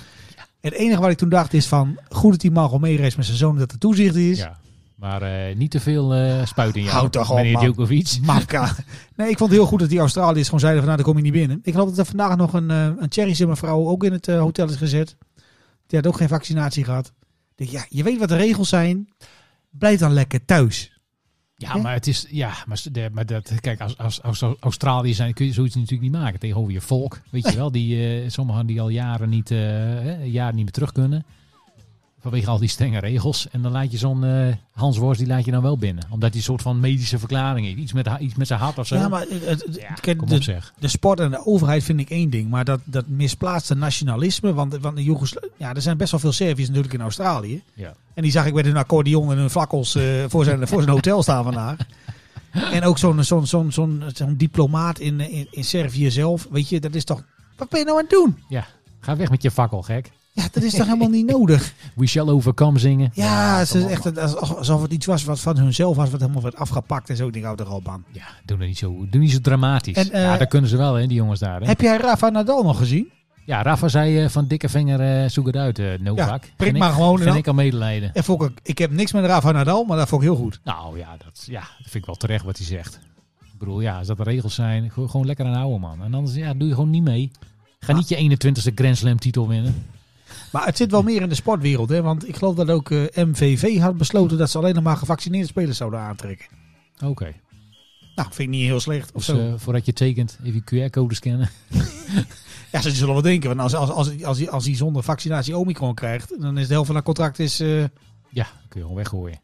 S2: Het enige wat ik toen dacht is van, goed dat die man gewoon meereist met zijn zoon en dat er toezicht is.
S3: Ja. Maar eh, niet te veel eh spuit in je
S2: Houd toch op,
S3: meneer
S2: man.
S3: Djokovic.
S2: Mafka. Nee, ik vond het heel goed dat die Australiërs gewoon zeiden van nou, daar kom je niet binnen. Ik geloof dat er vandaag nog een, eh een Cherryse mevrouw ook in het eh, hotel is gezet. Die had ook geen vaccinatie gehad. Ik Denk, ja, je weet wat de regels zijn. Blijf dan lekker thuis.
S3: Ja,
S2: Hè?
S3: maar het is... Ja, maar, s- de- maar dat... Kijk, als, als, als Australië zijn kun je zoiets natuurlijk niet maken. Tegenover je volk. Weet je wel, die, eh, sommigen die al jaren niet, eh, hè, jaren niet meer terug kunnen. Vanwege al die strenge regels. En dan laat je zo'n eh, Hans Worst, die laat je dan wel binnen. Omdat die een soort van medische verklaring heeft. Iets met, ha- iets met zijn hart of zo.
S2: Ja, maar het, het-
S3: Ja,
S2: kijk,
S3: kom op
S2: de,
S3: zeg.
S2: de sport en de overheid vind ik één ding. Maar dat, dat misplaatste nationalisme. Want, want de Joegosla ja, er zijn best wel veel Serviërs natuurlijk in Australië.
S3: Ja.
S2: En die zag ik met hun accordeon en hun vakkels eh, voor, zijn, voor zijn hotel staan vandaag. En ook zo'n zo'n zo'n zo'n zo'n diplomaat in, in, in Servië zelf. Weet je, dat is toch Wat ben je nou aan het doen?
S3: Ga weg met je fakkel, gek.
S2: Ja, dat is toch helemaal niet nodig?
S3: We shall overcome zingen.
S2: Ja, het is
S3: kom
S2: echt
S3: op,
S2: alsof alsof het iets was wat van hunzelf was, wat helemaal werd afgepakt en zo. Ik denk, hou er al aan.
S3: Ja, doe dat niet zo, doe niet zo dramatisch.
S2: En, eh,
S3: ja, dat kunnen ze wel, hè, die jongens daar. Hè?
S2: Heb jij Rafa Nadal nog gezien?
S3: Ja, Rafa zei eh, van dikke vinger, eh, zoek het uit, eh Novak.
S2: prik
S3: Vind
S2: maar
S3: ik-
S2: gewoon en
S3: Vind
S2: dan-
S3: ik al medelijden.
S2: En vond ik, ik heb niks met Rafa Nadal, maar dat vond ik heel goed.
S3: Nou ja dat, ja, dat vind ik wel terecht wat hij zegt. Ik bedoel, ja, als dat de regels zijn, go- gewoon lekker aan houden, man. En anders ja, doe je gewoon niet mee. Ga
S2: Ah.
S3: niet je 21ste Grand Slam titel winnen.
S2: Maar het zit wel meer in de sportwereld, hè? Want ik geloof dat ook eh, MVV had besloten dat ze alleen nog maar gevaccineerde spelers zouden aantrekken.
S3: Oké.
S2: Nou, vind ik niet heel slecht of
S3: Dus
S2: zo.
S3: eh, voordat je tekent, even je QR-code scannen.
S2: Ja, ze zullen wel denken, want als, als, als, als, als, hij- als hij zonder vaccinatie Omicron krijgt, dan is de helft van dat contract is, eh,
S3: Ja, kun je gewoon weggooien.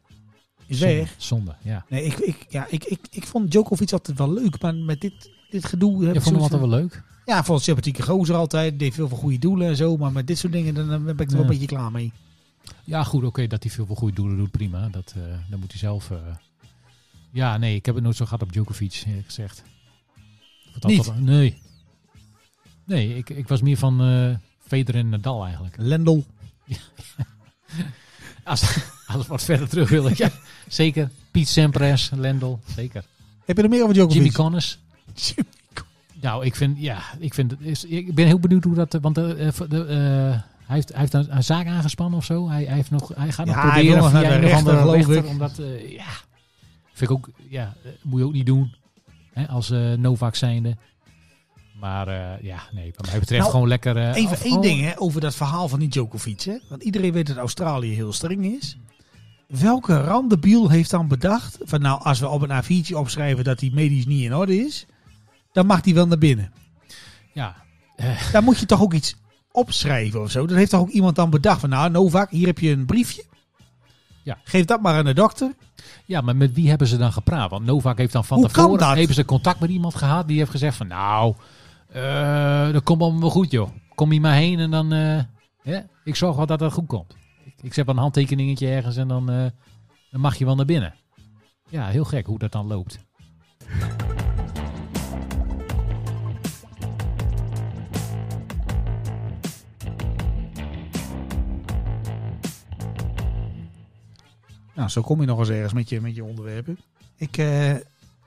S2: is
S3: Zonde,
S2: weg.
S3: Zonde, ja.
S2: Nee, ik, ik, ja, ik, ik, ik vond Djokovic altijd wel leuk, maar met dit, dit gedoe... heb
S3: Je
S2: ik
S3: vond hem
S2: zoiets
S3: altijd
S2: van-
S3: wel leuk.
S2: Ja, ik vond een sympathieke gozer altijd, deed veel voor goede doelen en zo, maar met dit soort dingen dan, eh, ben ik er wel
S3: Ja.
S2: een beetje klaar mee.
S3: Ja, goed, oké, dat hij veel voor goede doelen doet, prima. Dat, eh dat moet hij zelf... eh. Ja, nee, ik heb het nooit zo gehad op Djokovic, eerlijk gezegd. Ik vond
S2: Niet?
S3: altijd- nee. Nee, ik, ik was meer van eh Federer en Nadal eigenlijk.
S2: Lendl.
S3: Als, als we wat verder terug willen, ja. Zeker. Piet Sampras, Lendl, zeker.
S2: Heb je er meer over Djokovic?
S3: Jimmy Connors.
S2: Jimmy Con-
S3: Nou, ik vind, ja, ik vind, het is, ik ben heel benieuwd hoe dat, eh, want eh, eh, de, eh, hij heeft, hij heeft een, een zaak aangespannen of zo. Hij, hij, heeft nog, hij gaat
S2: Ja,
S3: nog
S2: hij
S3: proberen
S2: wil nog
S3: via
S2: naar de
S3: een of andere
S2: rechter, geloof
S3: rechter,
S2: ik.
S3: omdat, eh, ja, vind ik ook, ja, eh, moet je ook niet doen. Hè, als eh, Novak zijnde. Maar eh, ja, nee, wat mij betreft
S2: Nou,
S3: gewoon lekker. eh,
S2: Even
S3: af-
S2: één
S3: oh,
S2: ding hè, over dat verhaal van die Djokovic. Hè? Want iedereen weet dat Australië heel streng is. Welke randebiel heeft dan bedacht... van nou, als we op een A4'tje opschrijven dat die medisch niet in orde is... dan mag die wel naar binnen.
S3: Ja,
S2: Daar moet je toch ook iets opschrijven of zo? Dat heeft toch ook iemand dan bedacht van... nou, Novak, hier heb je een briefje.
S3: Ja.
S2: Geef dat maar aan de dokter.
S3: Ja, maar met wie hebben ze dan gepraat? Want Novak heeft dan van
S2: Hoe kan
S3: tevoren
S2: dat?
S3: hebben ze contact met iemand gehad die heeft gezegd van nou, eh dat komt allemaal wel goed joh. Kom hier maar heen en dan, eh, hè, ik zorg wel dat dat goed komt. Ik, ik zet wel een handtekeningetje ergens en dan, eh, dan mag je wel naar binnen. Ja, heel gek hoe dat dan loopt.
S2: Nou, zo kom je nog eens ergens met je, met je onderwerpen. Ik, eh,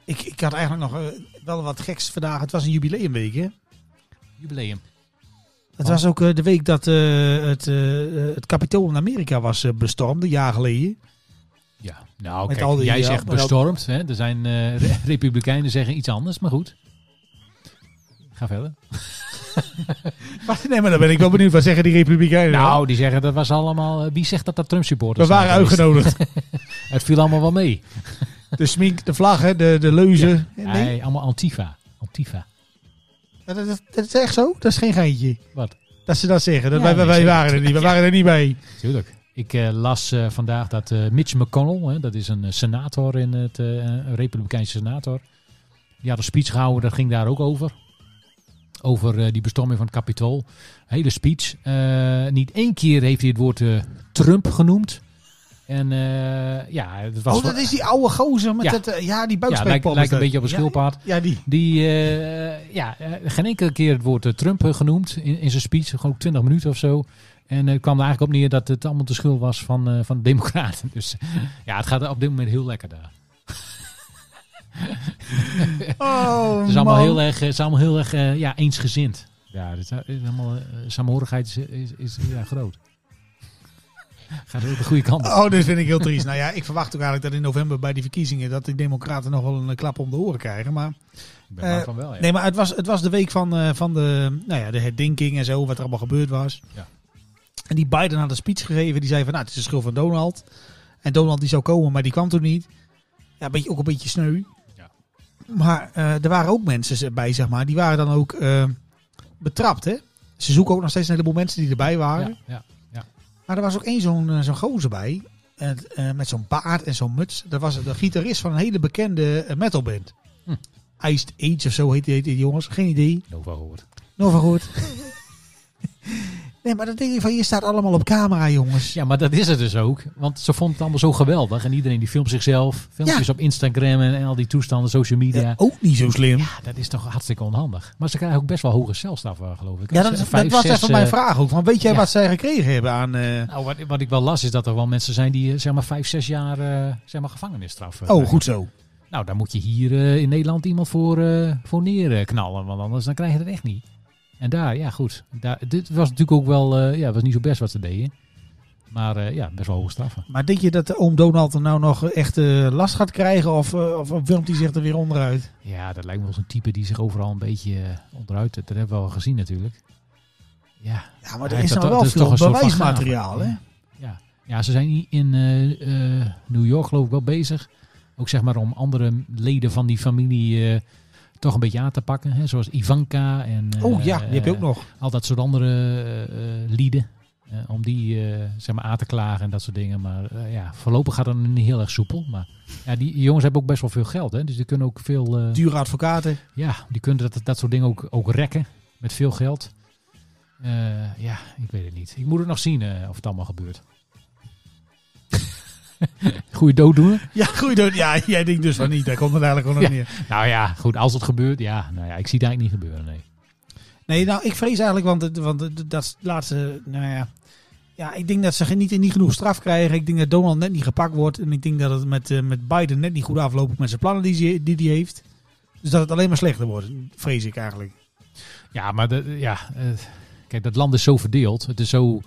S2: ik, ik had eigenlijk nog eh, wel wat geks vandaag. Het was een jubileumweek, hè?
S3: Jubileum.
S2: Het
S3: Oh.
S2: was ook eh, de week dat eh, het, eh, het kapitool in Amerika was eh, bestormd, een jaar geleden.
S3: Ja, nou
S2: Met
S3: kijk,
S2: al die-
S3: jij
S2: ja,
S3: zegt
S2: maar dat-
S3: bestormd. Hè? Er zijn eh, re- republikeinen zeggen iets anders, maar goed. Ga verder.
S2: Maar, nee, maar dan ben ik wel benieuwd. Wat zeggen die Republikeinen?
S3: Nou, die zeggen dat was allemaal. eh, wie zegt dat dat Trump supporters
S2: we waren
S3: zijn geweest?
S2: uitgenodigd.
S3: Het viel allemaal wel mee.
S2: De smink, de vlaggen, de, de leuzen. Nee,
S3: Nee, allemaal Antifa. Antifa.
S2: maar Dat, dat, dat is echt zo? Dat is geen geintje.
S3: Wat?
S2: Dat ze dat zeggen. Dat
S3: Ja,
S2: wij, wij,
S3: nee,
S2: wij
S3: zeker.
S2: waren er niet. We waren er niet bij.
S3: Tuurlijk. Ik eh, las eh, vandaag dat eh, Mitch McConnell, hè, dat is een eh, senator in het eh, een Republikeinse senator, die had een speech gehouden, dat ging daar ook over. Over eh, die bestorming van het kapitool. Hele speech. Eh, niet één keer heeft hij het woord eh, Trump genoemd. En eh, ja, het was
S2: oh, dat is die oude gozer met
S3: Ja.
S2: dat, eh, ja, die
S3: ja, lijkt,
S2: buikspijpop.
S3: lijkt een beetje op een
S2: eh, ja,
S3: schildpad.
S2: Ja, die.
S3: Die, eh, ja, eh, geen enkele keer het woord eh, Trump eh, genoemd in, in zijn speech. Gewoon ook 20 minuten of zo. En eh, het kwam er eigenlijk op neer dat het allemaal de schuld was van, eh, van de democraten. Dus ja, het gaat op dit moment heel lekker daar.
S2: Oh,
S3: Het is allemaal
S2: man.
S3: heel erg, eh, het is allemaal heel erg eh, ja, eensgezind. Ja, het is, het is allemaal, eh, saamhorigheid is, is, is ja, groot. Gaat heel de goede kant op.
S2: Oh, dit vind ik heel triest. nou ja, ik verwacht ook eigenlijk dat in november bij die verkiezingen... dat die democraten nog wel een eh, klap om de oren krijgen. Maar
S3: Ik ben bang
S2: eh,
S3: van wel, ja.
S2: Nee, maar het was, het was de week van, eh, van de, nou ja, de herdenking en zo, wat er allemaal gebeurd was.
S3: Ja.
S2: En die Biden had een speech gegeven, die zei van, nou, het is de schuld van Donald. En Donald die zou komen, maar die kwam toen niet. Ja, een beetje, ook een beetje sneu.
S3: Ja.
S2: Maar eh, er waren ook mensen bij, zeg maar, die waren dan ook eh, betrapt, hè. Ze zoeken ook nog steeds een heleboel mensen die erbij waren.
S3: Ja, ja.
S2: Maar er was ook één zo'n eh, zo'n gozer bij, eh, eh, met zo'n baard en zo'n muts. Dat was de gitarist van een hele bekende eh, metalband.
S3: Hm.
S2: Iced Age of zo heet die, heet die jongens, geen idee.
S3: Nova hoort.
S2: Nog wel goed. Nee, maar dan denk ik van, je staat allemaal op camera, jongens.
S3: Ja, maar dat is het dus ook. Want ze vond het allemaal zo geweldig. En iedereen die filmt zichzelf. Filmpjes op Instagram en, en al die toestanden, social media.
S2: Ja, ook niet zo slim.
S3: Ja, dat is toch hartstikke onhandig. Maar ze krijgen ook best wel hoge celstraf, eh, geloof ik.
S2: Ja, dat,
S3: Ze-
S2: dat
S3: vijf,
S2: was
S3: zes,
S2: even mijn
S3: eh,
S2: vraag ook. Van, weet jij
S3: ja.
S2: wat zij gekregen hebben aan... eh,
S3: Nou, wat, wat ik wel las is dat er wel mensen zijn die eh, zeg maar vijf, zes jaar eh, zeg maar, gevangenisstraf eh,
S2: Oh,
S3: krijgen.
S2: goed zo.
S3: Nou, daar moet je hier eh, in Nederland iemand voor, eh, voor neerknallen. Want anders dan krijg je het echt niet. En daar, ja goed. Daar, dit was natuurlijk ook wel, eh, ja, het was niet zo best wat ze deden. Maar eh, ja, best wel hoge straffen.
S2: Maar denk je dat de oom Donald er nou nog echt eh, last gaat krijgen? Of, eh, of filmt hij zich er weer onderuit?
S3: Ja, dat lijkt me wel zo'n type die zich overal een beetje eh, onderuit... Dat hebben we al gezien natuurlijk. Ja,
S2: Ja, maar
S3: Hij
S2: er is nou
S3: heeft dat-
S2: wel
S3: dat is toch
S2: veel
S3: een soort van
S2: bewijsmateriaal,
S3: gave.
S2: hè?
S3: Ja, ja ze zijn hier in eh, eh, New York geloof ik wel bezig. Ook zeg maar om andere leden van die familie eh, toch een beetje aan te pakken. Hè? Zoals Ivanka en eh,
S2: Oh ja, die heb je ook
S3: eh,
S2: nog.
S3: al dat soort andere eh, eh, lieden. eh, om die eh, zeg maar aan te klagen en dat soort dingen. Maar eh, ja, voorlopig gaat het nog niet heel erg soepel. Maar ja, die jongens hebben ook best wel veel geld. Hè? Dus die kunnen ook veel... eh,
S2: Dure advocaten.
S3: ja, die kunnen dat, dat soort dingen ook, ook rekken met veel geld. Eh, ja, ik weet het niet. Ik moet het nog zien eh, of het allemaal gebeurt. Goeie dooddoener.
S2: Ja, goed. hoor. Ja, jij denkt dus van niet. Daar komt het eigenlijk gewoon op neer.
S3: Nou ja, goed, als het gebeurt, ja, nou ja, ik zie het eigenlijk niet gebeuren, nee.
S2: Nee, nou, ik vrees eigenlijk, want, het- want het- dat laatste, nou ja. Ja, ik denk dat ze geen- niet, niet genoeg straf krijgen. Ik denk dat Donald net niet gepakt wordt. En ik denk dat het met, eh, met Biden net niet goed afloopt met zijn plannen die hij die die heeft. Dus dat het alleen maar slechter wordt, vrees ik eigenlijk.
S3: Ja, maar de, ja, eh, kijk, dat land is zo verdeeld. Het is zo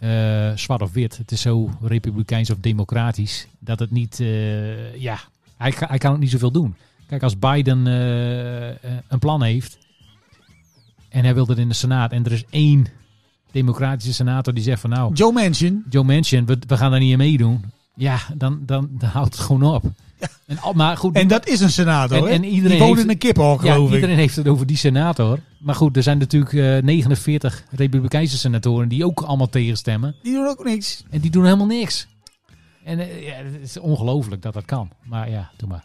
S3: eh, zwart of wit. Het is zo republikeins of democratisch. Dat het niet, eh, ja, hij, ka- hij kan ook niet zoveel doen. Kijk, als Biden eh, eh, een plan heeft en hij wil dat in de Senaat. En er is één democratische senator die zegt van nou,
S2: Joe Manchin,
S3: Joe Manchin, we, we gaan daar niet aan meedoen. Ja, dan, dan, dan houdt het gewoon op. En, al- maar goed,
S2: en dat is een senator,
S3: En-
S2: hè?
S3: en iedereen
S2: Die woont
S3: heeft-
S2: in een kippenhok,
S3: ja,
S2: geloof ik.
S3: iedereen heeft het over die senator. Maar goed, er zijn natuurlijk eh, 49 Republikeinse senatoren die ook allemaal tegenstemmen.
S2: Die doen ook niks.
S3: En die doen helemaal niks. En eh, ja, het is ongelooflijk dat dat kan. Maar ja, doe maar.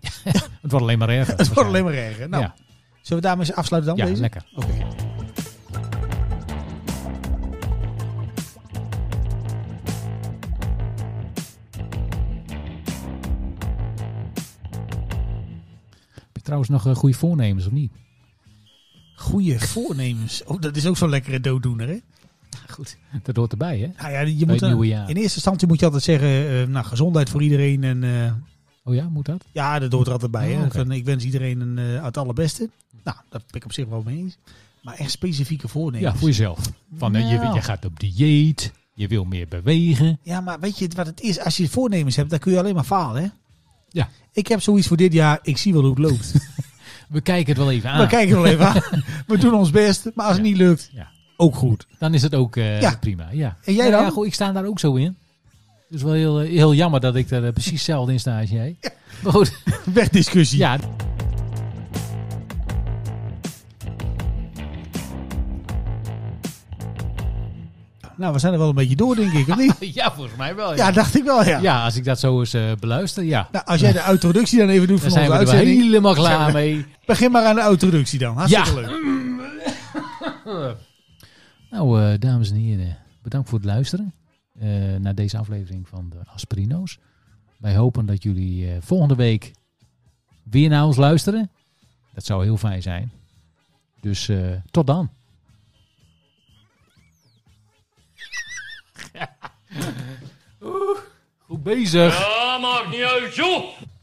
S3: het wordt alleen maar erger.
S2: Het wordt alleen maar erger. Nou,
S3: ja,
S2: zullen we daarmee eens afsluiten dan
S3: ja
S2: deze?
S3: lekker. Heb je trouwens nog eh, goede voornemens of niet?
S2: Goeie voornemens. Oh, dat is ook zo'n lekkere dooddoener, hè?
S3: Goed. Dat hoort erbij, hè?
S2: Nou ja, je
S3: het
S2: moet, dan-
S3: nieuwe jaar.
S2: in eerste instantie moet je altijd zeggen, eh, nou, gezondheid voor iedereen en... eh,
S3: Oh ja, moet dat?
S2: Ja, dat hoort er altijd bij.
S3: Oh,
S2: hè.
S3: oké.
S2: Van, ik wens iedereen een, eh, het allerbeste. Nou, daar ben ik op zich wel mee eens. Maar echt specifieke voornemens.
S3: Ja, voor jezelf. Van, eh, je,
S2: Nou.
S3: je gaat op dieet, je wil meer bewegen.
S2: Ja, maar weet je wat het is? Als je voornemens hebt, dan kun je alleen maar falen. Hè?
S3: Ja.
S2: Ik heb zoiets voor dit jaar. Ik zie wel hoe het loopt.
S3: We kijken het wel even aan.
S2: We kijken wel even aan. We doen ons best. Maar als het
S3: Ah. Ja.
S2: niet lukt,
S3: Ja.
S2: ook goed.
S3: Dan is het ook eh,
S2: Ja.
S3: prima. Ja.
S2: En jij
S3: Ja,
S2: dan?
S3: Ja, goed, ik sta daar ook zo in. Dus wel heel, eh, heel jammer dat ik daar eh, precies hetzelfde in sta als jij. Maar goed,
S2: Wegdiscussie.
S3: ja.
S2: Nou, we zijn er wel een beetje door, denk ik. Of niet?
S3: ja, volgens mij wel.
S2: Ja,
S3: Ja,
S2: dacht ik wel, ja.
S3: Ja, als ik dat zo eens eh, beluister, ja.
S2: Nou, als jij de introductie dan even doet
S3: Daar
S2: van
S3: zijn
S2: onze
S3: we er wel
S2: uitzending.
S3: helemaal klaar mee.
S2: Begin maar aan de introductie dan. Hartstikke
S3: Ja.
S2: leuk.
S3: Nou, eh, dames en heren, bedankt voor het luisteren eh, naar deze aflevering van de Aspirino's. Wij hopen dat jullie eh, volgende week weer naar ons luisteren. Dat zou heel fijn zijn. Dus eh, tot dan. Goed bezig.
S4: Ja, maakt niet uit, joh.